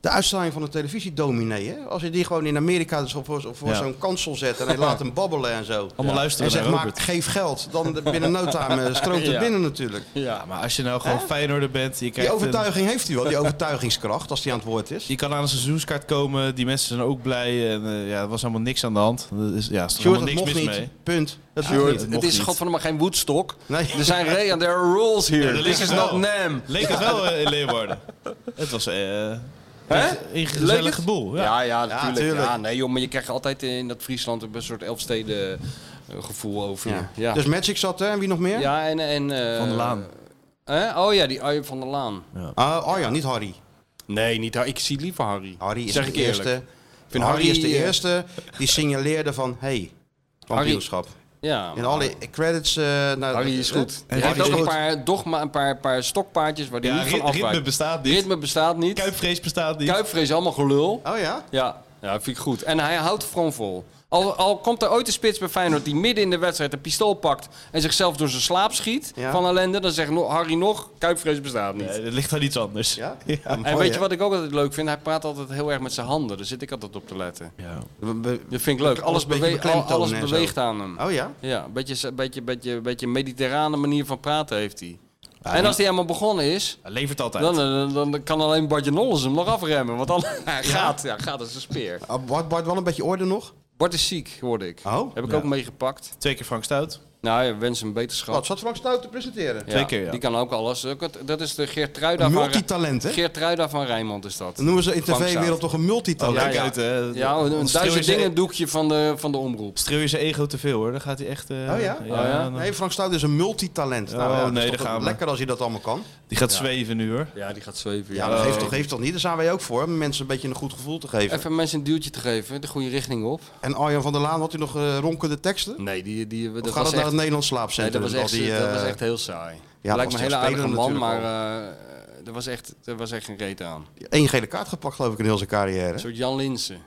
E: de uitstraling van een televisiedominee. Hè? Als je die gewoon in Amerika dus op, voor, voor
A: Ja.
E: zo'n kansel zet en hij laat hem babbelen en zo.
A: Allemaal
E: En
A: luisteren
E: zeg
A: naar
E: maar,
A: Robert.
E: geef geld. Dan de- binnen no time eh, stroomt het
F: Ja.
E: binnen natuurlijk.
A: Ja, maar als je nou gewoon Feyenoorder bent, je,
E: Die
A: krijgt een-
E: overtuiging heeft hij wel, die overtuigingskracht, als die aan het woord is.
A: je kan aan een seizoenskaart komen, die mensen zijn ook blij. En eh, ja, er was helemaal niks aan de hand. Er is, ja, er is
E: Sjoerd,
A: helemaal
E: dat
A: niks
E: mocht
A: mis
E: niet.
A: mee.
E: Punt. Dat
A: Ja,
E: mocht
A: Sjoerd, het
E: niet.
F: Het
A: mocht
F: is
A: niet.
F: godverdomme geen Woodstock.
E: Nee.
F: Er zijn re- and there are rules here.
A: Ja, dat
F: This
A: leek
F: is
A: het
F: not
A: wel.
F: NAM.
A: Leek het wel eh, in Leeuwarden. Het was eh,
F: Hè?
A: een
F: Leuk
A: gezellige
F: het?
A: boel. Ja.
F: Ja, ja, natuurlijk. Ja,
E: tuurlijk.
F: nee, joh, maar je krijgt altijd in dat Friesland een soort elfsteden eh, gevoel over. je.
E: Ja.
F: Ja,
E: Dus Magic zat er en wie nog meer?
F: ja en. en eh,
A: Van der Laan.
F: hè? Oh ja, die Arjen van der Laan.
E: Ah, oh ja, niet Harry.
F: Nee, niet Harry. Ik zie liever Harry.
E: Harry is
F: zeg
E: de
F: ik eerlijk.
E: eerste.
F: Ik vind
E: Harry, is de
F: eh,
E: eerste die signaleerde van, hey, kampioenschap.
F: Ja,
E: In alle credits. eh nou,
F: Harry is goed. eh, Hij heeft
E: Harry is
F: ook een
E: goed.
F: paar, dogma, een paar, paar stokpaardjes waar die
A: Ja,
F: niet van
A: rit- ritme
F: afwijkt.
A: bestaat niet.
F: Ritme bestaat niet.
A: Kuipvrees bestaat niet.
F: Kuipvrees is allemaal gelul.
E: Oh ja?
F: Ja, ja, vind ik goed. En hij houdt gewoon vol. Al, al komt er ooit een spits bij Feyenoord die midden in de wedstrijd een pistool pakt en zichzelf door zijn slaap schiet
E: Ja.
F: van ellende, dan zegt no- Harry nog, kuipvrees bestaat niet.
A: Nee, dat ligt aan iets anders.
E: Ja?
F: en weet je wat ik ook altijd leuk vind? Hij praat altijd heel erg met zijn handen. Daar zit ik altijd op te letten. Dat vind ik leuk. Alles,
E: een beetje
F: beweegt- al-
E: beklemtonen
F: alles
E: en zo.
F: beweegt aan hem.
E: Oh ja?
F: Ja, een beetje, beetje, beetje, beetje mediterrane manier van praten heeft hij. en als hij helemaal begonnen is,
A: Hij levert altijd.
F: dan, eh, dan, dan kan alleen Bartje Nolles hem nog afremmen. Want dan hij gaat, ja, gaat als een speer.
E: Ah, Bart, Bart, wel een beetje orde nog?
F: Bart is ziek, hoorde ik.
E: Oh?
F: Heb ik ook meegepakt.
A: Twee keer Frank Stout.
F: Nou, ja, wens hem beterschap.
E: Wat zat Frank Stout te presenteren?
F: Ja,
A: twee keer, ja.
F: Die kan ook alles. Dat is de Geert Truida
E: Een
F: van,
E: multitalent, hè?
F: Geert Truida van Rijnmond is dat.
E: Dan noemen ze in
F: Frank Stout.
E: tv-wereld toch een multitalent.
F: Ja,
A: Kijk
F: ja.
A: Oh, uit, hè.
F: Ja, een,
A: Want
F: een
A: streel je
F: duizend
A: zijn-
F: dingen doekje van de, van de omroep.
A: Streel je zijn ego te veel hoor, dan gaat hij echt... eh,
E: Oh ja?
F: ja?
A: dan-
E: Nee, Frank Stout is een multitalent. nou,
A: Oh,
E: ja, dat is
A: nee,
E: toch
A: daar
E: wel
A: gaan we.
E: Lekker als hij dat allemaal kan.
A: Die gaat zweven nu hoor.
F: Ja, die gaat zweven.
E: Ja, dat geeft toch, geeft toch niet? Daar zijn wij ook voor, om mensen een beetje een goed gevoel te geven.
F: Even mensen een duwtje te geven, de goede richting op.
E: En Arjan van der Laan, had u nog eh, ronkende teksten? Of
F: Nee, die, die, dat,
E: gaat
F: was
E: het
F: echt,
E: naar het Nederlands
F: nee, dat,
E: slaapcentrum?
F: was
E: met
F: echt,
E: al die,
F: dat
E: eh,
F: was echt heel saai.
E: dat
F: Lijkt me
E: was
F: een hele
E: tegen
F: aardige
E: Spelen
F: man, maar
E: natuurlijk
F: eh, er, was echt, er was echt geen reet aan.
E: één gele kaart gepakt, geloof ik, in heel zijn carrière.
F: Een soort Jan Linsen.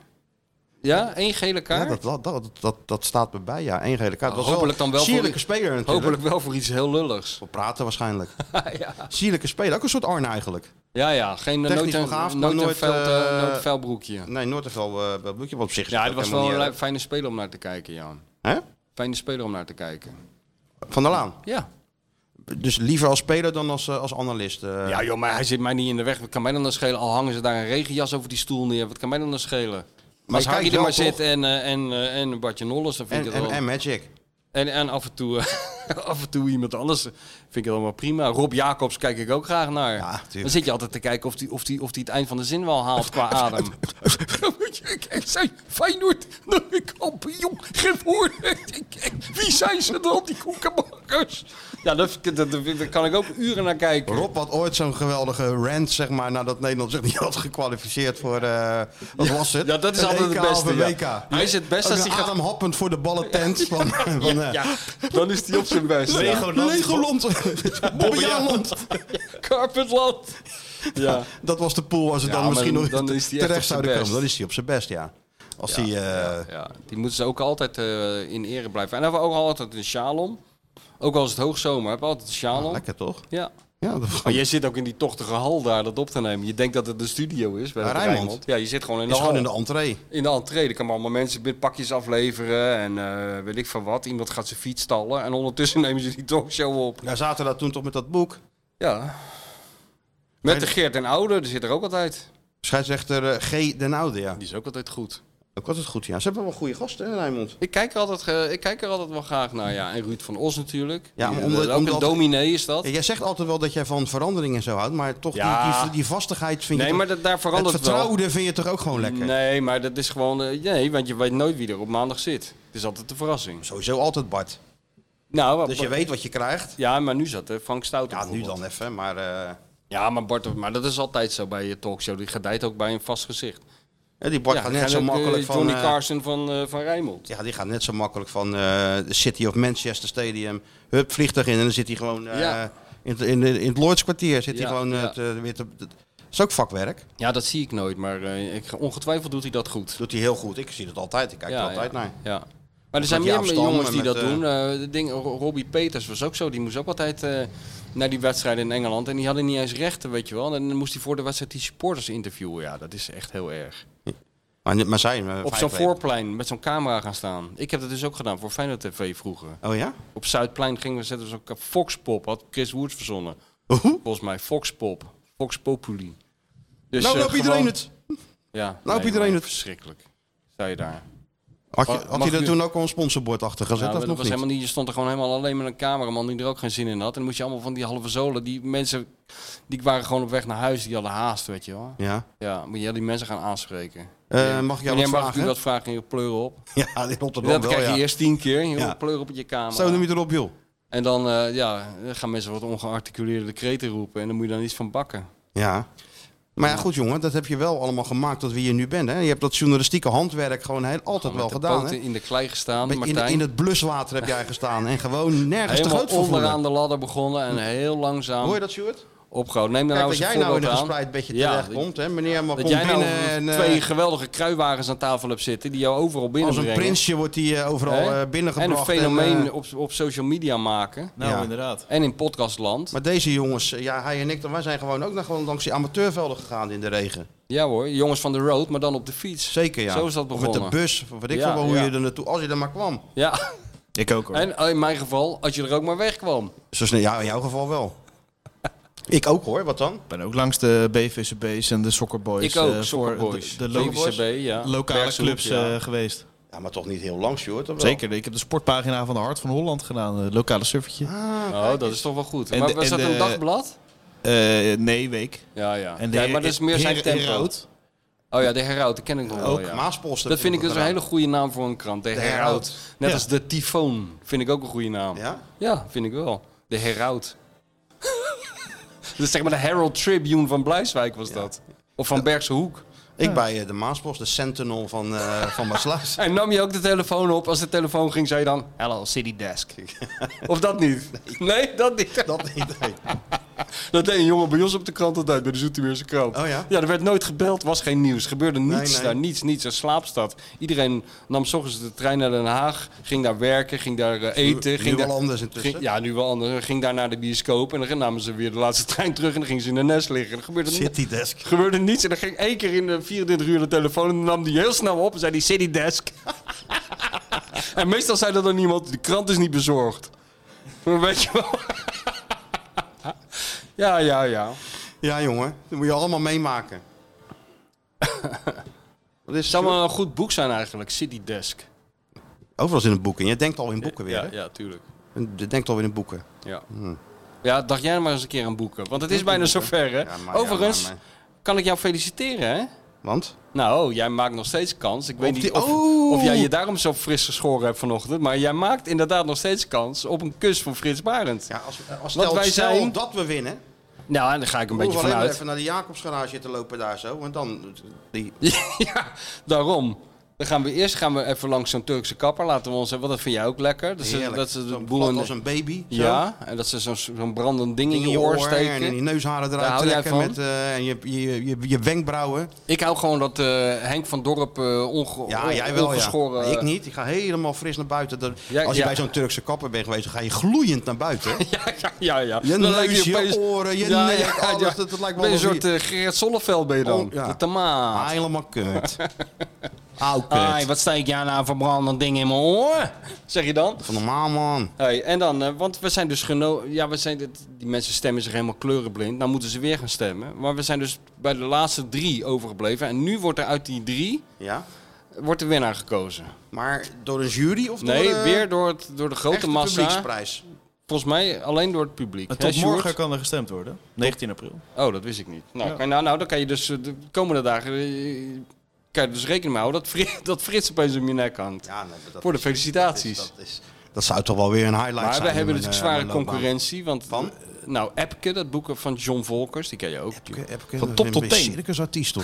F: Ja, één gele
E: Ja,
F: kaart.
E: dat, dat, dat, dat, dat staat me bij, ja. Eén gele kaart.
F: Nou,
E: Dat was
F: hopelijk dan wel voor
E: Sierlijke
F: wie-
E: speler natuurlijk.
F: Hopelijk wel voor iets heel lulligs.
E: We praten waarschijnlijk.
F: ja.
E: Sierlijke speler, ook een soort Arne eigenlijk.
F: ja, ja, geen eh,
E: Technisch
F: nood-
E: begaafd, maar
F: nood- en
E: nooit,
F: veld-
E: eh,
F: eh, noodvelbroekje.
E: Nee, nooit even wel uh, bloedje op zich. is
F: Ja,
E: het
F: dat
E: ook
F: was
E: helemaal
F: wel eh,
E: niet eh,
F: een fijne speler om naar te kijken, Jan.
E: erg. Hè?
F: Fijne speler om naar te kijken.
E: Van der Laan.
F: Ja.
E: Dus liever als speler dan als, eh, als analist. eh.
F: Ja joh, maar hij zit mij niet in de weg. Wat kan mij dan dan schelen? Al hangen ze daar een regenjas over die stoel neer. Wat kan mij dan dan schelen? Maar als
E: je kijkt
F: Harry er
E: wel
F: maar
E: toch?
F: zit en, eh, en, eh, en Bartje Nolles, dan vind
E: en,
F: ik het
E: en,
F: wel...
E: en Magic.
F: En, en af, en toe, eh, af en toe iemand anders eh, vind ik het allemaal prima. Rob Jacobs kijk ik ook graag naar.
E: Ja, tuurlijk.
F: dan zit je altijd te kijken of die, of, die, of die het eind van de zin wel haalt qua adem. Dan moet je kijken, zijn Feyenoord nog een kampioen geworden. eh, Wie zijn ze dan, die koekenbakkers? Ja, daar dat, dat, daar kan ik ook uren naar kijken.
E: Rob had ooit zo'n geweldige rant, zeg maar, nadat Nederland zich niet had gekwalificeerd voor, eh, wat was het?
F: Ja, dat is
E: Een
F: altijd
E: EK
F: het beste,
E: of een
F: ja.
E: WK.
F: Hij is het best
E: Ook
F: als
E: een
F: hij gaat-
E: ademhappend voor de ballentent van, van eh,
F: Ja, dan is die op zijn best. Ja.
A: Legoland.
E: Legoland. Bobbejaanland.
F: Carpetland. Ja.
E: Dat was de pool waar ze
F: Ja,
E: dan
F: maar
E: misschien
F: dan-
E: nog
F: dan is hij echt op
E: terecht
F: zijn
E: zouden
F: best.
E: komen. Dan is hij op zijn best, ja. Als hij... eh,
F: Ja, die moeten ze ook altijd eh, in ere blijven. En dan hebben we ook altijd een sjaal om. Ook al is het hoogzomer, hebben we altijd een sjaal om.
E: Lekker toch?
F: Ja.
E: Ja, dat
F: Ah, Maar jij zit ook in die tochtige hal daar dat op te nemen. Je denkt dat het een studio is bij
E: Bij
F: de
E: Rijnmond.
F: Rijnmond. Ja, je zit gewoon in de
E: is
F: hal.
E: gewoon in de entree.
F: in de entree. Er komen allemaal mensen met pakjes afleveren en eh, weet ik van wat. Iemand gaat zijn fiets stallen en ondertussen nemen ze die talkshow op.
E: Ja, zaten daar toen toch met dat boek.
F: Ja. Met de Geert en Oude, die zit er ook altijd.
E: Scheidsrechter eh, G. Den Oude, ja.
F: Die is ook altijd goed.
E: Ook altijd goed, ja. Ze hebben wel goede gasten, hè, Rijnmond?
F: Ik kijk, er altijd, eh, ik kijk er altijd wel graag naar. Ja. En Ruud van Os natuurlijk. Die-
E: Ja,
F: eh,
E: maar omdat-
F: ook
E: omdat-
F: een dominee is dat.
E: Ja, jij zegt altijd wel dat jij van verandering en zo houdt, maar toch
F: Ja.
E: die, die, die vastigheid vind
F: Nee,
E: je...
F: maar
E: toch-
F: dat, daar verandert
E: het
F: het wel.
E: vertrouwen vind je toch ook gewoon lekker?
F: Nee, maar dat is gewoon... eh, nee, want je weet nooit wie er op maandag zit. Het is altijd een verrassing.
E: Sowieso altijd Bart.
F: Nou, maar-
E: Dus je weet wat je krijgt.
F: Ja, maar nu zat eh, Frank Stout
E: Ja, nu
F: bijvoorbeeld.
E: dan even, maar... eh,
F: Ja, maar Bart, maar dat is altijd zo bij je talkshow. Die gedijt ook bij een vast gezicht.
E: hè, die Bart
F: ja,
E: gaat
F: dan
E: net
F: gaan
E: zo
F: ook, eh,
E: makkelijk van...
F: Johnny
E: eh,
F: Carson van, eh, van Rijnmond.
E: ja, die gaat net zo makkelijk van eh, de City of Manchester Stadium. Hup, vliegtuig in en dan zit hij gewoon eh,
F: Ja.
E: in, het- in, in het Lloyds kwartier. Zit
F: Ja,
E: hij gewoon... eh,
F: ja.
E: te- weer te- dat is ook vakwerk.
F: Ja, dat zie ik nooit, maar eh, ik, ongetwijfeld doet hij dat goed.
E: Doet hij heel goed. Ik zie dat altijd. Ik kijk er altijd
F: ja.
E: naar.
F: Ja. Maar er zijn
E: met
F: meer
E: Jaap Stam
F: jongens
E: en
F: die
E: met,
F: dat
E: eh,
F: doen. Eh, de ding, Ro- Robbie Peters was ook zo. Die moest ook altijd eh, naar die wedstrijden in Engeland. En die hadden niet eens rechten, weet je wel. En dan moest hij voor de wedstrijd die supporters interviewen. Ja, dat is echt heel erg.
E: Maar, maar zij... eh,
F: Op
E: vijf
F: zo'n
E: weken.
F: voorplein met zo'n camera gaan staan. Ik heb dat dus ook gedaan voor Feyenoord TV vroeger.
E: Oh ja?
F: Op Zuidplein gingen we zetten we zo'n ka- Foxpop. Had Chris Woods verzonnen.
E: Hoe?
F: Volgens mij Foxpop. Fox Populi. Dus,
E: Nou
F: eh,
E: loopt iedereen
F: gewoon-
E: het.
F: Ja,
E: Nou,
F: nee,
E: iedereen
F: maar
E: het.
F: Verschrikkelijk. Sta je daar.
E: Had, je,
F: Mag-
E: had
F: mag
E: hij er
F: u-
E: toen ook al een sponsorbord achter gezet?
F: Nou,
E: of
F: dat
E: nog
F: was
E: niet?
F: helemaal niet. Je stond er gewoon helemaal alleen met een cameraman die er ook geen zin in had. En dan moest je allemaal van die halve zolen. Die mensen die waren gewoon op weg naar huis. Die hadden haast, weet je wel.
E: Ja.
F: Ja, moet je die mensen gaan aanspreken.
E: Eh, mag ik jou
F: Meneer, mag
E: wat vragen?
F: ik u wat vragen en je pleuren op?
E: Ja, in Rotterdam
F: dat
E: wel,
F: krijg je
E: ja.
F: eerst tien keer. Je
E: Ja.
F: pleuren op in je kamer.
E: Zo noem je het erop, joh.
F: En dan eh, ja, dan gaan mensen wat ongearticuleerde kreten roepen. En dan moet je dan iets van bakken.
E: Ja. Maar ja, goed jongen, dat heb je wel allemaal gemaakt tot wie je nu bent. Hè? Je hebt dat journalistieke handwerk gewoon heel, altijd wel
F: Met de
E: gedaan.
F: poten
E: Hè?
F: in de klei gestaan,
E: In, in,
F: Martijn.
E: in het bluswater heb jij gestaan en gewoon nergens te
F: Helemaal
E: groot voor voelen.
F: onderaan Nou, de ladder begonnen en heel langzaam
E: Hoor je dat, Stuart?
F: opgehouden. Neem daar
E: Kijk
F: nou
E: dat
F: eens
E: jij
F: een
E: nou in
F: voorbeeld
E: een
F: aan.
E: gespreid bedje
F: Ja,
E: terecht komt. Hè? Meneer maar
F: Dat
E: komt
F: jij nou
E: binnen en eh,
F: twee geweldige kruiwagens aan tafel hebt zitten die jou overal
E: als een
F: binnenbrengen.
E: prinsje wordt hij eh, overal
F: Hè?
E: eh, binnengebracht.
F: En een fenomeen
E: eh,
F: op, op social media maken.
A: Nou,
E: Ja.
A: inderdaad.
F: En in podcastland.
E: maar deze jongens, eh, ja, hij en ik, dan- wij zijn gewoon ook nog gewoon langs die amateurvelden gegaan in de regen.
F: Ja hoor, jongens van de road, maar dan op de fiets.
E: Zeker, ja.
F: Zo is dat
E: Of
F: begonnen.
E: met de bus, of weet ik
F: Ja,
E: veel wel hoe
F: ja.
E: je er naartoe, als je er maar kwam.
F: Ja,
A: Ik ook hoor.
F: en eh, in mijn geval, als je er ook maar wegkwam.
E: Zo snel, ja, in jouw geval wel. ik ook hoor, wat dan?
A: Ik ben ook langs de BVCB's en de Soccerboys.
F: Ik ook,
A: eh, voor
F: Soccerboys.
A: De, de lo-
F: BVCB, ja.
A: lokale
F: Bergshoek,
A: clubs
F: ja.
A: eh, geweest.
E: Ja, maar toch niet heel lang, Sjoerd. of wel?
A: Zeker, ik heb de sportpagina van de Hart van Holland gedaan. Een lokale surfertje.
F: Oh, dat is toch wel goed.
A: En
F: maar
A: de-
F: was
A: en
F: dat een
A: de-
F: dagblad?
A: Eh, nee, week.
F: Ja, ja.
A: En de
F: ja maar dat is meer zijn
A: Heren-
F: tempo.
A: Heraut.
F: Oh ja, de Heraut, die ken ik nog wel.
E: Ook
F: ja.
E: Eh, Maaspost. heb
F: Dat
E: je
F: vind ik
E: nog
F: dus een hele
E: gedaan.
F: goede naam voor een krant. De Heraut. Net
A: Ja.
F: als de Tyfoon vind ik ook een goede naam. Ja,
E: Ja?
F: vind ik wel. De Heraut. dus zeg maar de Herald Tribune van Blijswijk was dat. Of van Bergse Hoek.
E: Ik bij eh, de Maaspost, de Sentinel van, eh van Maasluis.
F: En nam je ook de telefoon op. Als de telefoon ging, zei je dan... Hello, City Desk. of dat niet? Nee, dat niet.
E: dat idee.
F: Dat deed een jongen bij ons op de krant altijd, bij de Zoetermeerse krant.
E: Oh ja?
F: Ja, er werd nooit gebeld, was geen nieuws. Gebeurde niets
E: nee.
F: daar, niets, niets. Een slaapstad. Iedereen nam 's ochtends de trein naar Den Haag, ging daar werken, ging daar eh, eten.
E: nu
F: ging
E: wel
F: daar,
E: anders intussen.
F: ging- ja, nu wel anders. Ging daar naar de bioscoop en dan namen ze weer de laatste trein terug en dan gingen ze in de nest liggen. Er gebeurde, ni-
E: City Desk.
F: gebeurde niets en dan ging één keer in de 24 uur de telefoon en dan nam die heel snel op en zei die City Desk. en meestal zei dat dan iemand, de krant is niet bezorgd. Maar weet je wel. ja, ja, ja.
E: Ja, jongen. Dat moet je allemaal meemaken. Wat is
F: Het zou wel een goed boek zijn eigenlijk, City Desk.
E: Overal in een boeken. Je denkt al in boeken weer.
F: Ja,
E: hè?
F: ja, tuurlijk.
E: Je denkt al weer in boeken.
F: Ja. ja, dacht jij maar eens een keer aan Hmm. boeken. Want het is bijna zover, hè?
E: Ja, maar-
F: Overigens,
E: ja, maar-
F: kan ik jou feliciteren, hè?
E: Want?
F: Nou, jij maakt nog steeds kans. Ik weet
E: Op
F: niet
E: die-
F: of,
E: Oh!
F: of jij je daarom zo fris geschoren hebt vanochtend. Maar jij maakt inderdaad nog steeds kans op een kus van Frits Barend.
E: Ja, als, als stel,
F: wij
E: stel
F: zijn-
E: dat we winnen.
F: Nou, en daar ga ik een
E: We
F: beetje
E: hoeven alleen
F: vanuit.
E: maar even naar de Jacobsgarage te lopen daar zo. Want dan... Die...
F: ja, daarom. Dan gaan we eerst gaan we even langs zo'n Turkse kapper. Laten we ons hebben. Want dat vind jij ook lekker. Dat ze,
E: Heerlijk.
F: dat ze de
E: Zo'n
F: boel
E: plat
F: in de-
E: als een baby. zo.
F: Ja, en dat ze zo'n zo'n brandend ding in
E: In
F: je oor steken.
E: en in die neusharen
F: Daar
E: eruit
F: hou jij
E: trekken.
F: van?
E: Met, eh, en je, je, je, je wenkbrauwen.
F: Ik hou gewoon dat eh, Henk van Dorp eh onge
E: Ja,
F: on-
E: jij wel,
F: ongeschoren...
E: ja. Ik niet. Ik ga helemaal fris naar buiten. Dat-
F: Ja,
E: als je
F: ja.
E: bij zo'n Turkse kapper bent geweest, dan ga je gloeiend naar buiten. hè?
F: Ja, ja, ja. ja.
E: Je
F: lijkt
E: neus, je
F: opeens-
E: oren, je nek, alles. Dat- dat lijkt wel
F: Ben je een
E: alsof
F: soort eh, Gerrit Solleveld ben je dan.
E: Oh, ja.
F: De tamaat.
E: Helemaal kut. Auw kut.
F: Ai, wat steek jij nou voor brandend ding in mijn oor? Zeg je dan?
E: Van normaal man.
F: Hey, en dan, eh, want we zijn dus geno... Ja, we zijn dit- die mensen stemmen zich helemaal kleurenblind. Nou moeten ze weer gaan stemmen. Maar we zijn dus bij de laatste drie overgebleven. En nu wordt er uit die drie
E: Ja.
F: wordt de winnaar gekozen.
E: Maar door een jury of
F: Nee,
E: door de
F: weer door, het, door de grote
E: echte
F: massa.
E: publieksprijs?
F: Volgens mij alleen door het publiek.
A: Maar
F: Hè,
A: tot morgen
F: Sjoerd?
A: kan er gestemd worden. 19 april.
F: Oh, dat wist ik niet. Nou, kan je- nou, nou, dan kan je dus eh, de komende dagen... eh, Kan je dus rekening mee houden dat, Fri- dat Frits opeens om je nek hangt.
E: Ja, nee, maar dat
F: Voor de
E: is-
F: felicitaties.
E: Dat, is, dat, is- dat zou toch wel weer een highlight
F: maar
E: zijn.
F: we hebben
E: in
F: natuurlijk
E: mijn, eh,
F: zware
E: mijn loopbaan.
F: concurrentie. Want,
E: Van?
F: eh, Nou, Epke, dat boeken van John Volkers, die ken je ook.
E: Ik heb- ik heb-
A: Van
E: ik
A: top
E: ben
A: tot
E: een
A: teen.
E: circusartiest hoor.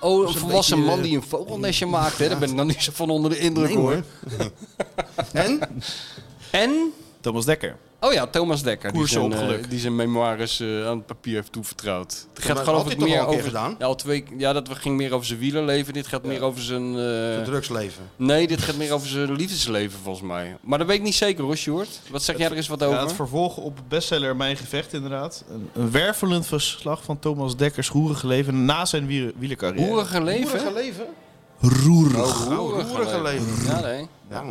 F: Oh, een
E: een
F: volwassen
E: beetje, eh,
F: man die een vogelnestje maakt. Hè? Daar ben ik dan niet zo van onder de indruk hoor.
E: En?
F: En,
A: Thomas Dekker.
F: oh ja, Thomas Dekker. Die
A: Koers
F: zijn,
A: op
F: eh,
A: geluk.
F: die zijn memoires eh, aan het papier heeft toevertrouwd. Het gaat
E: maar
F: geloof
E: had
F: ik
E: hij toch
F: meer
E: al een keer
F: over...
E: gedaan?
F: Ja, al twee, ja, dat we- ging meer over zijn wielerleven. Dit gaat meer over zijn... eh,
E: Drugsleven.
F: nee, dit gaat meer over zijn liefdesleven volgens mij. Maar dat weet ik niet zeker hoor, Sjoerd. Wat zeg jij er eens wat
A: Ja,
F: over?
A: het vervolg op bestseller Mijn Gevecht inderdaad. Een, een wervelend verslag van Thomas Dekkers roerige leven na zijn wier- wielercarrière.
F: Roerige leven?
E: Roerige leven?
F: Oh, roerige
E: roerige leven.
F: Ja, nee.
E: Ja.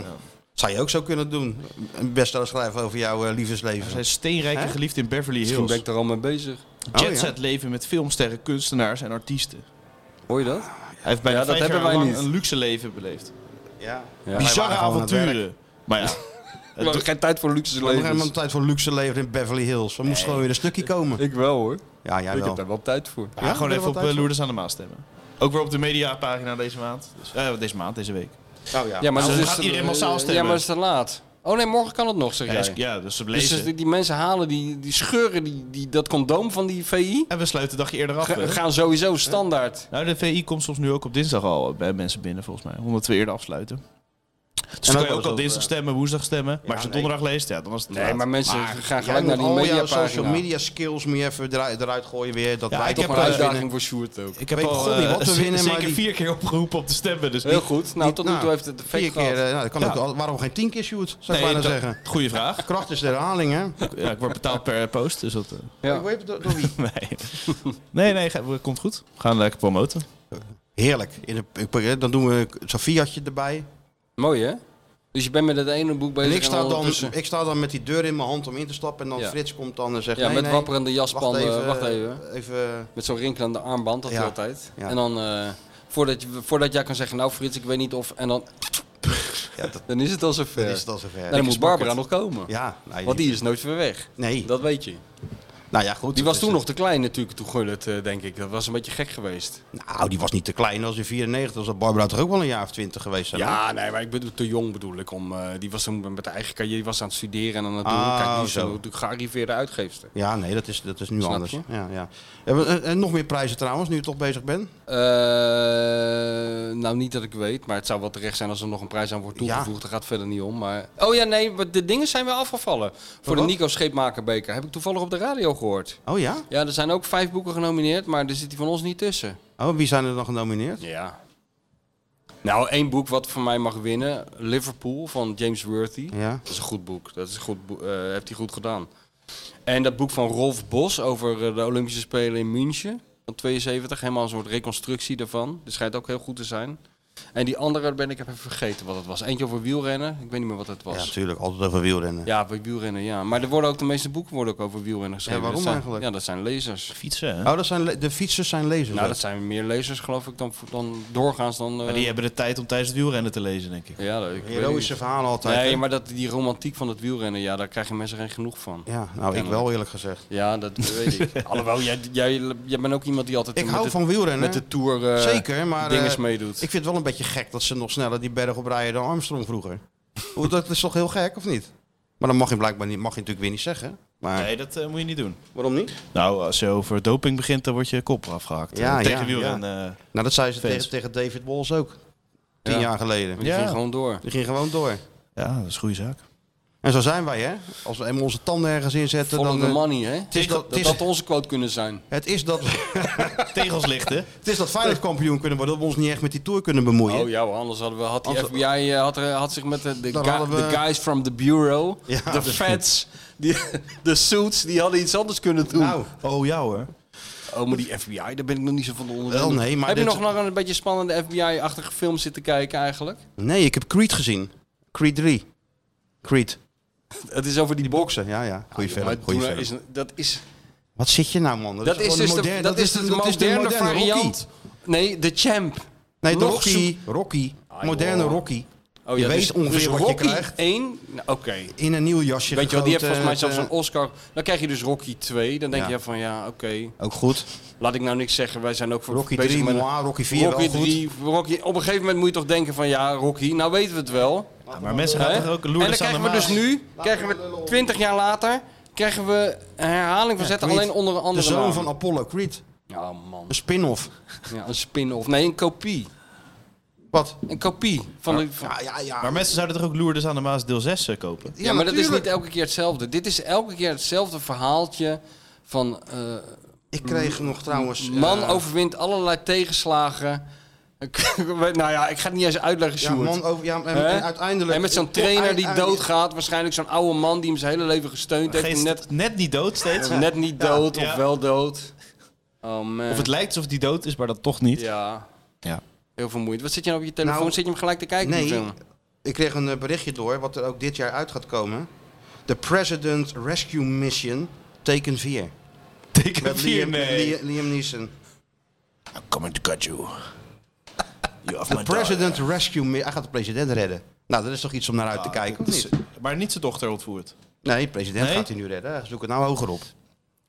E: Zou je ook zo kunnen doen. Een bestseller schrijven over jouw eh, liefdesleven.
A: Zijn steenrijke
E: Hè?
A: geliefd in Beverly
F: Misschien ben
A: Hills.
F: ik er al mee bezig.
E: Oh, ja.
A: Jetset leven met filmsterren, kunstenaars en artiesten.
F: Hoor je dat?
A: Hij heeft bijna
F: Ja, dat
A: vijf
F: hebben
A: jaar
F: wij
A: lang
F: niet.
A: een luxe leven beleefd.
E: Ja.
F: Ja.
E: Wij
A: Bizarre
E: waren gewoon aan het werk.
A: avonturen. Maar ja,
F: We hadden geen tijd voor luxe
E: We hadden helemaal
F: levens.
E: een tijd voor luxe leven in Beverly Hills. We moesten gewoon weer een stukje komen.
F: Ik wel hoor.
E: Ja, jij
F: Ik heb
E: wel.
F: daar wel tijd voor.
A: ja, gewoon
E: ben er
A: even
E: wel
A: op
E: tijd
A: eh,
E: voor.
A: Loerders aan de Maas stemmen. Ook weer op de mediapagina deze maand. Dus, eh, deze maand, deze week.
E: Oh, ja.
F: Ja, maar
A: Nou,
F: het
A: dan
F: is
A: gaat
F: te-
A: iedereen massaal
F: eh,
A: stemmen.
F: Ja, maar het is te laat. Oh nee, morgen kan het nog, zeg
A: Ja,
F: jij.
A: is- ja, dus ze
F: Dus
A: blezen.
F: die, die mensen halen die, die scheuren die, die, dat condoom van die VI.
A: En we sluiten een dagje eerder af.
F: Ga-
A: hè?
F: gaan sowieso standaard.
A: Nou, de VI komt soms nu ook op dinsdag al eh, bij mensen binnen, volgens mij. Omdat we eerder afsluiten. Dus dan
E: ook
A: kan je
E: wel
A: ook
E: eens
A: al dinsdag
E: over-
A: stemmen, woensdag stemmen. maar als je het
E: nee.
A: donderdag leest, ja, dan is het te
F: eh. Nee,
A: laat.
F: maar mensen gaan
E: Jij
F: gelijk naar die
E: moet al jouw
F: mediapagina.
E: social media skills moet je even eruit- eruit gooien weer. Dat
A: Ja,
E: wij
A: ik
F: Toch
E: toch
A: heb,
F: een
E: maar
A: eh,
F: uitdaging
E: uitwinnen.
F: voor Sjoerd ook.
A: Ik heb
E: weet
A: al
E: God niet
A: eh,
E: wat we
A: ze-
E: winnen, maar
A: zeker
E: die-
A: vier keer opgeroepen om te stemmen. Dus
F: Heel
A: niet-
F: goed. Nou,
E: Niet-
F: tot nu toe
E: nou,
F: heeft het effect
E: vier keer,
F: gehad.
E: eh, nou, dat kan
A: Ja.
E: ook al- waarom geen tien keer shoot,
A: Nee,
E: zou ik bijna
A: dat-
E: zeggen.
A: Goede vraag.
E: Kracht is de herhaling, hè?
A: Ja, ik word betaald per post, dus dat... eh,
F: Ja.
E: Hoe heet het, door- door wie?
A: nee. nee, nee, ga- komt goed. We gaan lekker promoten.
E: Heerlijk. In de, ik- dan doen we zo'n Fiatje erbij.
F: Mooi hè? Dus je bent met het ene boek bezig
E: En
F: en,
E: ik sta, dan,
F: ondertussen-
E: ik sta dan met die deur in mijn hand om in te stappen. En dan
F: Ja.
E: Frits komt dan en zegt...
F: Ja,
E: nee,
F: met
E: nee,
F: wapperende
E: wacht
F: jaspanden.
E: even. eh,
F: Wacht even.
E: even-
F: Met zo'n rinkelende armband, dat
E: Ja.
F: hij altijd.
E: Ja.
F: En dan, eh, voordat, je, voordat jij kan zeggen, nou Frits, ik weet niet of... En dan,
E: ja, dat
F: dan is het al zover.
E: dan is het al zover.
F: En dan moet Barbara nog komen.
E: Ja, nee,
F: Want die is nooit meer weg.
E: Nee,
F: Dat weet je.
E: nou ja,
F: Die
E: goed. dat
F: was
E: is
F: toen nog
E: het.
F: te klein natuurlijk, toen Gullit, eh, denk ik. Dat was een beetje gek geweest.
E: Nou, die was niet te klein als in 94. Was dat Barbara toch ook wel een jaar of twintig geweest? zijn,
F: Ja, nee, maar ik bedoel, te jong bedoel ik. Om, eh, die was toen met haar eigen carrière, die was aan het studeren en aan het doen.
E: Ah,
F: Kijk, nu is
E: zo.
F: ze natuurlijk gearriveerde uitgeefster.
E: Ja, nee, dat is, dat is nu
F: Snap
E: anders.
F: je?
E: Ja, ja. En, en- en nog meer prijzen trouwens, nu je toch bezig bent.
F: Eh, nou, niet dat ik weet, maar het zou wel terecht zijn als er nog een prijs aan wordt toegevoegd. Daar gaat verder niet om. Maar... Oh ja, nee, maar de dingen zijn wel afgevallen. Voor de
E: wat?
F: Nico Scheepmakerbeker heb ik toevallig op de radio gehoord.
E: Oh ja?
F: Ja, er zijn ook vijf boeken genomineerd, maar er zit die van ons niet tussen.
E: Oh, wie zijn er dan genomineerd?
F: Ja. Nou, één boek wat voor mij mag winnen: Liverpool van James Worthy.
E: Ja.
F: Dat is een goed boek. Dat is een goed boek. eh, heeft hij goed gedaan. En dat boek van Rolf Bos over eh, de Olympische Spelen in München van 72. Helemaal een soort reconstructie daarvan. Dat schijnt ook heel goed te zijn. En die andere ben ik even vergeten wat het was. Eentje over wielrennen. Ik weet niet meer wat het
E: Ja,
F: was.
E: natuurlijk. Altijd over wielrennen.
F: Ja, over wielrennen, ja. Maar er worden ook de meeste boeken worden ook over wielrennen geschreven.
E: waarom
F: Dat zijn-
E: eigenlijk?
F: Ja, dat zijn lezers.
A: Fietsen, hè?
E: Oh, dat zijn le- de fietsers zijn lezers.
F: Nou, dat zijn meer lezers, geloof ik, dan, dan doorgaans dan... eh,
A: Maar die hebben de tijd om tijdens het wielrennen te lezen, denk ik.
F: ja, dat- ik weet
E: Heroïsche
F: niet.
E: verhalen altijd. hè?
F: Nee, maar dat, die romantiek van het wielrennen, ja, daar krijgen mensen geen genoeg van.
E: Ja, nou, ik wel eerlijk gezegd.
F: Ja, dat weet ik. Alhoewel, jij, jij, jij bent ook iemand die altijd
E: Ik
F: met,
E: hou
F: de,
E: van wielrennen.
F: met de Tour eh,
E: Zeker, maar...
F: dinges
E: eh,
F: meedoet.
E: ik vind het wel een beetje gek dat ze nog sneller die berg op rijden dan Armstrong vroeger. Hoe, dat is toch heel gek, of niet? Maar dan mag je blijkbaar niet, mag je natuurlijk weer niet zeggen. Maar
A: Nee, dat eh, moet je niet doen.
E: waarom niet?
A: Nou, als je over doping begint, dan wordt je kop afgehakt.
E: Ja,
A: Eh, tegen
E: ja,
A: wielrennen. eh,
E: Nou, dat zei ze
A: Fans.
E: tegen, tegen David Walls ook. Tien
F: Ja.
E: jaar geleden.
F: Die
A: Ja.
F: ging gewoon door.
E: Die ging gewoon door.
A: Ja, dat is een goede zaak.
E: En zo zijn wij, hè? Als we eenmaal onze tanden ergens inzetten,
F: Follow
E: dan...
F: the
E: eh,
F: money, hè?
E: is dat-
F: dat,
E: het is- Oh,
F: dat onze quote kunnen zijn.
E: het is dat,
A: Tegels lichten.
E: het is dat Feyenoord kampioen kunnen worden, dat we ons niet echt met die Tour kunnen bemoeien.
F: Oh ja, hoor, anders hadden we, had die
E: Anders-
F: FBI eh, had, er- had zich met de, de,
E: Dan
F: guy-
E: hadden we-
F: de guys from the bureau,
E: Ja,
F: de
E: dus-
F: feds, die, de suits, die hadden iets anders kunnen doen.
E: Nou,
A: Oh, ja hoor.
F: Oh, maar die FBI, daar ben ik nog niet zo van onder.
E: Wel, nee, maar
F: Heb je
E: dit-
F: nog lang een beetje spannende FBI-achtige film zitten kijken eigenlijk?
E: nee, ik heb Creed gezien. Creed 3. Creed.
F: Het is over die boksen.
E: Ja, ja. Goeie film.
F: Ah, Maar
E: goeie
F: toen
E: film.
F: Is, dat is
E: Wat zit je nou, man? Dat,
F: Dat is,
E: gewoon
F: dus
E: een moderne-
F: de, dat is de,
E: dat
F: moderne,
E: is de moderne
F: variant.
E: Rocky.
F: Nee, de champ.
E: Nee, de
F: Nog
E: Rocky. Rocky. Moderne
F: joh.
E: Rocky.
F: Oh,
E: Je weet ongeveer wat je
F: Rocky
E: krijgt.
F: 1, nou, oké.
E: In een nieuw jasje
F: Weet je wel, die heeft
E: gegoten,
F: volgens mij zelfs
E: het, eh,
F: een Oscar. Dan krijg je dus Rocky 2. Dan denk
E: Ja.
F: je van, ja, oké.
E: eh, Ook goed.
F: Laat ik nou niks zeggen. Wij zijn ook voor
E: Rocky
F: bezig
E: 3,
F: met...
E: moi, Rocky 4
F: Rocky
E: wel goed.
F: 3, Rocky... Op een gegeven moment moet je toch denken van, ja, Rocky, nou weten we het wel.
A: Ja, maar mensen
F: Hè?
A: gaan toch ook
F: en
A: loeren
F: dan krijgen we dus nu, krijgen we 20 jaar later, krijgen we een herhaling van zetten.
E: Creed.
F: alleen onder een
E: De
F: andere
E: zoon
F: naam.
E: van Apollo, Creed.
F: Ja, man.
E: Een spin-off.
F: Ja, een spin-off. Nee, een kopie.
E: Wat?
F: Een kopie van de... van-
E: Ja, ja, ja.
A: Maar mensen zouden toch ook Loerders aan de Maas deel 6 eh, kopen?
F: Ja, maar dat is
E: natuurlijk.
F: niet elke keer hetzelfde. Dit is elke keer hetzelfde verhaaltje van eh,
E: Ik kreeg nog trouwens... eh,
F: man overwint allerlei tegenslagen. Ik weet- nou ja, ik ga het niet eens uitleggen,
E: Ja,
F: Sjoerd.
E: man over... Ja, en,
F: Hè?
E: en uiteindelijk...
F: En met zo'n trainer die
E: Uiteindelijk-
F: doodgaat. Waarschijnlijk zo'n oude man die hem zijn hele leven gesteund heeft.
A: Geen-
F: die Net,
A: net... niet dood steeds.
F: net niet dood
A: Ja.
F: of wel dood. Oh man.
A: Of het lijkt alsof die dood is, maar dat toch niet.
F: Ja.
A: Ja.
F: Heel vermoeiend. Wat zit je nou op je telefoon?
E: Nou,
F: zit je hem gelijk te kijken? die
E: Nee,
F: film?
E: ik kreeg een eh, berichtje door, wat er ook dit jaar uit gaat komen. The President Rescue Mission, teken 4.
A: Teken
E: Met
A: 4,
E: Liam,
A: nee.
E: Liam, Liam Neeson.
A: I'm coming to cut you. You have
E: The President Rescue Mission. Hij gaat de president redden. Nou, dat is toch iets om naar uit
A: Ah,
E: te kijken, of niet?
A: Maar niet zijn dochter ontvoerd.
E: Nee, de president
A: Nee?
E: gaat hij nu redden. Zoek het nou hoger op.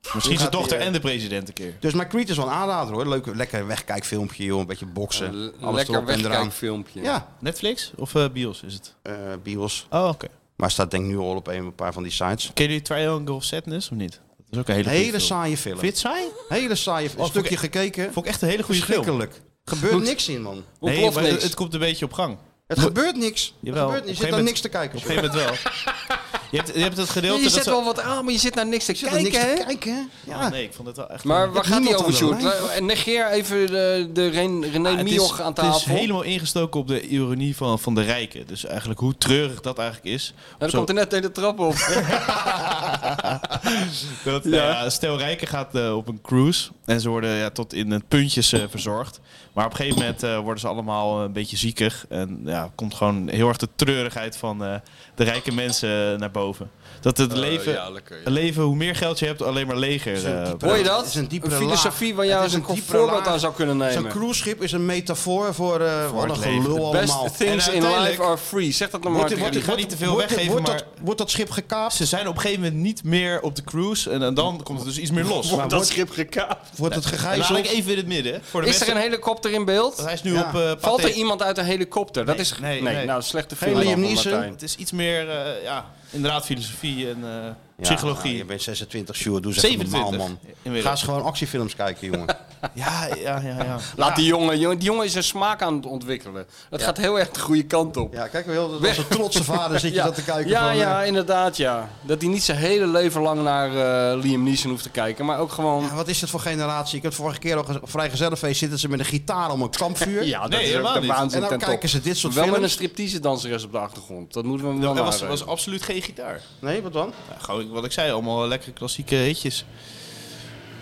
A: Misschien zijn
E: gaat
A: dochter
E: die, eh,
A: en de president een keer.
E: Dus maar Creed is wel een aanrader hoor. Leuk, lekker wegkijkfilmpje joh. Een beetje boksen.
F: Een
A: Eh,
E: alles
F: lekker
E: erop en eraan.
F: wegkijkfilmpje.
E: Ja,
A: Netflix of eh, Bios is het?
E: eh, bios.
A: Oh, oké.
E: Maar staat denk ik nu al op een, een paar van die sites.
A: Ken jullie Triangle of Sadness of niet? Dat is ook een hele,
E: Hele,
A: goede film.
E: saaie film.
A: Vind je het saai?
E: Hele saaie film.
A: Oh,
E: Een stukje
A: vond
E: gekeken.
A: Vond ik echt een hele goede film.
E: Verschrikkelijk. Gebeurt niks in, man.
A: Nee,
F: Ontploft
A: maar het,
F: niks.
A: het komt een beetje op gang.
E: Het gebeurt niks. Het
A: Jawel,
E: gebeurt
A: op een gegeven
E: niks. Je zit dan
A: moment-
E: niks te kijken.
A: Op een gegeven moment wel. Je hebt, je hebt het gedeelte
F: Je
A: dat
F: zet
A: ze-
F: wel wat aan, maar je zit naar niks te
E: Je zit dan niks
F: kijken. hè?
E: te kijken. hè? Ja.
A: Nee, ik vond het wel echt...
F: Maar waar
E: hebt
F: gaat die
E: niemand
F: over,
E: aan de
F: Sjoerd? En negeer even de, de Ren- René
A: Ah, het is-
F: Mioch aan tafel.
A: Het is helemaal ingestoken op de ironie van, van de rijken. Dus eigenlijk hoe treurig dat eigenlijk is.
F: Nou,
A: Zo-
F: dan komt er net een de trap op.
A: Dat, nou ja, stel Rijken gaat eh, op een cruise en ze worden ja, tot in het puntjes eh, verzorgd. Maar op een gegeven moment eh, worden ze allemaal een beetje ziekig. En ja, komt gewoon heel erg de treurigheid van eh, de rijke mensen eh, naar boven. Dat het leven,
F: Oh, ja, lekker, ja.
A: het leven, hoe meer geld je hebt, alleen maar leger. eh, wordt.
F: Hoor je
E: Het
F: dat?
E: is een
F: Een,
E: diepere
F: filosofie
E: laag.
F: waar jij
E: Het
F: als
E: is
F: een
E: een diepere
F: voorbeeld
E: laag.
F: aan zou kunnen
E: Zo'n
F: nemen.
E: cruiseschip is een metafoor voor, eh wat
A: het
E: een
A: leven.
E: gelul
A: The
E: allemaal.
F: Best things
A: En
F: in
A: uiteindelijk-
F: life are free. Zeg dat nog maar.
E: Wordt- wordt-
F: tegen
A: ik ga
E: wordt-
A: niet te veel
E: wordt-
A: weggeven,
E: wordt
A: maar-
E: dat- Wordt dat schip gekaapt?
A: Ze zijn op een gegeven moment niet meer op de cruise en, en dan komt er dus iets meer los.
F: die-
A: Maar
F: dat schip gekaapt.
E: Wordt het
A: laat ik
E: gegijzeld?
A: even in het midden. Voor de
F: Is er
A: mensen-
F: een helikopter in beeld?
A: Hij is nu
E: Ja.
A: op eh,
F: Valt
A: Pathé.
F: er iemand uit een helikopter? Dat
A: Nee,
F: is...
A: nee,
F: Nee,
A: nee.
F: nou, slechte
E: Geen
F: film dan
E: Liam
F: van
E: Neeson?
F: Martijn.
A: Het is iets meer, eh, ja, inderdaad filosofie en eh,
E: Ja,
A: psychologie.
E: nou, je bent 26, Sjoerd. Doe eens even
A: 27.
E: normaal, man.
A: Inmiddels.
E: Ga eens gewoon actiefilms kijken, jongen.
A: Ja, ja, ja, ja.
F: Laat die jongen, jongen- die jongen is een smaak aan het ontwikkelen. Dat gaat heel erg de goede kant op.
E: Ja, kijk wel. Als een trotse vader zit je dat te kijken.
F: ja,
E: van, eh,
F: ja, inderdaad, ja. Dat hij niet zijn hele leven lang naar eh, Liam Neeson hoeft te kijken, maar ook gewoon...
E: Ja, Wat is het voor generatie? Ik heb het vorige keer al gez- op vrijgezellenfeest zitten ze met een gitaar om een kampvuur.
F: Ja, dat
A: Nee,
F: is
A: helemaal
F: ook de
A: niet.
F: waanzin
E: en dan
F: ten top.
E: kijken ze dit soort
F: Wel met een
E: films.
F: striptease danseres op de achtergrond. Dat moeten we hem wel
A: Dat was,
F: nageven.
A: was
E: eh.
A: absoluut geen gitaar.
E: Nee, wat dan?
A: Ja, gewoon wat ik zei, allemaal lekkere klassieke hitjes.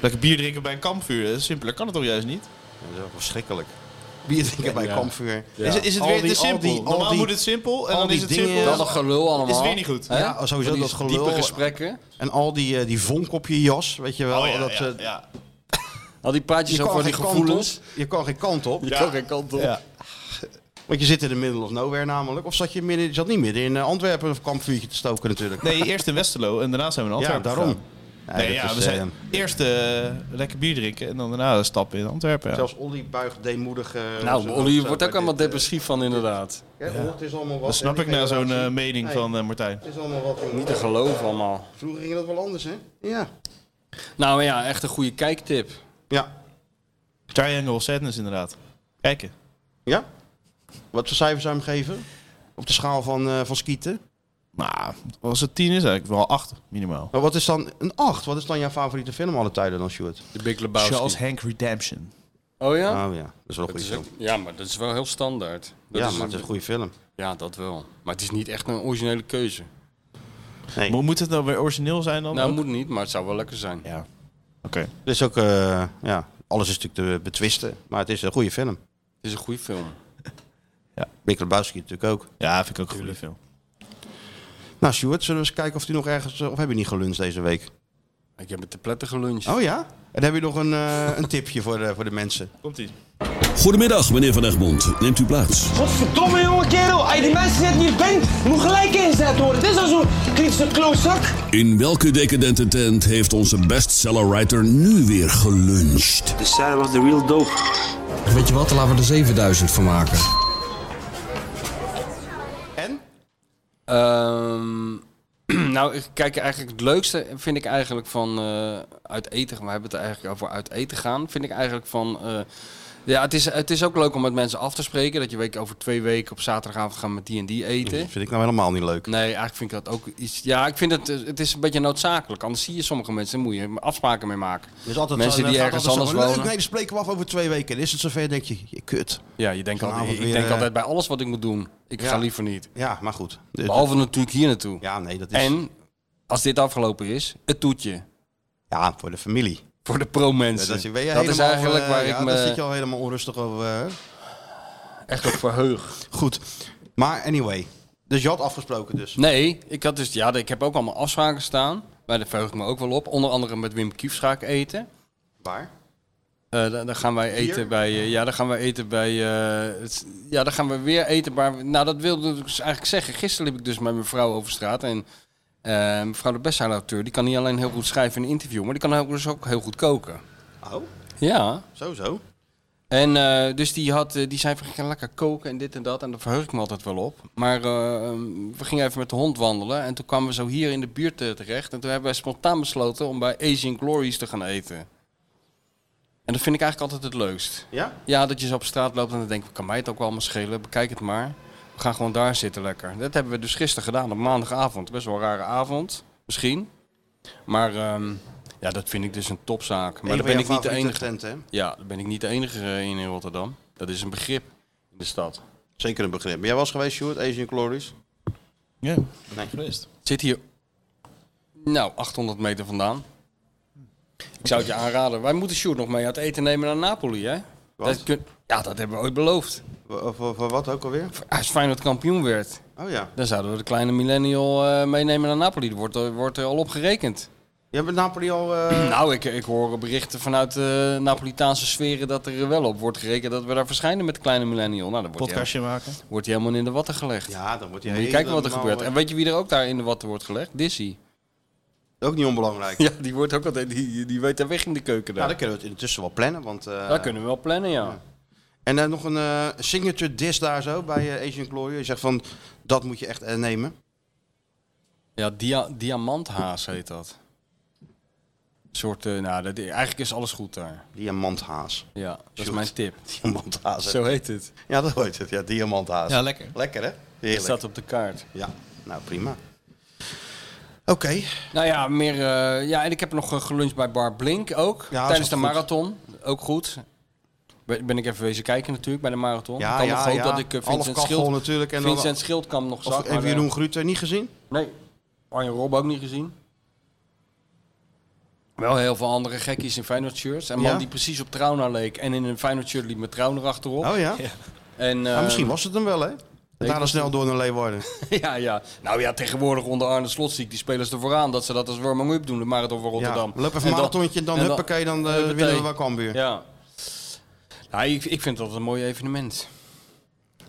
A: Lekker bier drinken bij een kampvuur. eh, Simpeler kan het toch juist niet?
E: Ja, Dat is wel verschrikkelijk. Bier drinken bij een kampvuur.
A: Is, het- is het
E: Al
A: weer
E: die-
A: te
E: al
A: simpel?
E: die- al
A: Normaal
E: die-
A: moet het simpel en
E: al
A: dan
E: die
A: is het
E: dingen-
A: simpel.
F: Dat een gelul allemaal.
A: Is weer niet goed.
F: Hè?
E: Ja, sowieso
F: Van die
E: dat gelul.
F: Diepe gesprekken.
E: En al die, eh die vonk op je jas, weet je wel.
A: Oh ja,
E: dat,
A: ja,
E: eh,
A: ja.
F: Al die praatjes
E: Je
F: over
E: kan,
F: die
E: geen kant op,
F: gevoelens.
E: je kan geen kant op.
F: Je kan geen kant op.
A: Ja.
E: Want je zit in de middle of nowhere namelijk. Of zat je, midden, je zat niet midden in eh, Antwerpen een kampvuurtje te stoken natuurlijk.
A: Nee, eerst in Westerlo en daarna zijn we in
E: ja,
A: Antwerpen
E: daarom.
A: gegaan.
E: Ja,
A: Nee,
E: dat
A: ja,
E: is,
A: we zijn
E: eh,
A: eerst eh, lekker bier drinken en dan daarna stappen in Antwerpen. ja.
E: Zelfs Olly buigt deemoedig. eh,
F: Nou,
E: zijn
F: Olly wordt
E: hoofd, eh,
F: ook
E: bij
F: allemaal
E: dit, eh,
F: depressief van inderdaad.
E: Kijk, Het is allemaal wat.
A: Dat snap
E: En
A: ik
E: die
A: na zo'n eh,
E: generatie-
A: mening
E: Hey,
A: van eh, Martijn.
E: Het is allemaal wat. jongen.
F: Te geloven allemaal.
E: Vroeger ging dat wel anders, hè? Ja.
F: Nou ja, echt een goede kijktip.
E: Ja.
A: Triangle of Sadness inderdaad. Kijken.
E: Ja? Wat voor cijfers zou je hem geven? Op de schaal van, eh, van skieten.
A: Nou, als het tien is, eigenlijk wel acht minimaal.
E: Maar wat is dan een 8? Wat is dan jouw favoriete film alle tijden dan, Stuart?
F: De Big Lebowski.
A: Hank Redemption.
F: Oh ja?
E: Oh ja, dat is wel een
F: Dat
E: goede
F: is ook-
E: film.
F: ja, maar dat is wel heel standaard. Dat
E: ja,
F: is
E: maar het is een goede film.
F: Ja, dat wel. Maar het is niet echt een originele keuze.
E: Nee.
A: Mo- Moet het nou weer origineel zijn dan?
F: Nou,
A: Oh, ook?
F: moet niet, maar het zou wel lekker zijn.
A: Ja. Oké.
E: Het is ook, eh, ja, alles is natuurlijk te betwisten, maar het is een goede film.
F: Het is een goede film.
E: Big Lebowski natuurlijk ook.
A: Ja, vind ik ook een goede film.
E: Nou, Stuart, zullen we eens kijken of die nog ergens, eh, of heb je niet geluncht deze week?
F: Ik heb met de pletten geluncht.
E: Oh ja? En heb je nog een, eh, een tipje voor de, voor de mensen?
A: Komt-ie.
C: Goedemiddag, meneer Van Egmond. Neemt u plaats.
H: Godverdomme jonge kerel, als je die mensen net niet bent, moet gelijk ingezet worden. Dit is al zo'n kritische klootzak.
C: In welke decadente tent heeft onze bestsellerwriter nu weer geluncht?
I: De Sarah was de real dope.
J: Oh, Weet je wat, laten we er 7000 van maken.
E: En?
F: Ehm, nou, ik kijk, eigenlijk het leukste vind ik eigenlijk van eh, uit eten. We hebben het er eigenlijk over uit eten gaan. Vind ik eigenlijk van. eh, ja, het is, het is ook leuk om met mensen af te spreken. Dat je weet over twee weken op zaterdagavond gaan we met die en die eten.
E: Dat vind ik nou helemaal niet leuk.
F: Nee, eigenlijk vind ik dat ook iets. Ja, ik vind het. Het is een beetje noodzakelijk. Anders zie je sommige mensen. Daar moet je afspraken mee maken.
E: Dus altijd
F: Mensen
E: zo-
F: die
E: gaat
F: ergens
E: altijd zo,
F: anders
E: "Leuk,
F: wonen."
E: Nee, dan spreken we af over twee weken. Dan is het zover, denk je, je kut.
F: Ja, je denkt altijd,
E: Vanavond
F: ik
E: weer,
F: denk
E: eh,
F: altijd bij alles wat ik moet doen. Ik
E: Ja.
F: ga liever niet.
E: Ja, maar goed. De-
F: Behalve natuurlijk hier naartoe.
E: ja, nee, dat is...
F: En als dit afgelopen is, het toetje.
E: Ja, voor de familie.
F: Voor de pro-mensen.
E: Dat, ben je
F: Dat is
E: helemaal,
F: eigenlijk
E: eh,
F: waar
E: ja,
F: ik
E: Daar zit
F: me
E: je al helemaal onrustig over. eh.
F: echt op verheug.
E: Goed. Maar anyway. Dus je had afgesproken dus.
F: Nee, ik, had dus, ja, ik heb ook allemaal afspraken staan. Maar daar verheug ik me ook wel op. Onder andere met Wim Kiefs ga ik eten.
E: Waar?
F: Eh, dan, dan gaan wij eten bij. eh, ja, dan gaan wij eten bij. eh, het, ja, dan gaan we weer eten. Maar, nou, dat wilde ik dus eigenlijk zeggen. Gisteren liep ik dus met mijn vrouw over straat. En eh, mevrouw de bestsellerauteur, die kan niet alleen heel goed schrijven en interviewen, maar die kan ook dus ook heel goed koken.
E: Oh,
F: Ja.
E: sowieso.
F: En eh, dus die, had, eh, die zei, we gaan lekker koken en dit en dat. En daar verheug ik me altijd wel op. Maar eh, we gingen even met de hond wandelen. En toen kwamen we zo hier in de buurt eh, terecht. En toen hebben wij spontaan besloten om bij Asian Glories te gaan eten. En dat vind ik eigenlijk altijd het leukst.
E: Ja?
F: Ja, dat je zo op straat loopt en dan denk ik, kan mij het ook wel allemaal schelen. Bekijk het maar. We gaan gewoon daar zitten lekker. Dat hebben we dus gisteren gedaan op maandagavond. Best wel een rare avond, misschien. Maar ehm, ja, dat vind ik dus een topzaak. Maar
E: Een
F: dan
E: van
F: ben
E: jouw
F: ik niet de
E: favoriete
F: enige.
E: tenten, hè?
F: Ja, daar ben ik niet de enige eh, in in Rotterdam. Dat is een begrip in de stad.
E: Zeker een begrip. Ben jij was geweest, Sjoerd, Asian Glories?
A: Ja,
E: Nee.
A: geweest.
F: Het zit hier, nou, 800 meter vandaan. Ik zou het je aanraden. Wij moeten Sjoerd nog mee uit eten nemen naar Napoli, hè?
E: Wat?
F: Dat kun- ja, dat hebben we ooit beloofd.
E: Voor, voor- voor wat ook alweer?
F: Als Feyenoord kampioen werd,
E: Oh ja.
F: dan zouden we de kleine millennial eh, meenemen naar Napoli. Daar wordt, er- wordt er al op gerekend.
E: Je hebt met Napoli al... eh,
F: Nou, ik, ik hoor berichten vanuit de Napolitaanse sferen dat er wel op wordt gerekend dat we daar verschijnen met de kleine millennial. Nou, dan wordt hij,
A: Podcastje maken.
F: wordt hij helemaal in de watten gelegd.
E: Ja, dan wordt
F: Moet
E: hij
F: je kijken wat er
E: helemaal,
F: gebeurt. En
E: eh,
F: weet je wie er ook daar in de watten wordt gelegd? Dizzy.
E: Ook niet onbelangrijk.
F: Ja, die, wordt ook altijd, die, die weet daar weg in de keuken daar.
E: Nou, dan kunnen we het intussen wel plannen. Want, eh,
F: Daar kunnen we wel plannen, ja.
E: En dan nog een eh, signature dis daar zo bij eh, Asian Glory. Je zegt van, dat moet je echt eh, nemen.
F: Ja, dia diamanthaas heet dat. Een soort, eh, nou, dat, eigenlijk is alles goed daar.
E: Diamanthaas.
F: Ja, dat is
E: Sjoerd.
F: mijn tip.
E: Diamanthaas. hè?
F: Zo heet het.
E: Ja, dat hoort het. Ja, diamanthaas.
A: Ja, lekker.
E: Lekker, hè?
F: Het
E: Heerlijk.
F: staat op de kaart.
E: Ja, nou prima. Oké.
F: Nou ja, meer, eh, ja, en ik heb nog eh, geluncht bij Bar Blink ook.
E: Ja, is
F: tijdens
E: ook
F: de
E: goed.
F: marathon. Ook goed. Ben, ben ik even wezen kijken natuurlijk bij de marathon.
E: Ja,
F: ik had
E: ja,
F: nog gehoopt
E: ja.
F: dat ik eh,
E: Half
F: Vincent
E: kachel
F: Schild...
E: natuurlijk en dan-
F: Vincent Schildkamp nog
E: Of
F: zag.
E: hebben
F: maar,
E: Jeroen Gruter niet gezien?
F: eh, Nee. Arjen Rob ook niet gezien. Wel heel veel andere gekkies in Feyenoord shirts. En man
E: Ja?
F: die precies op Trauner leek. En in een Feyenoord shirt liep met Trauner achterop.
E: Oh ja.
F: En,
E: Maar
F: eh,
E: misschien was het hem wel, hè?
F: ik
E: Daarna
F: was
E: snel door naar Leeuwarden.
F: ja, ja. Nou ja, tegenwoordig onder Arne Slot zie ik die spelers er vooraan. Dat ze dat als warming-up doen, de marathon van
E: Ja,
F: Rotterdam.
E: loop even
F: En
E: een
F: dan-
E: marathontje, dan,
F: en
E: dan huppakee, dan eh, winnen we wel Cambuur. Dus
F: Ja. Nou, ik, ik vind dat een mooi evenement.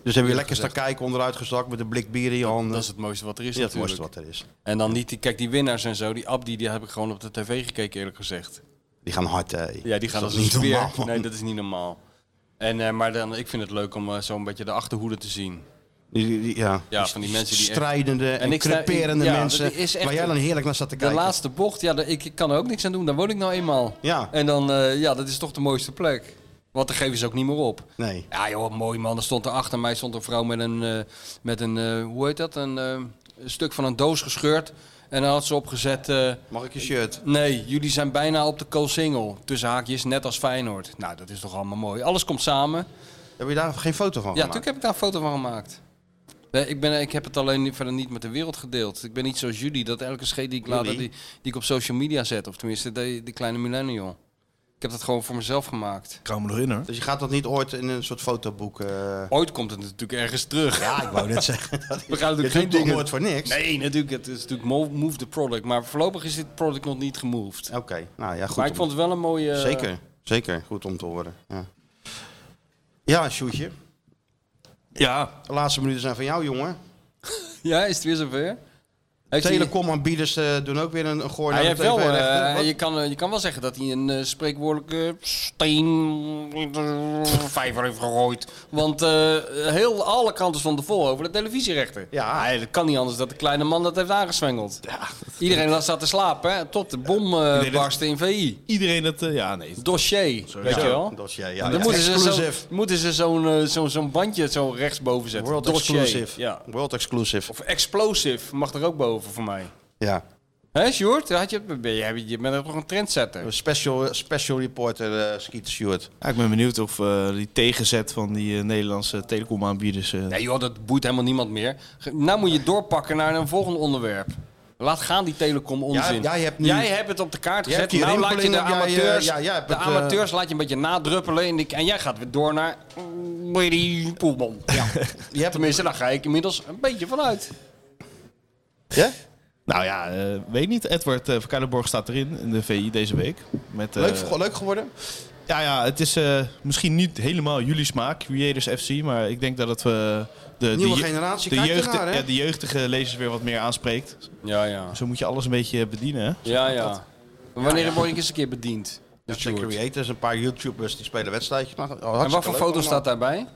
E: Dus hebben we lekker staan kijken, onderuit gezakt met een blik bier in je handen.
F: Dat is het mooiste wat er is
E: Ja, het
F: natuurlijk.
E: mooiste wat er is.
F: En dan niet die, kijk, die winnaars en zo, die Abdi, die heb ik gewoon op de tv gekeken eerlijk gezegd.
E: Die gaan hard, hè?
F: Ja, die gaan
E: Dat
F: als
E: is
F: een
E: niet
F: speer.
E: normaal, man.
F: nee, dat is niet normaal. En, eh, maar dan, ik vind het leuk om eh, zo'n beetje de achterhoede te zien.
E: Die- die- die- ja.
F: Ja, van die mensen die echt-
E: Strijdende en,
F: En ik sta-
E: creperende
F: ja, dat is
E: mensen.
F: echt
E: Waar jij dan heerlijk naar staat te
F: De
E: kijken.
F: laatste bocht, ja, daar- ik, ik kan er ook niks aan doen. Daar woon ik nou eenmaal.
E: Ja.
F: En dan, eh, ja, dat is toch de mooiste plek. Want dan geven ze ook niet meer op.
E: Nee.
F: Ja joh, mooi man. Er stond er achter mij stond een vrouw met een, eh, met een eh, hoe heet dat, een eh, een stuk van een doos gescheurd. En dan had ze opgezet, eh,
E: Mag ik je shirt?
F: nee, jullie zijn bijna op de co-single. Tussen haakjes, net als Feyenoord. Nou, dat is toch allemaal mooi. Alles komt samen.
E: Heb je daar geen foto van
F: Ja,
E: gemaakt?
F: natuurlijk heb ik daar een foto van gemaakt. Nee, ik, ben, ik heb het alleen niet- verder niet met de wereld gedeeld. Ik ben niet zoals jullie, dat elke scheet die ik laat, die,
E: Jullie?
F: die ik op social media zet. Of tenminste, de, de kleine millennial. Ik heb dat gewoon voor mezelf gemaakt.
A: Ik hou me erin hoor.
E: Dus je gaat dat niet ooit in een soort fotoboek... eh,
F: Ooit komt het natuurlijk ergens terug.
E: Ja, ik wou net zeggen. Dat
F: We gaan
E: je
F: natuurlijk geen
E: doet toch
F: dingen...
E: nooit voor niks?
F: Nee, natuurlijk. Het is natuurlijk mo- move the product. Maar voorlopig is dit product nog niet gemoved.
E: Oké, nou ja, goed.
F: maar ik
E: om-
F: vond het wel een mooie...
E: Zeker, zeker. Goed om te horen. Ja, ja Sjoerdje.
A: Ja.
E: De laatste minuten zijn van jou, jongen.
F: Ja, is het weer zover? Heeft hij-
E: Telecomaanbieders eh, doen ook weer een, een gooi
F: Hij
E: naar
F: heeft
E: de
F: wel, eh,
E: TV-rechten. Wat?
F: je, kan, eh, je kan wel zeggen dat hij een eh, spreekwoordelijke steen in de vijver heeft gegooid. Want eh, heel alle kanten stonden vol over de televisierechten.
E: Ja.
F: Nee, dat kan niet anders dat de kleine man dat heeft aangezwengeld. Iedereen lag zat te slapen, hè, tot de bom eh,
A: dat-
F: barstte in VI.
A: Iedereen het, eh, ja nee.
F: Dossier, weet
E: Ja,
F: je wel?
E: dossier, ja,
F: dan
E: ja.
F: moeten, ze zo,
E: Exclusive.
F: moeten ze zo'n eh, zo'n- zo'n bandje zo rechtsboven zetten.
E: World
F: Dossier.
E: exclusive.
F: Ja.
E: World exclusive.
F: Of explosive mag er ook boven voor mij.
E: Ja.
F: Hé, Sjoerd? Had je, ben je, je bent toch een trendsetter?
E: Een Special, special reporter eh Skeeter Stewart.
A: Ja, ik ben benieuwd of eh, die tegenzet van die eh, Nederlandse telecomaanbieders... eh,
F: Nee joh, dat boeit helemaal niemand meer. Ge- Nou moet je doorpakken naar een volgend onderwerp. Laat gaan die telecom onzin.
E: Ja, jij hebt nu-
F: het op de kaart
E: Jij hebt
F: gezet.
E: die
F: Nou laat je
E: rimpeling,
F: de
E: heb jij, eh,
F: amateurs,
E: ja, jij hebt
F: de
E: het, eh,
F: amateurs laat je een beetje nadruppelen. In die, en jij gaat weer door naar... Mary Poelman. Ja.
E: Je hebt
F: Tenminste, daar ga ik inmiddels een beetje van uit.
E: Ja?
A: Nou ja, eh, weet niet. Edward eh, van Kuilenborg staat erin in de VI deze week. Met, eh,
E: Leuk, leuk geworden?
A: Ja, ja, het is eh, misschien niet helemaal jullie smaak, Creators FC, maar ik denk dat het eh, de,
E: Nieuwe
A: de je-
E: generatie
A: de,
E: kijkt
A: jeugd,
E: ernaar, hè?
A: ja, de jeugdige lezers weer wat meer aanspreekt.
F: Ja, ja.
A: Zo moet je alles een beetje bedienen. hè?
F: Ja, ja. Maar wanneer word ik eens een keer bediend?
E: Dus de creators, een paar YouTubers die spelen wedstrijdjes. Nou, hartstikke
F: En wat voor
E: leuk
F: foto
E: allemaal.
F: staat daarbij?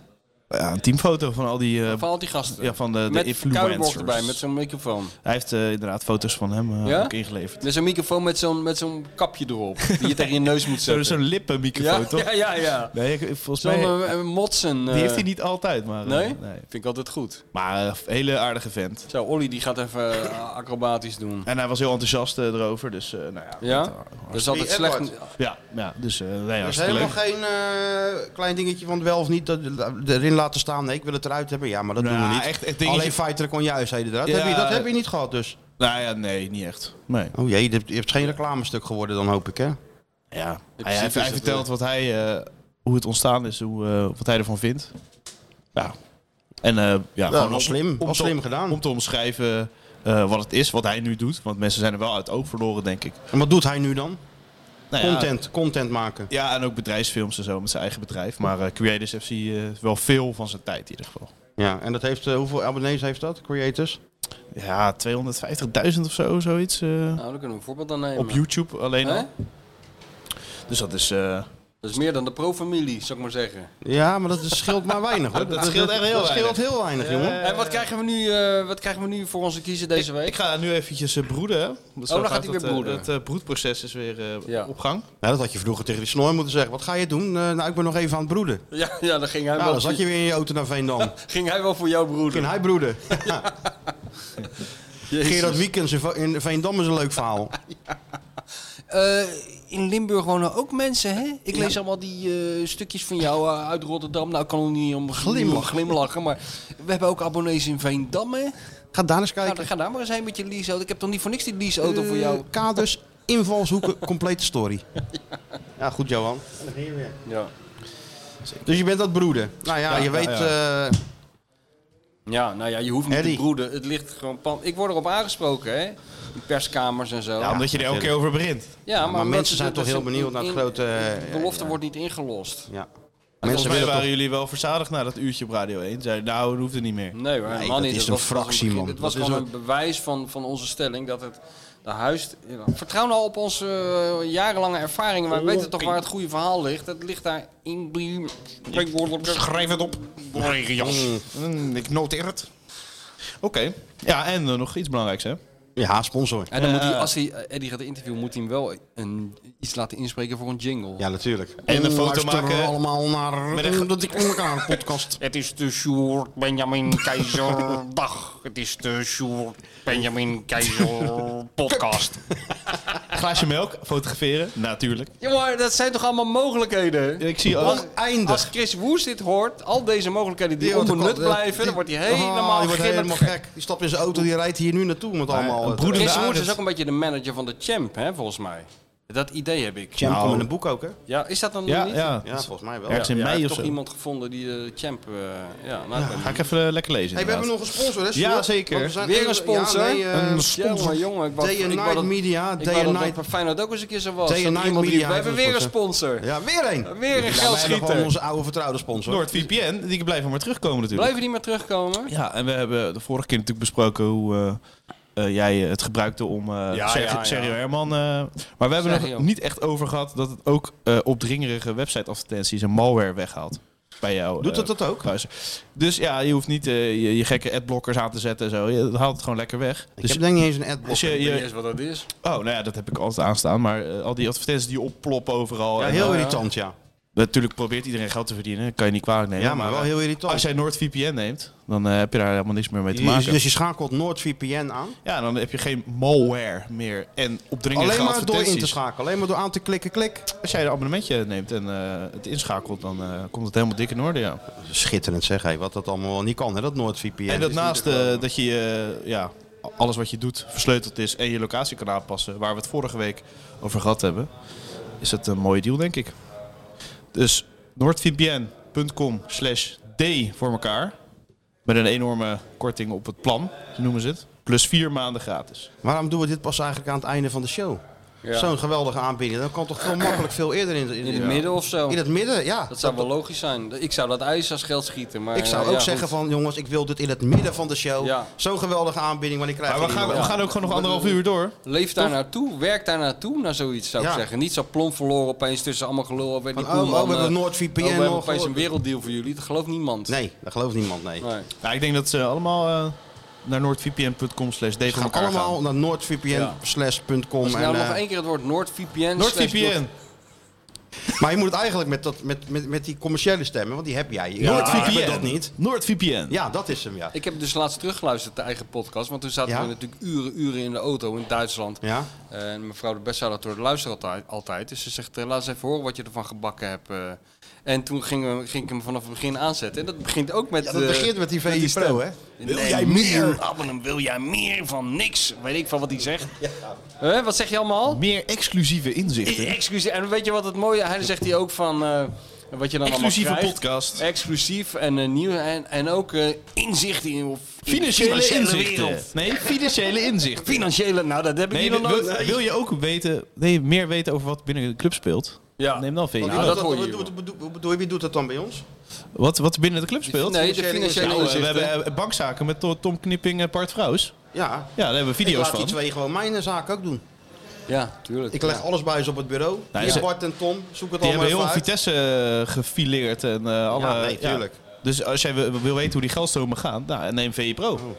A: Ja, een teamfoto van al die, eh,
F: Van al die gasten.
A: ja, van de, de
F: met
A: influencers.
F: Koudenborg erbij, met zo'n microfoon.
A: Hij heeft eh, inderdaad foto's van hem eh,
F: Ja?
A: ook ingeleverd.
F: Er is een microfoon met zo'n met zo'n kapje erop. Die je tegen je neus moet
A: Zo-
F: zetten.
A: Zo'n lippenmicrofoon,
F: ja,
A: toch?
F: ja, ja, ja.
A: Nee, ik- volgens
F: Zo'n
A: mij...
F: eh, eh, motsen. eh,
A: die heeft hij niet altijd, maar... eh,
F: Nee? Vind ik altijd goed.
A: Maar eh, hele aardige vent.
F: Zo, Olly die gaat even eh, acrobatisch doen.
A: En hij was heel enthousiast eh, erover, dus eh, nou ja.
F: Ja? Dat is altijd
E: Die
F: slecht.
E: Edward.
A: Ja, ja dus eh nee,
E: Er is
A: hartstikke
E: helemaal
A: leuk.
E: geen eh, klein dingetje van wel of niet dat, erin laten staan. Nee, ik wil het eruit hebben. Ja, maar dat doen
A: Nou,
E: we niet.
A: echt- echt dingetje-
E: Alleen fighter kon juist heden eruit.
A: Ja.
E: Heb je, dat heb je niet gehad dus.
A: Nou ja, nee, niet echt. Nee.
E: Oh jee, dit- je hebt geen reclamestuk geworden dan hoop ik hè?
A: Ja, hij,
F: principe
A: hij,
F: is dat,
A: hij vertelt wat hij, eh, hoe het ontstaan is, hoe, eh, wat hij ervan vindt. Ja. En eh, ja,
E: Ja,
A: gewoon om-
E: was slim.
A: om
E: Was
A: te-
E: slim gedaan.
A: om te omschrijven eh, wat het is, wat hij nu doet. Want mensen zijn er wel uit oog verloren, denk ik.
E: En wat doet hij nu dan?
A: Nou ja,
E: Content, content maken.
A: Ja, en ook bedrijfsfilms en zo met zijn eigen bedrijf. Maar eh, Creators FC eh, wel veel van zijn tijd in ieder geval.
E: Ja, en dat heeft, eh, hoeveel abonnees heeft dat, creators?
A: Ja, 250.000 of zo, zoiets. eh,
F: Nou, daar kunnen we een voorbeeld aan nemen.
A: op YouTube alleen
F: Hè?
A: al. Dus dat is... eh,
F: Dat is meer dan de pro-familie, zou ik maar zeggen.
E: Ja, maar dat is- scheelt maar weinig hoor.
A: Dat scheelt echt heel
E: dat scheelt heel weinig, jongen.
F: En wat krijgen, we nu, eh, wat krijgen we nu voor onze kiezer deze week?
A: ik ga nu eventjes eh, broeden. hè. Want zo
F: Oh, dan gaat hij weer
A: het, eh,
F: broeden.
A: Het eh, broedproces is weer eh,
F: Ja.
A: op gang.
E: Nou, dat had je vroeger tegen die snor moeten zeggen. Wat ga je doen? Eh, nou, ik ben nog even aan het broeden.
F: Ja, ja dan ging hij,
E: Nou,
F: wel
E: dan
F: voor,
E: zat je weer in je auto naar Veendam.
F: ging hij wel voor jouw broer.
E: Ging hij broeden.
F: Jezus.
E: Gerard Wiekens in Ve- in Veendam is een leuk verhaal.
F: Eh, in Limburg wonen ook mensen, hè? Ik lees allemaal die eh, stukjes van jou eh, uit Rotterdam. Nou, ik kan er niet om glimlachen. glimlachen, maar we hebben ook abonnees in Veendam,
E: Ah,
F: hè?
E: Ga daar eens
F: Nou,
E: kijken.
F: dan ga daar maar eens heen met je leaseauto. Ik heb toch niet voor niks die leaseauto voor
E: Eh,
F: jou?
E: Kaders, invalshoeken, complete story. Ja, goed Johan.
F: Ja.
E: Dus je bent dat broeden. Nou ja, je weet... eh,
F: Ja, nou ja, je hoeft niet
E: Eddie.
F: te broeden. Het ligt gewoon pan. Ik word erop aangesproken, hè? In perskamers en zo.
A: Ja, omdat je er elke keer over begint.
F: Ja,
E: maar mensen zijn
F: dat
E: toch heel
F: is een-
E: benieuwd naar het
F: in-
E: grote, eh,
F: de belofte
E: ja.
F: wordt niet ingelost.
E: ja.
F: volgens
E: Mensen
F: mij
A: Wij
E: willen
A: waren
E: toch...
A: jullie wel verzadigd na dat uurtje op Radio 1. Zeiden, nou, dat hoeft er niet meer.
F: Nee, maar
E: Nee,
F: man,
E: dat is
F: het
E: een
F: was pas
E: fractie,
F: begin.
E: man.
F: Het was
E: Dat is
F: gewoon een bewijs van, van onze stelling dat het de huis. ja, Vertrouw nou op onze eh, jarenlange ervaring. Wij weten toch waar het goede verhaal ligt. Het ligt daar in.
A: Schrijf het op.
F: Hmm,
A: ik noteer het. Oké. Ja, en eh, nog iets belangrijks, hè?
E: Ja, sponsor.
F: En dan moet hij, als hij eh, Eddie gaat interviewen, moet hij hem wel een, iets laten inspreken voor een jingle.
E: Ja, natuurlijk.
A: En een foto
E: Luisteren
A: maken.
E: allemaal naar...
A: Met
E: Met
A: een ge-
E: een... Dat ik onder elkaar podcast.
I: Het is de Sjoerd Benjamin Keizer dag. Het is de Sjoerd Benjamin Keizer podcast.
A: Glaasje melk, fotograferen, natuurlijk.
F: Ja, maar dat zijn toch allemaal mogelijkheden?
A: Ik zie ook...
F: Als,
E: Eindig.
F: als Chris Woes dit hoort, al deze mogelijkheden die,
E: wordt
F: onbenut
E: de kop-
F: blijven,
E: die-
F: dan wordt hij
E: Ah,
F: helemaal,
E: die wordt helemaal
F: gek.
E: gek. Die stapt in zijn auto, die rijdt hier nu naartoe met allemaal... eh,
A: een broeder-
F: Chris
A: De
F: Woes
A: Arend.
F: is ook een beetje de manager van de champ, hè, volgens mij. Dat idee heb ik.
E: Champion met een boek ook, hè?
F: Ja, is dat dan
A: Ja,
F: niet?
A: ja.
E: Ja, volgens mij wel.
A: Ergens in
F: Ja, ik
A: mei
F: heb
A: of
F: toch
A: zo.
F: iemand gevonden die de champ... eh, ja, nou, ik weet
A: Ga
F: niet.
A: ik even eh, lekker lezen,
E: Hey, we hebben
A: inderdaad.
E: nog een sponsor, hè?
A: Ja,
E: Sjoerd?
A: zeker.
E: Want we zijn
F: Weer
E: even-
F: een sponsor?
E: Ja, nee, eh,
F: Jongen, jongen, ik wou-
E: Day and
F: ik wou
E: Night
F: dat-
E: Media.
F: Ik
E: Day
F: wou
E: and
F: dat dat
E: Night.
F: bij Feyenoord ook eens een keer zo was.
E: Day and
F: Dat
E: Night
F: iemand die-
E: Media
F: we hebben
E: heeft
F: weer een
E: een
F: sponsor.
E: Ja, weer één.
F: Weer een geldschieter.
E: Van onze oude vertrouwde sponsor.
A: NoordVPN, die blijven maar terugkomen natuurlijk.
F: Blijven die maar terugkomen?
A: Ja, en we hebben de vorige keer natuurlijk besproken hoe eh, eh, jij eh, het gebruikte om eh, Sergio,
F: ja, ja.
A: Sergio Herman. eh, maar we hebben
F: Sergio.
A: nog niet echt over gehad dat het ook eh opdringerige website-advertenties en malware weghaalt. Bij jou.
E: Doet
A: eh,
E: het dat ook?
A: kruiser. Dus ja, je hoeft niet eh, je, je gekke adblockers aan te zetten en zo. Je dat haalt het gewoon lekker weg.
E: Ik
A: dus
E: heb denk ik niet eens een adblock.
A: als je,
F: Ik weet niet
A: je-
F: eens wat dat is.
A: oh, nou ja, dat heb ik altijd aanstaan. Maar eh, al die advertenties die opploppen overal.
E: Ja,
A: en,
E: heel
A: eh,
E: irritant, ja.
A: Natuurlijk probeert iedereen geld te verdienen. Dat kan je niet kwalijk nemen.
E: Ja, maar wel
A: eh,
E: heel irritant.
A: Als jij NoordVPN neemt, dan eh, heb je daar helemaal niks meer mee te
E: Je-
A: maken.
E: Dus je schakelt NoordVPN aan.
A: Ja, dan heb je geen malware meer en opdringende
E: Alleen maar door
A: advertenties.
E: in te schakelen. Alleen maar door aan te klikken, klik.
A: Als jij een abonnementje neemt en eh, het inschakelt, dan eh, komt het helemaal dik in orde, ja.
E: Schitterend zeg, hé. Wat dat allemaal wel niet kan, hè, dat NoordVPN.
A: en dat naast eh, dat je eh, ja, alles wat je doet versleuteld is en je locatie kan aanpassen, waar we het vorige week over gehad hebben, is het een mooie deal, denk ik. Dus noordvpn.com slash d voor elkaar. Met een enorme korting op het plan, zo noemen ze het. Plus vier maanden gratis.
E: Waarom doen we dit pas eigenlijk aan het einde van de show?
F: Ja.
E: Zo'n geweldige aanbieding. Dan kan toch veel makkelijk veel eerder in,
F: In het midden of zo.
E: In het midden, ja.
F: Dat zou wel logisch zijn. Ik zou dat ijs als geld schieten. Maar,
E: ik zou
F: eh,
E: ook
F: ja,
E: zeggen
F: goed.
E: van jongens, ik wil dit in het midden van de show.
F: Ja.
E: Zo'n geweldige aanbieding, maar ik krijg
A: Maar we gaan, we gaan ook gewoon nog anderhalf uur door.
F: Leef daar naartoe, werk daar naartoe, naar zoiets zou ik
E: Ja.
F: zeggen. Niet zo plomp verloren opeens tussen allemaal gelul. Weet
E: Van,
F: niet
E: oh,
F: hoe,
E: oh,
F: man,
E: we hebben
F: eh,
E: NordVPN
F: oh, we hebben
E: nog
F: opeens een
E: gehoord.
F: werelddeal voor jullie. Dat gelooft niemand.
E: Nee, dat gelooft niemand, nee.
F: Nee.
A: Ja, ik denk dat ze allemaal eh, naar noordvpn.com slash d
E: Gaan allemaal naar noordvpn.com.
F: Als ik
E: en,
F: nou
E: eh,
F: nog één keer het woord NordVPN... slash
A: NordVPN.
E: maar je moet het eigenlijk met, dat, met, met, met die commerciële stemmen, want die heb jij. Ik
A: NordVPN.
E: heb dat niet.
A: NordVPN.
E: Ja, dat is hem, ja.
F: Ik heb dus laatst teruggeluisterd de eigen podcast, want toen zaten
E: Ja?
F: we natuurlijk uren, uren in de auto in Duitsland.
E: ja.
F: En mevrouw de Bestsellerator luistert altijd, altijd. Dus ze zegt, eh, laat eens even horen wat je ervan gebakken hebt. eh. En toen ging, we- ging ik hem vanaf het begin aanzetten. En dat begint ook met...
E: Ja, dat
F: eh,
E: begint met die VI
F: stem. Nou,
E: Pro, hè?
F: Wil jij meer? Abonnem, wil jij meer van niks? Weet ik van wat hij zegt. Hè, wat zeg je allemaal?
A: Meer exclusieve inzichten.
F: Exclusief. En weet je wat het mooie... Hij zegt hij ook van... eh, wat je dan
A: Exclusieve
F: allemaal krijgt.
A: podcast.
F: Exclusief en eh, nieuw. En, en ook eh, inzicht in, of in de
A: Financiële inzichten.
F: wereld.
A: Nee, financiële inzichten.
F: Financiële, nou dat heb ik
A: Nee,
F: hier
A: wil,
F: nog nooit.
A: wil- wil je ook weten, nee, meer weten over wat binnen de club speelt?
F: Ja.
A: Neem dan VI.
F: Nou, dat hoor je
E: Wat
F: hier
E: doet- wat doet- Hoe bedoel je, wie doet dat dan bij ons?
A: Wat, wat binnen de club speelt?
F: Nee, de financiële
A: Nou, eh, we
F: inzichten.
A: hebben eh, bankzaken met To- Tom Knipping en Bart Vrouws.
E: Ja.
A: Ja, daar hebben we
E: Ik
A: video's
E: laat
A: van.
E: die twee gewoon mijn eh, zaak ook doen.
F: Ja, tuurlijk.
E: Ik leg
F: Ja.
E: alles bij ze op het bureau.
A: Nou,
E: Die
A: ze-
E: Bart en Tom, zoek het
A: Die hebben
E: allemaal
A: heel
E: even uit.
A: Vitesse eh, gefileerd en eh, alle...
E: Ja, nee, tuurlijk.
A: Dus als jij wil wil weten hoe die geldstromen gaan, nou, neem VI Pro.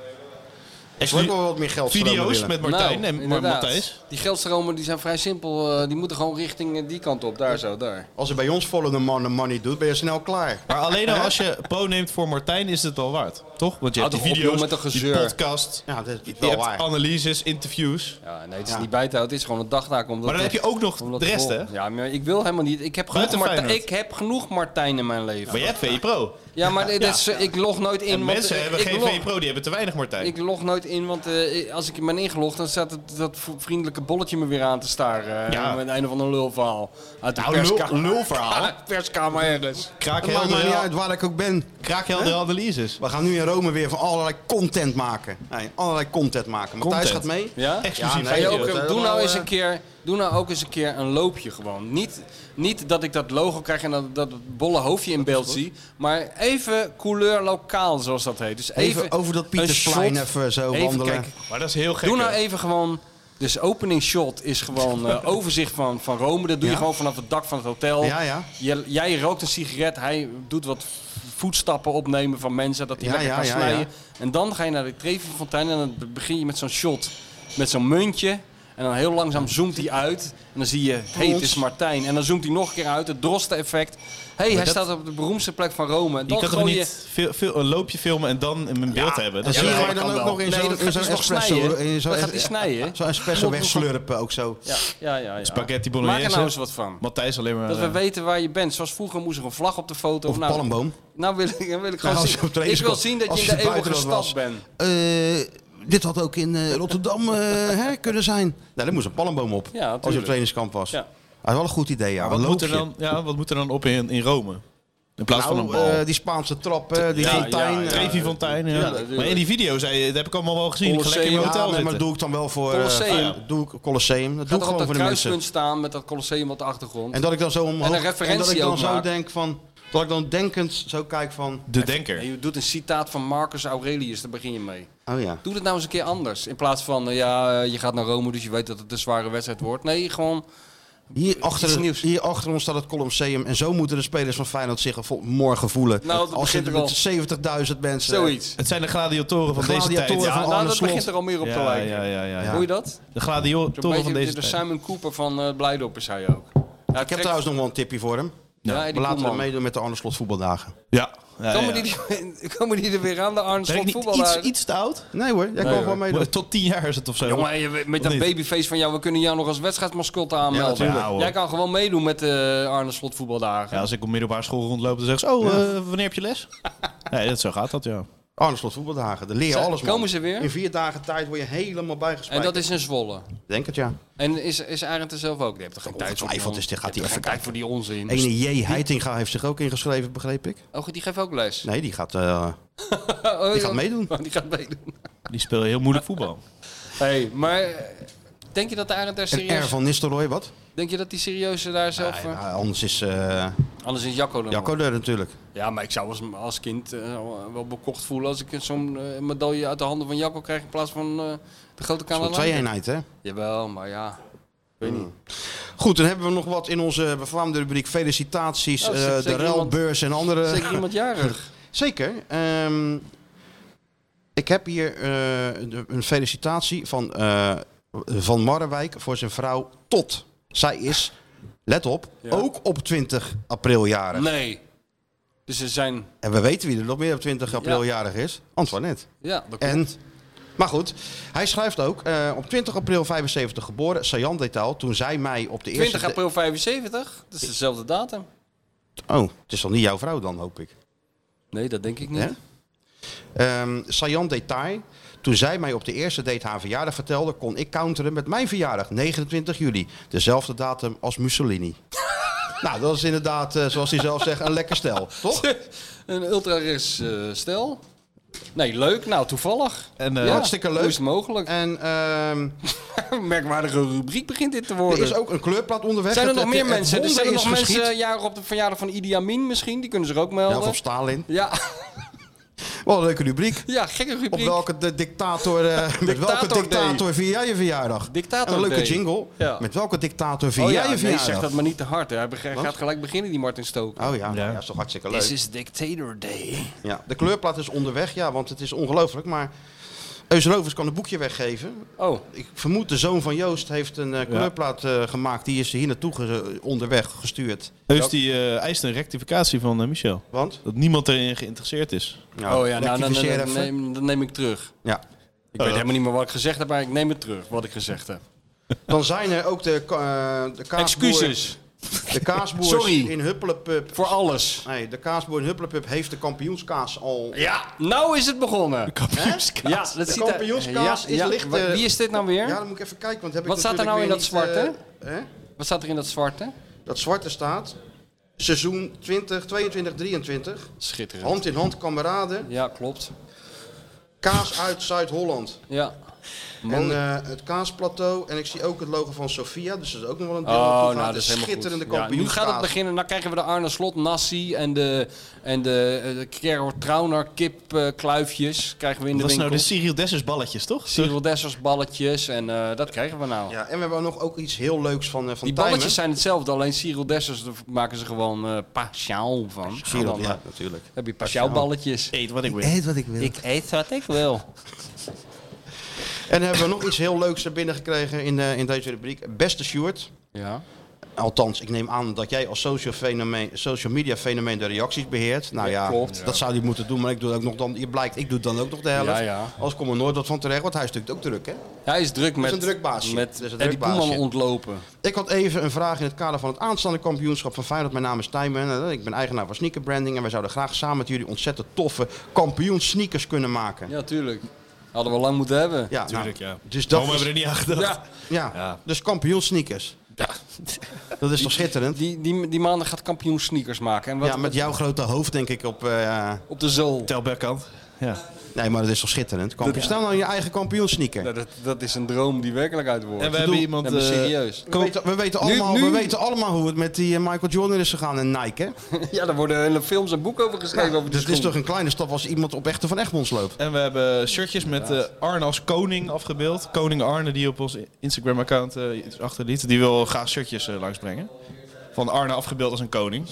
E: Ik wil ook wel wat meer geld
A: Video's met Martijn
F: Nou,
A: en Mar-
F: inderdaad.
A: Matthijs.
F: Die geldstromen die zijn vrij simpel. eh, die moeten gewoon richting eh, die kant op. Daar zo, daar.
E: Als je bij ons follow the man- the money doet, ben je snel klaar.
A: Maar alleen al als je pro neemt voor Martijn is het al waard, toch? Want je
F: Houd
A: hebt die
F: toch
A: video's,
F: op, joh, met dat
A: die
F: gezeur.
A: podcast,
E: Ja, dat is
A: je
E: wel
A: hebt
E: waar.
A: analyses, interviews.
F: Ja, nee, het is niet bij te houden. Het is gewoon een dagtaak. Omdat
A: Maar dan heb je ook nog
F: omdat
A: de rest, hè?
F: Ja, maar ik wil helemaal niet. Ik heb genoeg,
A: Buiten
F: Martijn,
A: Feyenoord.
F: ik heb genoeg Martijn in mijn leven.
A: Maar je hebt VI Pro.
F: Ja, maar dit is, ik log nooit in.
A: En
F: want,
A: mensen
F: eh,
A: hebben
F: ik
A: geen
F: log-
A: VI Pro, die hebben te weinig Martijn.
F: Ik log nooit in, want eh, als ik in ben ingelogd, dan staat het, dat v- vriendelijke bolletje me weer aan te staren. eh,
A: Ja.
F: Met een of ander lulverhaal. Uit de
A: Nou,
F: perska-
A: lul- lulverhaal?
F: perskamer ergens.
E: Het maakt mij niet uit
A: Kraakheldere
E: waar ik ook ben.
A: kraakheldere analyses.
E: We gaan nu in Rome weer van allerlei content maken. Nee, allerlei content maken. Matthijs
A: Content.
E: gaat mee.
F: Ja?
A: Exclusief.
E: Ja,
F: Ga je
E: nee,
F: ook,
E: dat
F: eh,
E: hebben
F: doe,
E: we
F: nou
E: al,
F: eens
E: eh,
F: een keer, doe nou ook eens een keer een loopje gewoon. Niet, niet dat ik dat logo krijg en dat, dat bolle hoofdje in beeld zie. Maar even couleur lokaal, zoals dat heet. Dus even,
E: Even over dat
F: een
E: Pietersplein
F: shot.
E: even zo wandelen.
F: kijken.
A: Maar dat is heel gek.
F: Doe nou
A: hè?
F: even gewoon... Dus opening shot is gewoon eh, overzicht van, van Rome. Dat doe je
E: Ja.
F: gewoon vanaf het dak van het hotel.
E: Ja, ja.
F: Je- jij rookt een sigaret. Hij doet wat voetstappen opnemen van mensen. Dat hij
E: Ja,
F: lekker
E: ja,
F: kan
E: ja,
F: snijden.
E: ja.
F: En dan ga je naar de Trevi-fontein. En dan begin je met zo'n shot. Met zo'n muntje. En dan heel langzaam zoomt hij uit. En dan zie je, hé, het is Martijn. En dan zoomt hij nog een keer uit. Het drosten-effect. Hé, hey, hij
A: dat-
F: staat op de beroemdste plek van Rome. En
A: Je
F: dan
A: kan toch
F: gooi je...
A: niet veel, veel, een loopje filmen en dan in mijn beeld hebben?
E: en
A: Dat is
E: zie
A: heel
E: je
A: gek.
E: dan ook
F: wel.
E: nog in
F: Nee,
E: zo'n
F: dat gaat
E: in zo'n
F: dus nog
E: espresso...
F: snijden.
E: in zo'n
F: Dat gaat
E: es-
F: hij snijden.
E: Zo'n espresso
F: Moet nog-
E: wegslurpen ook zo.
F: Ja, ja, ja, ja.
A: Spaghetti
F: Maak er nou
A: bolognese.
F: eens wat van.
A: Matthijs alleen maar...
F: Dat we
A: eh,
F: weten waar je bent. Zoals vroeger moest er een vlag op de foto.
E: Of
F: nou,
E: palmboom.
F: Nou wil ik, wil ik gewoon
E: als je op
F: zien. Ik
E: trainingskamp-
F: wil zien dat
E: als
F: je in
E: je
F: de eeuwige
E: buitenland was.
F: stad bent.
E: Eh, dit had ook in eh, Rotterdam eh, hè, kunnen zijn. Nou, daar moest een palmboom op.
F: Ja,
E: als je op
F: tuurlijk.
E: trainingskamp was.
F: Ja.
E: Dat is wel een goed idee, ja.
A: wat,
E: Een
A: moet er
E: loopje.
A: dan, ja, wat moet er dan op in, in Rome? In plaats van een
E: Nou,
A: bal.
E: eh, die Spaanse trap, eh, die
F: Ja,
E: fontein.
F: ja, ja.
E: eh,
A: Trevi Fontein. Ja.
F: ja, natuurlijk.
A: maar in die video zei je, dat heb ik allemaal wel gezien. Ik ga lekker in mijn
E: Ja,
A: hotel
E: nee, maar
A: zitten.
E: dat doe ik dan wel voor eh,
F: Colosseum.
E: ah, ja, doe ik Colosseum.
F: Ga er
E: Dat doe ik
F: op
E: gewoon
F: dat
E: voor de mensen.
F: kruispunt staan met dat Colosseum op de achtergrond.
E: En dat ik dan zo omhoog
F: En een referentie
E: dat ik dan
F: ook
E: zo
F: maak.
E: denk van dat ik dan denkend zo kijk van
A: De denker.
F: En je doet een citaat van Marcus Aurelius, daar begin je mee.
E: oh ja.
F: Doe dat nou eens een keer anders. In plaats van, eh, ja, eh, je gaat naar Rome, dus je weet dat het een zware wedstrijd wordt. Nee, gewoon...
E: Hier
F: Iets
E: achter,
F: nieuws.
E: hier achter ons staat het Colosseum en zo moeten de spelers van Feyenoord zich vo- morgen voelen.
F: Nou, dat
E: Als je
F: begint er al.
E: met 70.000 mensen
F: Zoiets.
A: Het zijn de gladiatoren van deze tijd.
E: Gladiatoren
A: Ja,
E: van
F: Ja, nou,
E: Arne
F: dat
E: Slot.
F: begint er al meer op te
A: ja,
F: lijken.
A: ja, ja, ja, ja.
F: Hoor je dat?
A: De
F: Zo'n
A: gladiatoren van
F: beetje
A: deze
F: de
A: tijd.
F: Simon Cooper van eh Blijdorp is hij ook. Ja,
E: Ik heb trouwens nog wel een tipje voor hem.
F: Ja, die
E: Maar laten we
F: Koeman.
E: meedoen met de Arne Slot voetbaldagen.
A: Ja. ja, ja,
F: Komen,
A: ja.
F: Die, komen die er weer aan, de Arne
A: Ben ik
F: Slot
A: niet
F: voetbal?
A: iets, iets te oud?
E: Nee hoor, jij kan
F: hoor.
E: gewoon meedoen.
A: Tot tien jaar is het of zo.
F: Jongen, je- met
A: Of
F: dat
A: niet?
F: babyface van jou, we kunnen jou nog als wedstrijdmascotte aanmelden.
A: natuurlijk. Ja, hoor.
F: Jij kan gewoon meedoen met de Arne Slot voetbaldagen.
A: Ja, als ik op middelbare school rondloop, dan zeggen ze, oh, eh, wanneer heb je les? nee, dat, zo gaat dat, ja.
E: Arne Slot voetbaldagen, daar leer je
F: Zijn-
E: alles man.
F: komen ze weer?
E: In vier dagen tijd word je helemaal
F: en
E: bijgespijkerd.
F: dat is in Zwolle.
E: Denk het ja.
F: En is, is Arend er zelf ook? Die heeft er geen tijd voor. die
E: Ongetwijfeld is dit- gaat
F: Die
E: hij
F: heeft
E: even
F: geen tijd voor Dus die onzin.
E: Ene J. Heitinga heeft zich ook ingeschreven, begreep ik.
F: Oh, die geeft ook les.
E: Nee, die gaat, eh,
F: Oh,
E: die
F: ja.
E: gaat meedoen.
F: Oh, die gaat meedoen.
A: Die spelen heel moeilijk voetbal.
F: Hey, maar eh, Denk je dat de Arend daar
E: En R
F: serieus...
E: van Nistelrooy, wat?
F: Denk je dat die serieus daar zelf... voor-
E: Ah, anders is... eh
F: Anders is Jacco er nog.
E: Jacco er natuurlijk.
F: Ja, maar ik zou als, als kind eh, wel bekocht voelen als ik zo'n eh, medaille uit de handen van Jacco krijg in plaats van eh, de grote
E: Dat is
F: kanalen.
E: wel twee eenheid, hè?
F: Jawel, maar ja. Weet niet.
E: Goed, dan hebben we nog wat in onze befaamde rubriek felicitaties,
F: Oh,
E: eh,
F: zeker
E: de
F: iemand-
E: ruilbeurs en andere.
F: Zeker iemand jarig.
E: Zeker. ehm, ik heb hier eh, de- een felicitatie van, eh, van Marrewijk voor zijn vrouw Tot. Zij is, let op, ook op 20 april jarig.
F: Nee. Dus er zijn...
E: En we weten wie er nog meer op 20 april
F: Ja.
E: jarig is. Antoinette.
F: Ja, dat
E: En, maar goed, hij schrijft ook, eh, op 20 april 75 geboren, Sajan detail, toen zij mij op de eerste...
F: 20 april 75. Dat is dezelfde datum.
E: Oh, het is dan niet jouw vrouw dan, hoop ik.
F: Nee, dat denk ik niet.
E: Hè? Ehm saillant detail. Toen zij mij op de eerste date haar verjaardag vertelde, kon ik counteren met mijn verjaardag, 29 juli. Dezelfde datum als Mussolini. nou, dat is inderdaad, eh, zoals hij zelf zegt, een lekker stel, toch?
F: Een ultra-res eh, stel. Nee, leuk. Nou, toevallig.
A: En eh,
F: Ja,
E: Hartstikke
F: Hoe
E: leuk.
F: is het mogelijk?
E: En ehm,
F: Merkwaardige rubriek begint dit te
E: er
F: worden.
E: is ook een kleurplaat onderweg.
F: zijn er
E: Het-
F: nog meer
E: het- het
F: mensen? Er
E: wonder
F: zijn er
E: is
F: nog mensen
E: geschied.
F: jarig op de verjaardag van Idi Amin misschien? Die kunnen ze er ook
E: Ja, of
F: melden.
E: op Stalin.
F: Ja,
E: Wat een leuke rubriek.
F: ja gekke
E: Op
F: rubriek.
E: welke de dictator, eh, met welke
F: Dictator
E: dictator vier jij je verjaardag?
F: Dictator
E: En een leuke
F: Day.
E: jingle.
F: Ja.
E: Met welke dictator vier
F: oh
E: jij
F: ja,
E: je
F: nee,
E: verjaardag?
F: zeg dat maar niet te hard. Hè. Hij beg- gaat gelijk beginnen, die Martin Stoker.
E: Oh ja, ja. dat is toch hartstikke leuk.
F: This is Dictator Day.
E: Ja, de kleurplaat is onderweg, ja, want het is ongelooflijk. Maar Eus Rovers kan een boekje weggeven.
F: Oh,
E: Ik vermoed de zoon van Joost heeft een eh, kleurplaat eh, gemaakt. Die is hier naartoe ge- onderweg gestuurd.
A: Dus die eh, eist een rectificatie van eh, Michel.
E: Want?
A: Dat niemand erin geïnteresseerd is.
F: oh ja, nou, dan, dan,
E: rectificeer
F: dan
E: even. Eh.
F: neem, dan neem ik terug.
E: Ja.
F: Ik weet helemaal niet meer wat ik gezegd heb, maar ik neem het terug, wat ik gezegd heb.
E: Dan zijn er ook de, ka- eh, de kaasboer...
F: Excuses
E: De kaasboers
F: Sorry.
E: in Huppelepup...
F: voor alles.
E: Nee, de kaasboer in Huppelepup heeft de kampioenskaas al...
F: Ja, nou is het begonnen. Ja, dat
E: De
F: ziet er-
E: kampioenskaas
F: Ja,
E: is
F: ja.
E: licht...
F: Wa-
E: eh,
F: Wie is dit nou weer?
E: Ja, dan moet ik even kijken, want heb
F: Wat
E: ik
F: staat er nou
E: natuurlijk
F: in
E: weer
F: dat
E: niet, eh, hè?
F: Wat staat er in dat zwarte?
E: Dat zwarte staat... Seizoen 20, 22, 23.
F: Schitterend.
E: Hand in hand, kameraden.
F: Ja, klopt.
E: Kaas uit Zuid-Holland.
F: Ja.
E: En eh, het kaasplateau. En ik zie ook het logo van Sofia. Dus dat is ook nog wel een deel.
F: Oh,
E: aan
F: nou,
E: toegaat.
F: dat
E: De
F: is helemaal
E: schitterende
F: goed. Ja, nu gaat het
E: kampioenskaas.
F: beginnen. Dan krijgen we de Arne Slot Nassi en de, en de, eh, de Kero Trauner kip eh, kluifjes krijgen we in de
A: Dat is
F: winkel.
A: nou de Cyril Dessers balletjes, toch?
F: Cyril Dessers balletjes en eh, dat krijgen we nou.
E: Ja, en we hebben nog ook iets heel leuks van, eh van
F: Die balletjes zijn hetzelfde, alleen Cyril Dessers daar maken ze gewoon eh paschaal van. Dan, eh,
E: Ja, natuurlijk.
F: heb je paschaal balletjes.
A: Eet wat ik wil.
E: wat ik wil.
F: Ik eet wat ik wil.
E: En hebben we nog iets heel leuks er binnen gekregen in, eh, in deze rubriek. Beste Sjoerd.
F: Ja.
E: Althans, ik neem aan dat jij als social, fenomeen, social media fenomeen de reacties beheert. Nou ja,
F: Ja, klopt.
E: dat zou hij moeten doen. Maar ik doe ook nog dan, je blijkt, ik doe dan ook nog de helft.
F: Ja, ja.
E: Als komt er nooit wat van terecht, want hij is natuurlijk ook druk, hè?
F: Hij is druk met,
E: een druk baasje.
F: met
E: Dat is een
F: Eddie
E: druk baasje.
F: Poelman ontlopen.
E: Ik had even een vraag in het kader van het aanstaande kampioenschap van Feyenoord. Mijn naam is Tijmen. eh, Ik ben eigenaar van Sneaker Branding. En wij zouden graag samen met jullie ontzettend toffe kampioens sneakers kunnen maken.
F: Ja, tuurlijk. Hadden we lang moeten hebben.
E: Ja,
A: Tuurlijk,
E: nou,
A: ja.
E: Dus dat
A: Waarom
E: is-
A: hebben we er niet aan gedacht?
F: Ja.
E: ja,
A: Ja.
E: dus kampioens sneakers. Dat is toch schitterend?
F: Die, die, die maandag gaat kampioen sneakers maken. En wat,
E: ja, met jouw grote hoofd denk ik op... eh,
F: Op de zool.
A: Tel Bergkamp. Ja.
E: nee, maar dat is toch schitterend? Kampioen. Stel nou je eigen kampioens sneaker.
F: dat, dat is een droom die werkelijkheid wordt.
A: En we hebben iemand...
F: Nee, maar
A: eh,
F: serieus.
E: We weten, we, weten
F: Nu-
E: allemaal,
F: nu-
E: we weten allemaal hoe het met die eh, Michael Jordan is gegaan en Nike. hè?
F: ja, daar worden hele films en boeken over geschreven. over die
E: Dus het is
F: schoen.
E: toch een kleine stap als iemand op Echte van Egmonds loopt.
A: En we hebben shirtjes met eh, Arne als koning afgebeeld. Koning Arne, die op ons Instagram-account eh, iets achterliet. Die wil graag shirtjes eh, langsbrengen. Van Arne afgebeeld als een koning.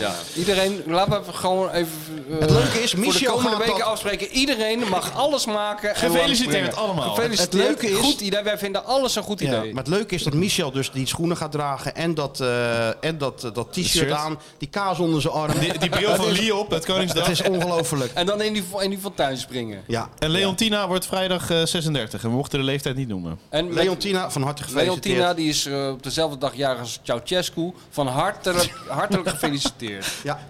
F: Ja. Iedereen, laten we gewoon even... eh,
E: Het leuke is,
F: voor de
E: Michel
F: komende
E: gaat
F: weken
E: dat-
F: afspreken. Iedereen mag alles maken. en
A: Gefeliciteerd
F: langsbrengen.
A: allemaal.
F: Gefeliciteerd.
E: Het leuke is-
F: Goed idee. Wij vinden alles een goed
E: Ja,
F: idee.
E: maar het leuke is dat Michel dus die schoenen gaat dragen en dat, eh, en dat, eh, dat t-shirt
A: shirt.
E: aan, die kaas onder zijn arm.
A: Die, die bril van Lee op, het Koningsdag.
E: Dat is ongelooflijk.
F: En dan in die, in die fontein springen.
E: Ja.
A: En Leontina wordt vrijdag eh, 36 en we mochten de leeftijd niet noemen.
F: En met-
E: Leontina, van harte gefeliciteerd.
F: Leontina die is eh, op dezelfde dag jarig als Ceausescu. Van hartelijk, hartelijk gefeliciteerd.
E: Ja.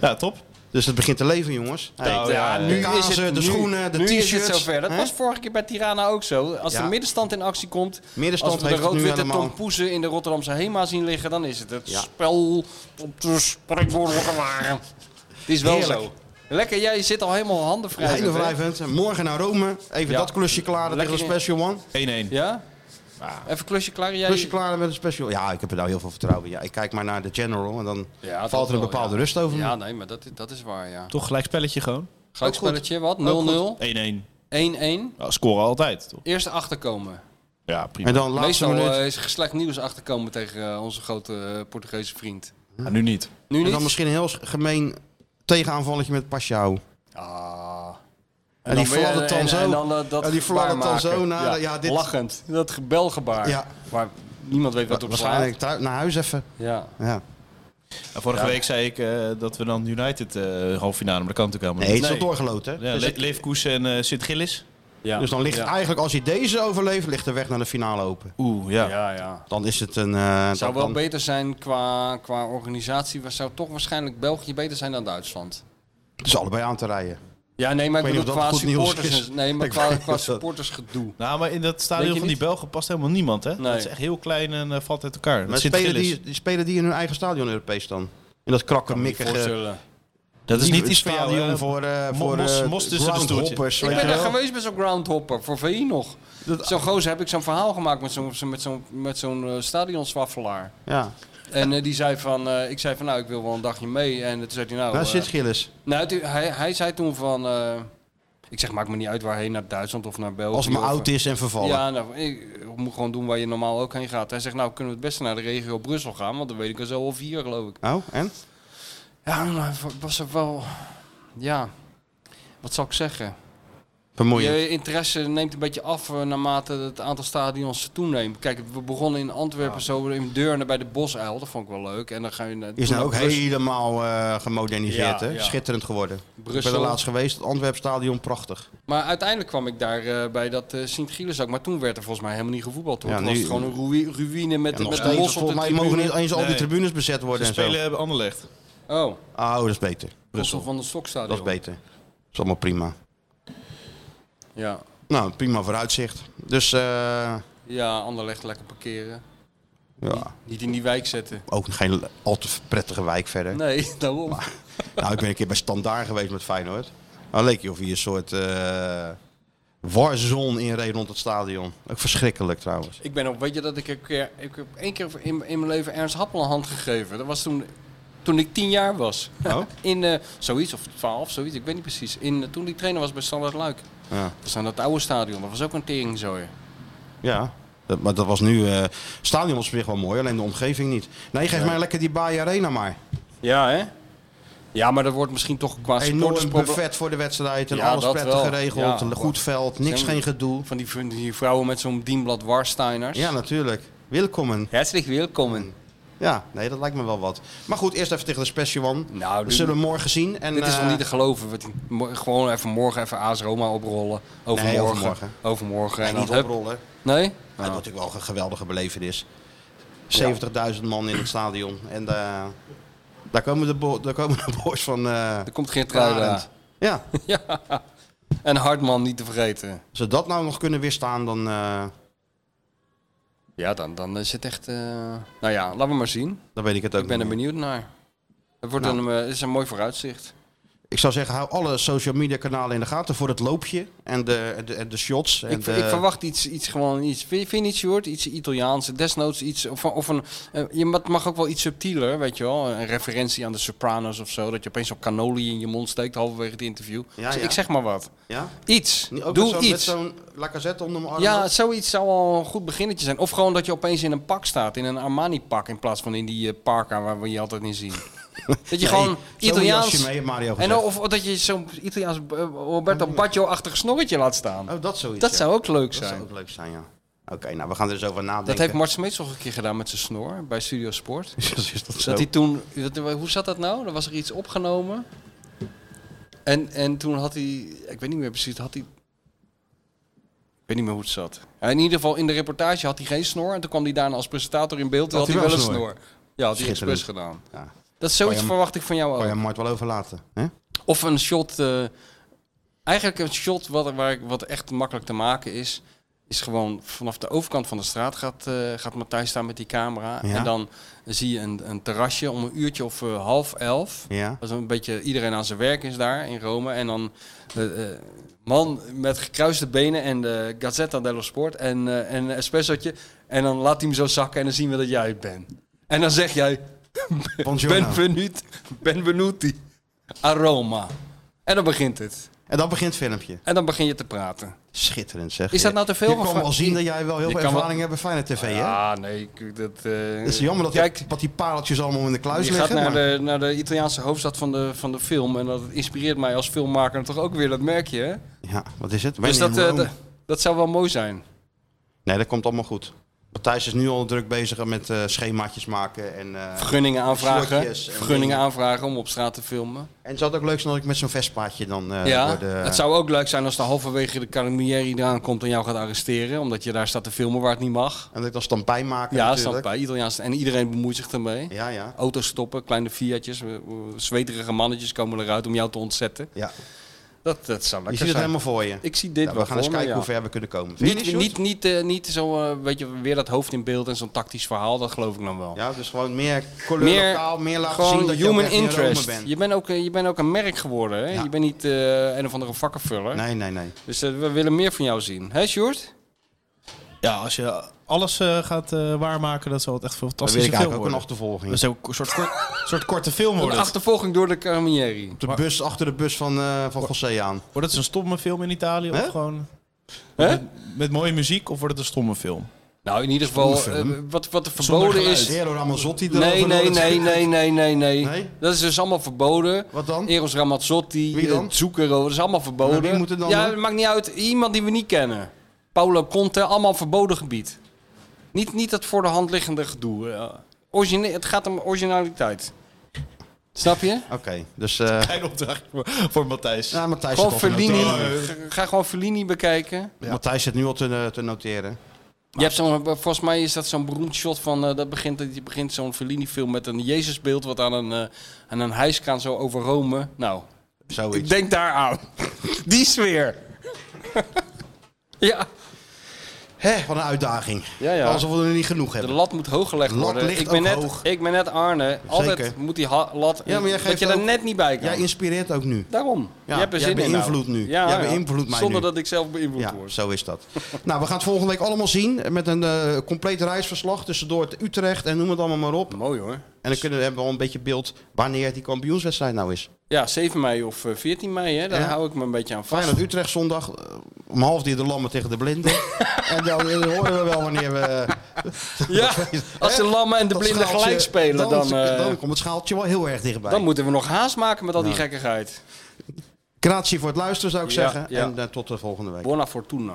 A: Ja, top.
E: Dus het begint te leven, jongens. Hey.
A: Nou, ja,
E: Oh de
A: nu
E: kazen, de
F: nu-
E: schoenen, de
F: nu
E: t-shirts.
F: is het zover. Dat
E: hè?
F: was vorige keer bij Tirana ook zo. Als
E: Ja.
F: de middenstand in actie komt,
E: Middenstand
F: als we de
E: heeft het nu
F: rood-witte
E: helemaal.
F: tompoezen in de Rotterdamse Hema zien liggen, dan is het het
E: Ja.
F: spel op de springboard gewaren. Het is wel
E: Heerlijk.
F: zo. Lekker, jij zit al helemaal handen vrij.
E: Hele wrijvend. Morgen naar Rome. Even
F: Ja.
E: dat klusje klaren
F: Lekker
E: tegen de
F: in.
E: Special One.
A: 1-1.
F: Ja? Even klusje klaar. Jij...
E: Klusje klaren met een Special Ja, ik heb er nou heel veel vertrouwen in. Ja, ik kijk maar naar de General en dan
F: Ja, dat
E: valt er een
F: wel,
E: bepaalde
F: ja.
E: rust over me.
F: Ja, nee, maar dat, dat is waar, ja.
A: Toch gelijk spelletje gewoon?
F: Gelijkspelletje, wat? 0-0?
A: 1-1.
F: 1-1.
A: Ja, scoren altijd, toch?
F: Eerst achterkomen.
A: Ja, prima.
E: En dan laatste
F: Meestal
E: minuut.
F: eh, is er slecht nieuws achterkomen tegen eh, onze grote eh, Portugese vriend.
A: Ja, nu niet.
F: Nu
E: en
F: niet?
E: dan misschien een heel gemeen tegenaanvalletje met Paschou.
F: Ah.
E: En die
F: weer-
E: fladdert dan
F: en-
E: zo.
F: En dan dat, dat
E: En die
F: gebaar
E: fladdert dan
F: maken.
E: zo naar
F: ja.
E: de- ja, dit-
F: Lachend. Dat gebelgebaar.
E: Ja.
F: Waar niemand weet wat op slaat.
E: Waarschijnlijk tru- naar huis even.
F: Ja.
E: Ja.
A: En vorige week zei ik eh, dat we dan United eh half finale, maar dat kan natuurlijk
E: Nee, het
A: helemaal
E: is
A: niet.
E: al doorgeloten.
A: Ja,
E: dus,
A: Le- Leverkusen en eh, Sint-Gillis.
F: ja.
E: dus dan ligt
F: ja.
E: eigenlijk, als hij deze overleeft, ligt de weg naar de finale open.
A: Oeh,
F: Ja,
A: ja.
F: ja. ja.
E: Dan is het een... eh,
F: Zou
E: dan-
F: wel beter zijn qua, qua organisatie. maar Zou toch waarschijnlijk België beter zijn dan Duitsland.
E: Het is allebei aan te rijden.
F: Ja, nee, maar ik,
E: Ik weet
F: bedoel
E: niet of
F: qua
E: dat goed nieuws
F: supporters.
E: is.
F: Nee, maar
E: Ik
F: qua,
E: weet
F: qua
E: niet of dat-
F: supporters gedoe.
A: Nou, maar in dat stadion
F: Weet je
A: van die
F: niet?
A: Belgen past helemaal niemand, hè?
F: Nee.
A: Dat is echt heel klein en eh, valt uit elkaar.
E: Maar
A: Dat
E: spelen
A: Sint-Gillis.
E: die, die spelen die in hun eigen stadion Europees dan? In dat krakkemikkige...
F: Voorstellen.
A: Dat is niet
E: het
A: iets voor jou,
E: stadion
A: hè?
E: voor, eh
A: Mo-
E: voor
A: mos-
E: eh,
A: mos tussen de stoeltjes.
E: groundhoppers,
F: Ik
E: weet
F: ben
E: je
F: daar
E: wel.
F: geweest met zo'n groundhopper voor VI nog. Zo'n gozer heb ik zo'n verhaal gemaakt met zo'n met zo'n met zo'n eh, stadionswaffelaar.
E: Ja.
F: En eh, die zei van, eh, ik zei van nou, ik wil wel een dagje mee. En toen zei hij nou...
E: Waar
F: eh,
E: zit Gilles?
F: nou toen- hij, hij zei toen van, eh, ik zeg maakt me niet uit waarheen, naar Duitsland of naar België.
E: Als het maar
F: of- eh,
E: oud is en vervallen.
F: Ja, nou, ik ik moet gewoon doen waar je normaal ook heen gaat. Hij zegt nou, kunnen we het beste naar de regio Brussel gaan, want dan weet ik er zo al vier geloof ik.
E: Oh, en?
F: Ja,
E: nou,
F: maar was er wel... Ja, wat zal ik zeggen?
E: Bemoeien.
F: Je interesse neemt een beetje af eh, naarmate het aantal stadions toeneemt. Kijk, we begonnen in Antwerpen zo in Deurne bij de Bosuil. Dat vond ik wel leuk. En dan ga je naar
E: Die is nou ook
F: Brus-
E: helemaal eh, gemoderniseerd,
F: Ja,
E: hè?
F: ja.
E: Schitterend geworden.
F: Brussel.
E: Ik ben er laatst geweest, het Antwerpstadion, prachtig.
F: Maar uiteindelijk kwam ik daar eh, bij dat eh Sint-Gilis ook. Maar toen werd er volgens mij helemaal niet gevoetbald. Toen
E: Ja,
F: was
E: nu-
F: het gewoon een ruï- ruïne met,
E: En nog
F: met de
E: steeds,
F: mos op de
E: volgens mij
F: tribune.
E: mogen niet eens al die
A: Nee.
E: tribunes bezet worden
A: Ze
E: en zo.
A: spelen hebben Anderlecht.
F: Oh,
E: Oh, dat is beter.
F: Brussel van de Stokstadion.
E: Dat is beter. Dat is allemaal prima.
F: Ja.
E: Nou, prima vooruitzicht. Dus, eh,
F: ja, Anderlecht lekker parkeren.
E: ja,
F: Niet in die wijk zetten.
E: ook geen al te prettige wijk verder.
F: Nee, daarom.
E: Nou, ik ben een keer bij Standaard geweest met Feyenoord. Nou, leek je of hier een soort eh warzone inreed rond het stadion. Ook verschrikkelijk trouwens.
F: Ik ben ook, weet je dat ik een keer, ik heb één keer in, in mijn leven Ernst Happel een hand gegeven. Dat was toen, toen ik tien jaar was.
E: Oh?
F: In eh, zoiets, of twaalf, zoiets, ik weet niet precies. In, eh, toen ik trainer was bij Standard Luik.
E: Ja.
F: Dat was aan dat oude stadion, dat was ook een teringzooi.
E: Ja, dat, maar dat was nu. eh, het stadion was op zich wel mooi, alleen de omgeving niet. Nee, geef mij lekker die Baai Arena maar.
F: Ja, hè? Ja, maar dat wordt misschien toch qua
E: Enorm
F: supportersproble-
E: buffet voor de wedstrijd en
F: Ja,
E: alles
F: dat
E: prettig
F: wel.
E: geregeld.
F: Ja.
E: Een goed veld, niks,
F: Zijn-
E: geen gedoe.
F: Van die, van die vrouwen met zo'n dienblad Warsteiners.
E: Ja, natuurlijk. Welkom.
F: Herzlich welkom.
E: Ja, nee, dat lijkt me wel wat. Maar goed, eerst even tegen de Special One.
F: Nou,
E: dat
F: dit-
E: zullen we morgen zien. En,
F: Dit is
E: eh,
F: nog niet te geloven. wat die- mo- Gewoon even morgen even AS Roma oprollen. Overmorgen.
E: overmorgen.
F: Overmorgen.
E: nee,
F: En
E: niet
F: dan hup.
E: oprollen.
F: Nee?
E: Maar Wat natuurlijk wel een geweldige belevenis. 70.000 man in het stadion. En eh, daar, komen de bo- daar komen de boys van. eh
F: Er komt geen trui aan.
E: Arend. ja,
F: En Hartman niet te vergeten.
E: als ze dat nou nog kunnen weerstaan, dan. eh,
F: Ja, dan, dan is het echt... eh, Nou ja, laten we maar zien.
E: Dan weet ik het ook
F: Ik ben
E: niet
F: er
E: meer.
F: benieuwd naar. Het wordt
E: Nou.
F: een, eh, het is een mooi vooruitzicht.
E: Ik zou zeggen, hou alle social media kanalen in de gaten voor het loopje en de, en de, en de shots. En
F: Ik,
E: de,
F: ik verwacht iets, iets gewoon iets. Vind je- vind je niet, Sjoerd? Iets Italiaans. Desnoods iets. Of, of een, eh, je mag, mag ook wel iets subtieler, weet je wel. Een referentie aan de Sopranos of zo. Dat je opeens zo'n cannoli in je mond steekt halverwege het interview.
E: Ja,
F: Z-
E: ja.
F: Ik zeg maar wat.
E: Ja?
F: Iets.
E: Ook
F: Doe
E: met zo'n-
F: iets.
E: Met zo'n lacazette onder mijn arm.
F: Ja, zoiets zou al een goed beginnetje zijn. Of gewoon dat je opeens in een pak staat, in een Armani-pak, in plaats van in die eh, parka waar we je altijd in zien. dat je
E: Nee,
F: gewoon
E: zo'n
F: Italiaans...
E: jasje mee heeft Mario
F: en
E: gezet. Mm.
F: of, of dat je zo'n Italiaans eh, Roberto Baggio-achtig snorretje laat staan.
E: Oh, dat zoiets.
F: dat
E: ja.
F: zou ook leuk
E: Dat zou
F: zijn.
E: ook leuk zijn, ja. Oké, nou, we gaan er dus over nadenken.
F: Dat heeft Mart Smeets nog een keer gedaan met zijn snor bij Studio Sport.
E: is dat zo?
F: Dat hij toen, dat- hoe zat dat nou? Er was er iets opgenomen. En, en toen had hij, ik weet niet meer precies, had hij. Ik weet niet meer hoe het zat. Ja, in ieder geval in de reportage had hij geen snor. En toen kwam hij daarna als presentator in beeld. Toen had, hij wel een snor. Ja, had hij
E: Schitterend.
F: expres gedaan.
E: Ja.
F: Dat is zoiets
E: Kan je-
F: verwacht ik van jou
E: Kan je
F: ook.
E: Oh, Mart wel overlaten, hè?
F: Of een shot. eh, eigenlijk een shot wat, waar ik, wat echt makkelijk te maken is. is gewoon vanaf de overkant van de straat gaat, eh, gaat Matthijs staan met die camera.
E: Ja.
F: En dan zie je een, een terrasje om een uurtje of eh, half elf.
E: Ja.
F: Dat is een beetje iedereen aan zijn werk is daar in Rome. En dan eh, eh, man met gekruiste benen en de Gazzetta dello Sport en, eh, en een espressotje. En dan laat hij hem zo zakken en dan zien we dat jij het bent. En dan zeg jij,
E: Buongiorno.
F: benvenuti, benvenuti, aroma. En dan begint het.
E: En dan begint het filmpje.
F: En dan begin je te praten.
E: Schitterend zeg.
F: Is dat nou te veel?
E: Je
F: of-
E: kan wel zien dat jij wel heel
F: Je
E: veel
F: kan wel-
E: ervaring hebt bij Feyenoord TV, hè?
F: Ja, nee, ik- dat... eh,
E: Het is jammer dat,
F: Kijk,
E: wat die pareltjes allemaal in de kluis
F: je gaat
E: liggen.
F: naar
E: maar-
F: de, naar de Italiaanse hoofdstad van de, van de film. En dat inspireert mij als filmmaker toch ook weer, dat merk je. Hè?
E: Ja, wat is het?
F: Dus
E: When
F: dat,
E: in
F: eh,
E: Rome.
F: dat- dat zou wel mooi zijn.
E: Nee, dat komt allemaal goed. Matthijs is nu al druk bezig met eh, schemaatjes maken en... eh,
F: Vergunningen aanvragen.
E: slotjes en
F: Vergunningen
E: dingen.
F: aanvragen om op straat te filmen.
E: En het zou het ook leuk zijn dat ik met zo'n Vespaatje dan... eh,
F: ja,
E: door de-
F: het zou ook leuk zijn als dan halverwege de carabinieri eraan komt en jou gaat arresteren. Omdat je daar staat te filmen waar het niet mag.
E: En dat ik dan stampijn maken
F: Ja,
E: natuurlijk.
F: staat bij Italiaans. En iedereen bemoeit zich ermee.
E: Ja, ja.
F: Auto's stoppen, kleine Fiatjes, eh, eh, zweterige mannetjes komen eruit om jou te ontzetten.
E: ja.
F: Dat, dat zou
E: Je
F: lekker
E: ziet het
F: zijn.
E: helemaal voor je.
F: Ik zie dit
E: Nou,
F: wel
E: we gaan eens
F: voor me,
E: kijken
F: ja.
E: hoe ver we kunnen komen. Vind je
F: Niet,
E: niet,
F: niet,
E: Sjoerd?
F: niet, eh, niet zo, eh, weet je, weer dat hoofd in beeld en zo'n tactisch verhaal, dat geloof ik dan wel.
E: Ja, dus gewoon meer kleur lokaal, meer laten
F: gewoon
E: zien dat
F: human
E: je ook echt in Rome
F: interest.
E: bent.
F: Je, bent ook, eh, je bent ook een merk geworden, hè?
E: Ja.
F: Je bent niet eh, een of andere vakkenvuller.
E: Nee, nee, nee.
F: Dus eh, we willen meer van jou zien. Hé, Sjoerd?
A: Ja, als je alles eh, gaat eh, waarmaken, dat zal het echt een
E: Dan
A: fantastische
E: wil ik
A: film
E: eigenlijk ook Dus-
A: worden.
E: een
A: Dat
E: achtervolging.
A: is ook een soort, kort- soort korte film
F: Een
A: worden.
F: achtervolging door de Carabinieri.
E: De bus achter de bus van, eh van José aan.
A: Wordt het een stomme film in Italië
E: Hè?
A: of gewoon
F: Hè?
A: met mooie muziek of wordt het een stomme film?
F: Nou, in ieder geval,
E: Stoemfilm.
F: eh, wat, wat er
A: Zonder
F: verboden
A: geluid.
F: is...
E: Eero Ramazzotti
F: Nee,
E: erover,
F: nee,
E: dat-
F: nee, nee, nee, nee, nee,
E: Nee?
F: Dat is dus allemaal verboden.
E: Wat dan?
F: Eros Ramazzotti,
E: Wie dan?
F: eh, Zucchero, dat is allemaal verboden.
E: Maar wie moet het dan
F: ja,
E: doen?
F: het maakt niet uit. Iemand die we niet kennen. Paolo Conte, allemaal verboden gebied. Niet, niet dat voor de hand liggende gedoe. eh. Origine- het gaat om originaliteit. Snap je?
E: Oké, dus... eh
A: Mijn opdracht voor, voor Matthijs.
E: nou, Matthijs
F: Gewoon
E: zit al te
F: Fellini.
E: noteren.
F: Ga- Ga gewoon Fellini bekijken.
E: Ja. Matthijs zit nu al te, eh, te noteren.
F: Je hebt zo'n, eh, volgens mij is dat zo'n beroemd shot van, eh, dat begint, die begint zo'n Fellini-film met een Jezusbeeld wat aan een, eh, aan een hijskraan zo over Rome. Nou,
E: Zoiets.
F: Ik denk daar aan. Die sfeer. ja.
E: Hè, wat een uitdaging.
F: Ja, ja.
E: Alsof we er niet genoeg
F: De
E: hebben.
F: lat moet hoog gelegd
E: Lat
F: worden.
E: ligt
F: ik, ben
E: ook
F: net,
E: hoog.
F: ik ben net Arne. Altijd moet die ha- lat...
E: Ja, maar jij
F: dat
E: geeft
F: je er
E: ook-
F: net niet bij kan.
E: Jij inspireert ook nu.
F: Daarom.
E: Ja,
F: je hebt er
E: jij
F: zin in
E: beïnvloedt
F: nou.
E: nu. Jij beïnvloedt mij
F: Zonder
E: nu.
F: dat ik zelf beïnvloed
E: Ja,
F: word.
E: zo is dat. nou, we gaan het volgende week allemaal zien. eh, Met een eh, compleet reisverslag tussendoor te Utrecht en noem het allemaal maar op.
F: Mooi hoor.
E: En dan kunnen we, hebben we al een beetje beeld wanneer die kampioenswedstrijd nou is.
F: Ja, 7 mei of eh, 14 mei, hè, daar
E: Ja.
F: hou ik me een beetje aan vast.
E: Feyenoord Utrecht zondag. eh, Om half die de lammen tegen de blinden. en dan eh, horen we wel wanneer we...
F: Ja, als de
E: Hè?
F: lammen en de
E: dat
F: blinden
E: schaaltje-
F: gelijk spelen, dan,
E: Dan,
F: eh, dan,
E: komt het schaaltje wel heel erg dichtbij.
F: moeten we nog haast maken met al die gekkigheid.
E: Gratie voor het luisteren zou ik
F: Ja,
E: zeggen.
F: ja.
E: En eh, tot de volgende week.
F: Buona fortuna.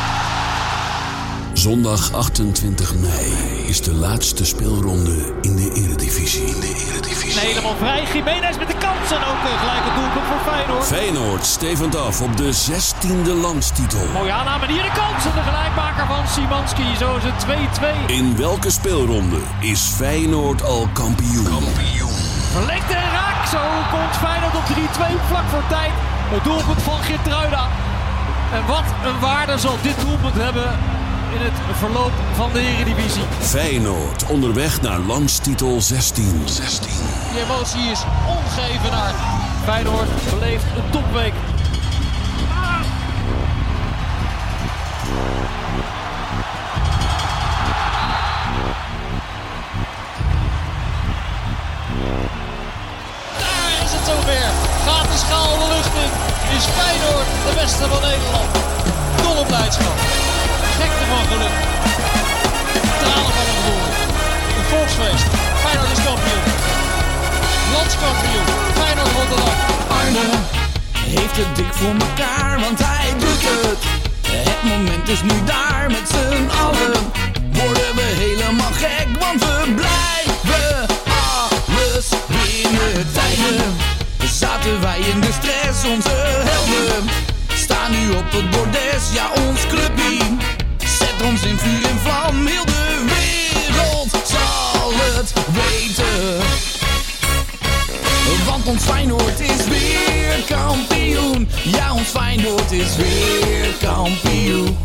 C: Zondag 28 mei is de laatste speelronde in de Eredivisie. In de Eredivisie.
B: Helemaal vrij. Jiménez met de kans en ook eh, gelijk het doelpunt voor Feyenoord.
C: Feyenoord stevend af op de 16e landstitel.
B: Mooie aanname nou, hier de kans en de gelijkmaker van Simanski. Zo is het 2-2.
C: In welke speelronde is Feyenoord al kampioen?
B: Verlengd en raak. Zo komt Feyenoord op 3-2 vlak voor tijd. Het doelpunt van Geertruida. En wat een waarde zal dit doelpunt hebben in het verloop van de Eredivisie.
C: Feyenoord onderweg naar landstitel 16. 16.
B: Die emotie is ongevenaard. Feyenoord beleeft een topweek. Daar is het zover. Gaat de schaal de lucht in. Is Feyenoord de beste van Nederland. Dol op blijdschap. Gekte van geluk. Tranen van het doel. Een volksfeest. Feyenoord is kampioen. Landskampioen. Feyenoord Rotterdam.
D: Arne heeft het dik voor mekaar, want hij doet het. Het moment
K: Dus nu daar met z'n allen worden we helemaal gek, want we blijven alles binnen tijden. Zaten wij in de stress, onze helden staan nu op het bordes, ja ons clubje zet ons in vuur en vlam, heel de wereld zal het weten. Want ons Feyenoord is weer kampioen. Ja, ons Feyenoord is weer kampioen.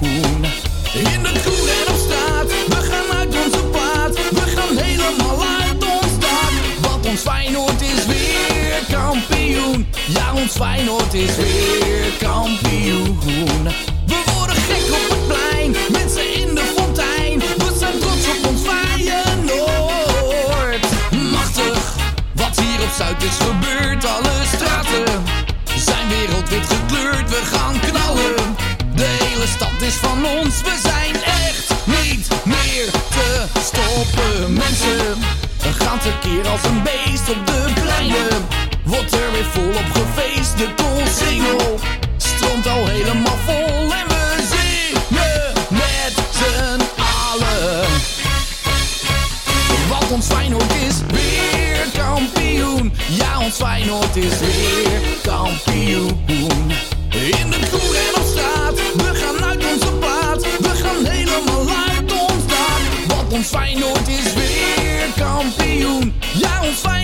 K: In de koel en op straat, we gaan uit onze plaat. We gaan helemaal uit ons dak. Want ons Feyenoord is weer kampioen. Ja, ons Feyenoord is weer kampioen. We worden gek op het plein, mensen in de fontein. We zijn trots op ons Feyenoord. Machtig. Wat hier op Zuid is gebeurd, alle straten zijn wereldwit gekleurd. We gaan knallen, de hele stad is van ons. We zijn echt niet meer te stoppen. Mensen gaan tekeer als een beest op de pleinen. Wordt er weer volop gefeest, de koolsingel stroomt al helemaal vol. En we zingen met z'n allen. Want ons Feyenoord is weer kampioen. Ja, ons Feyenoord is weer kampioen. In de kroeg en op straat, we gaan uit onze plaat. We gaan helemaal uit ons dak. Want ons Feyenoord is weer kampioen. Ja, ons Feyenoord Oh, Oh, Oh, Mm,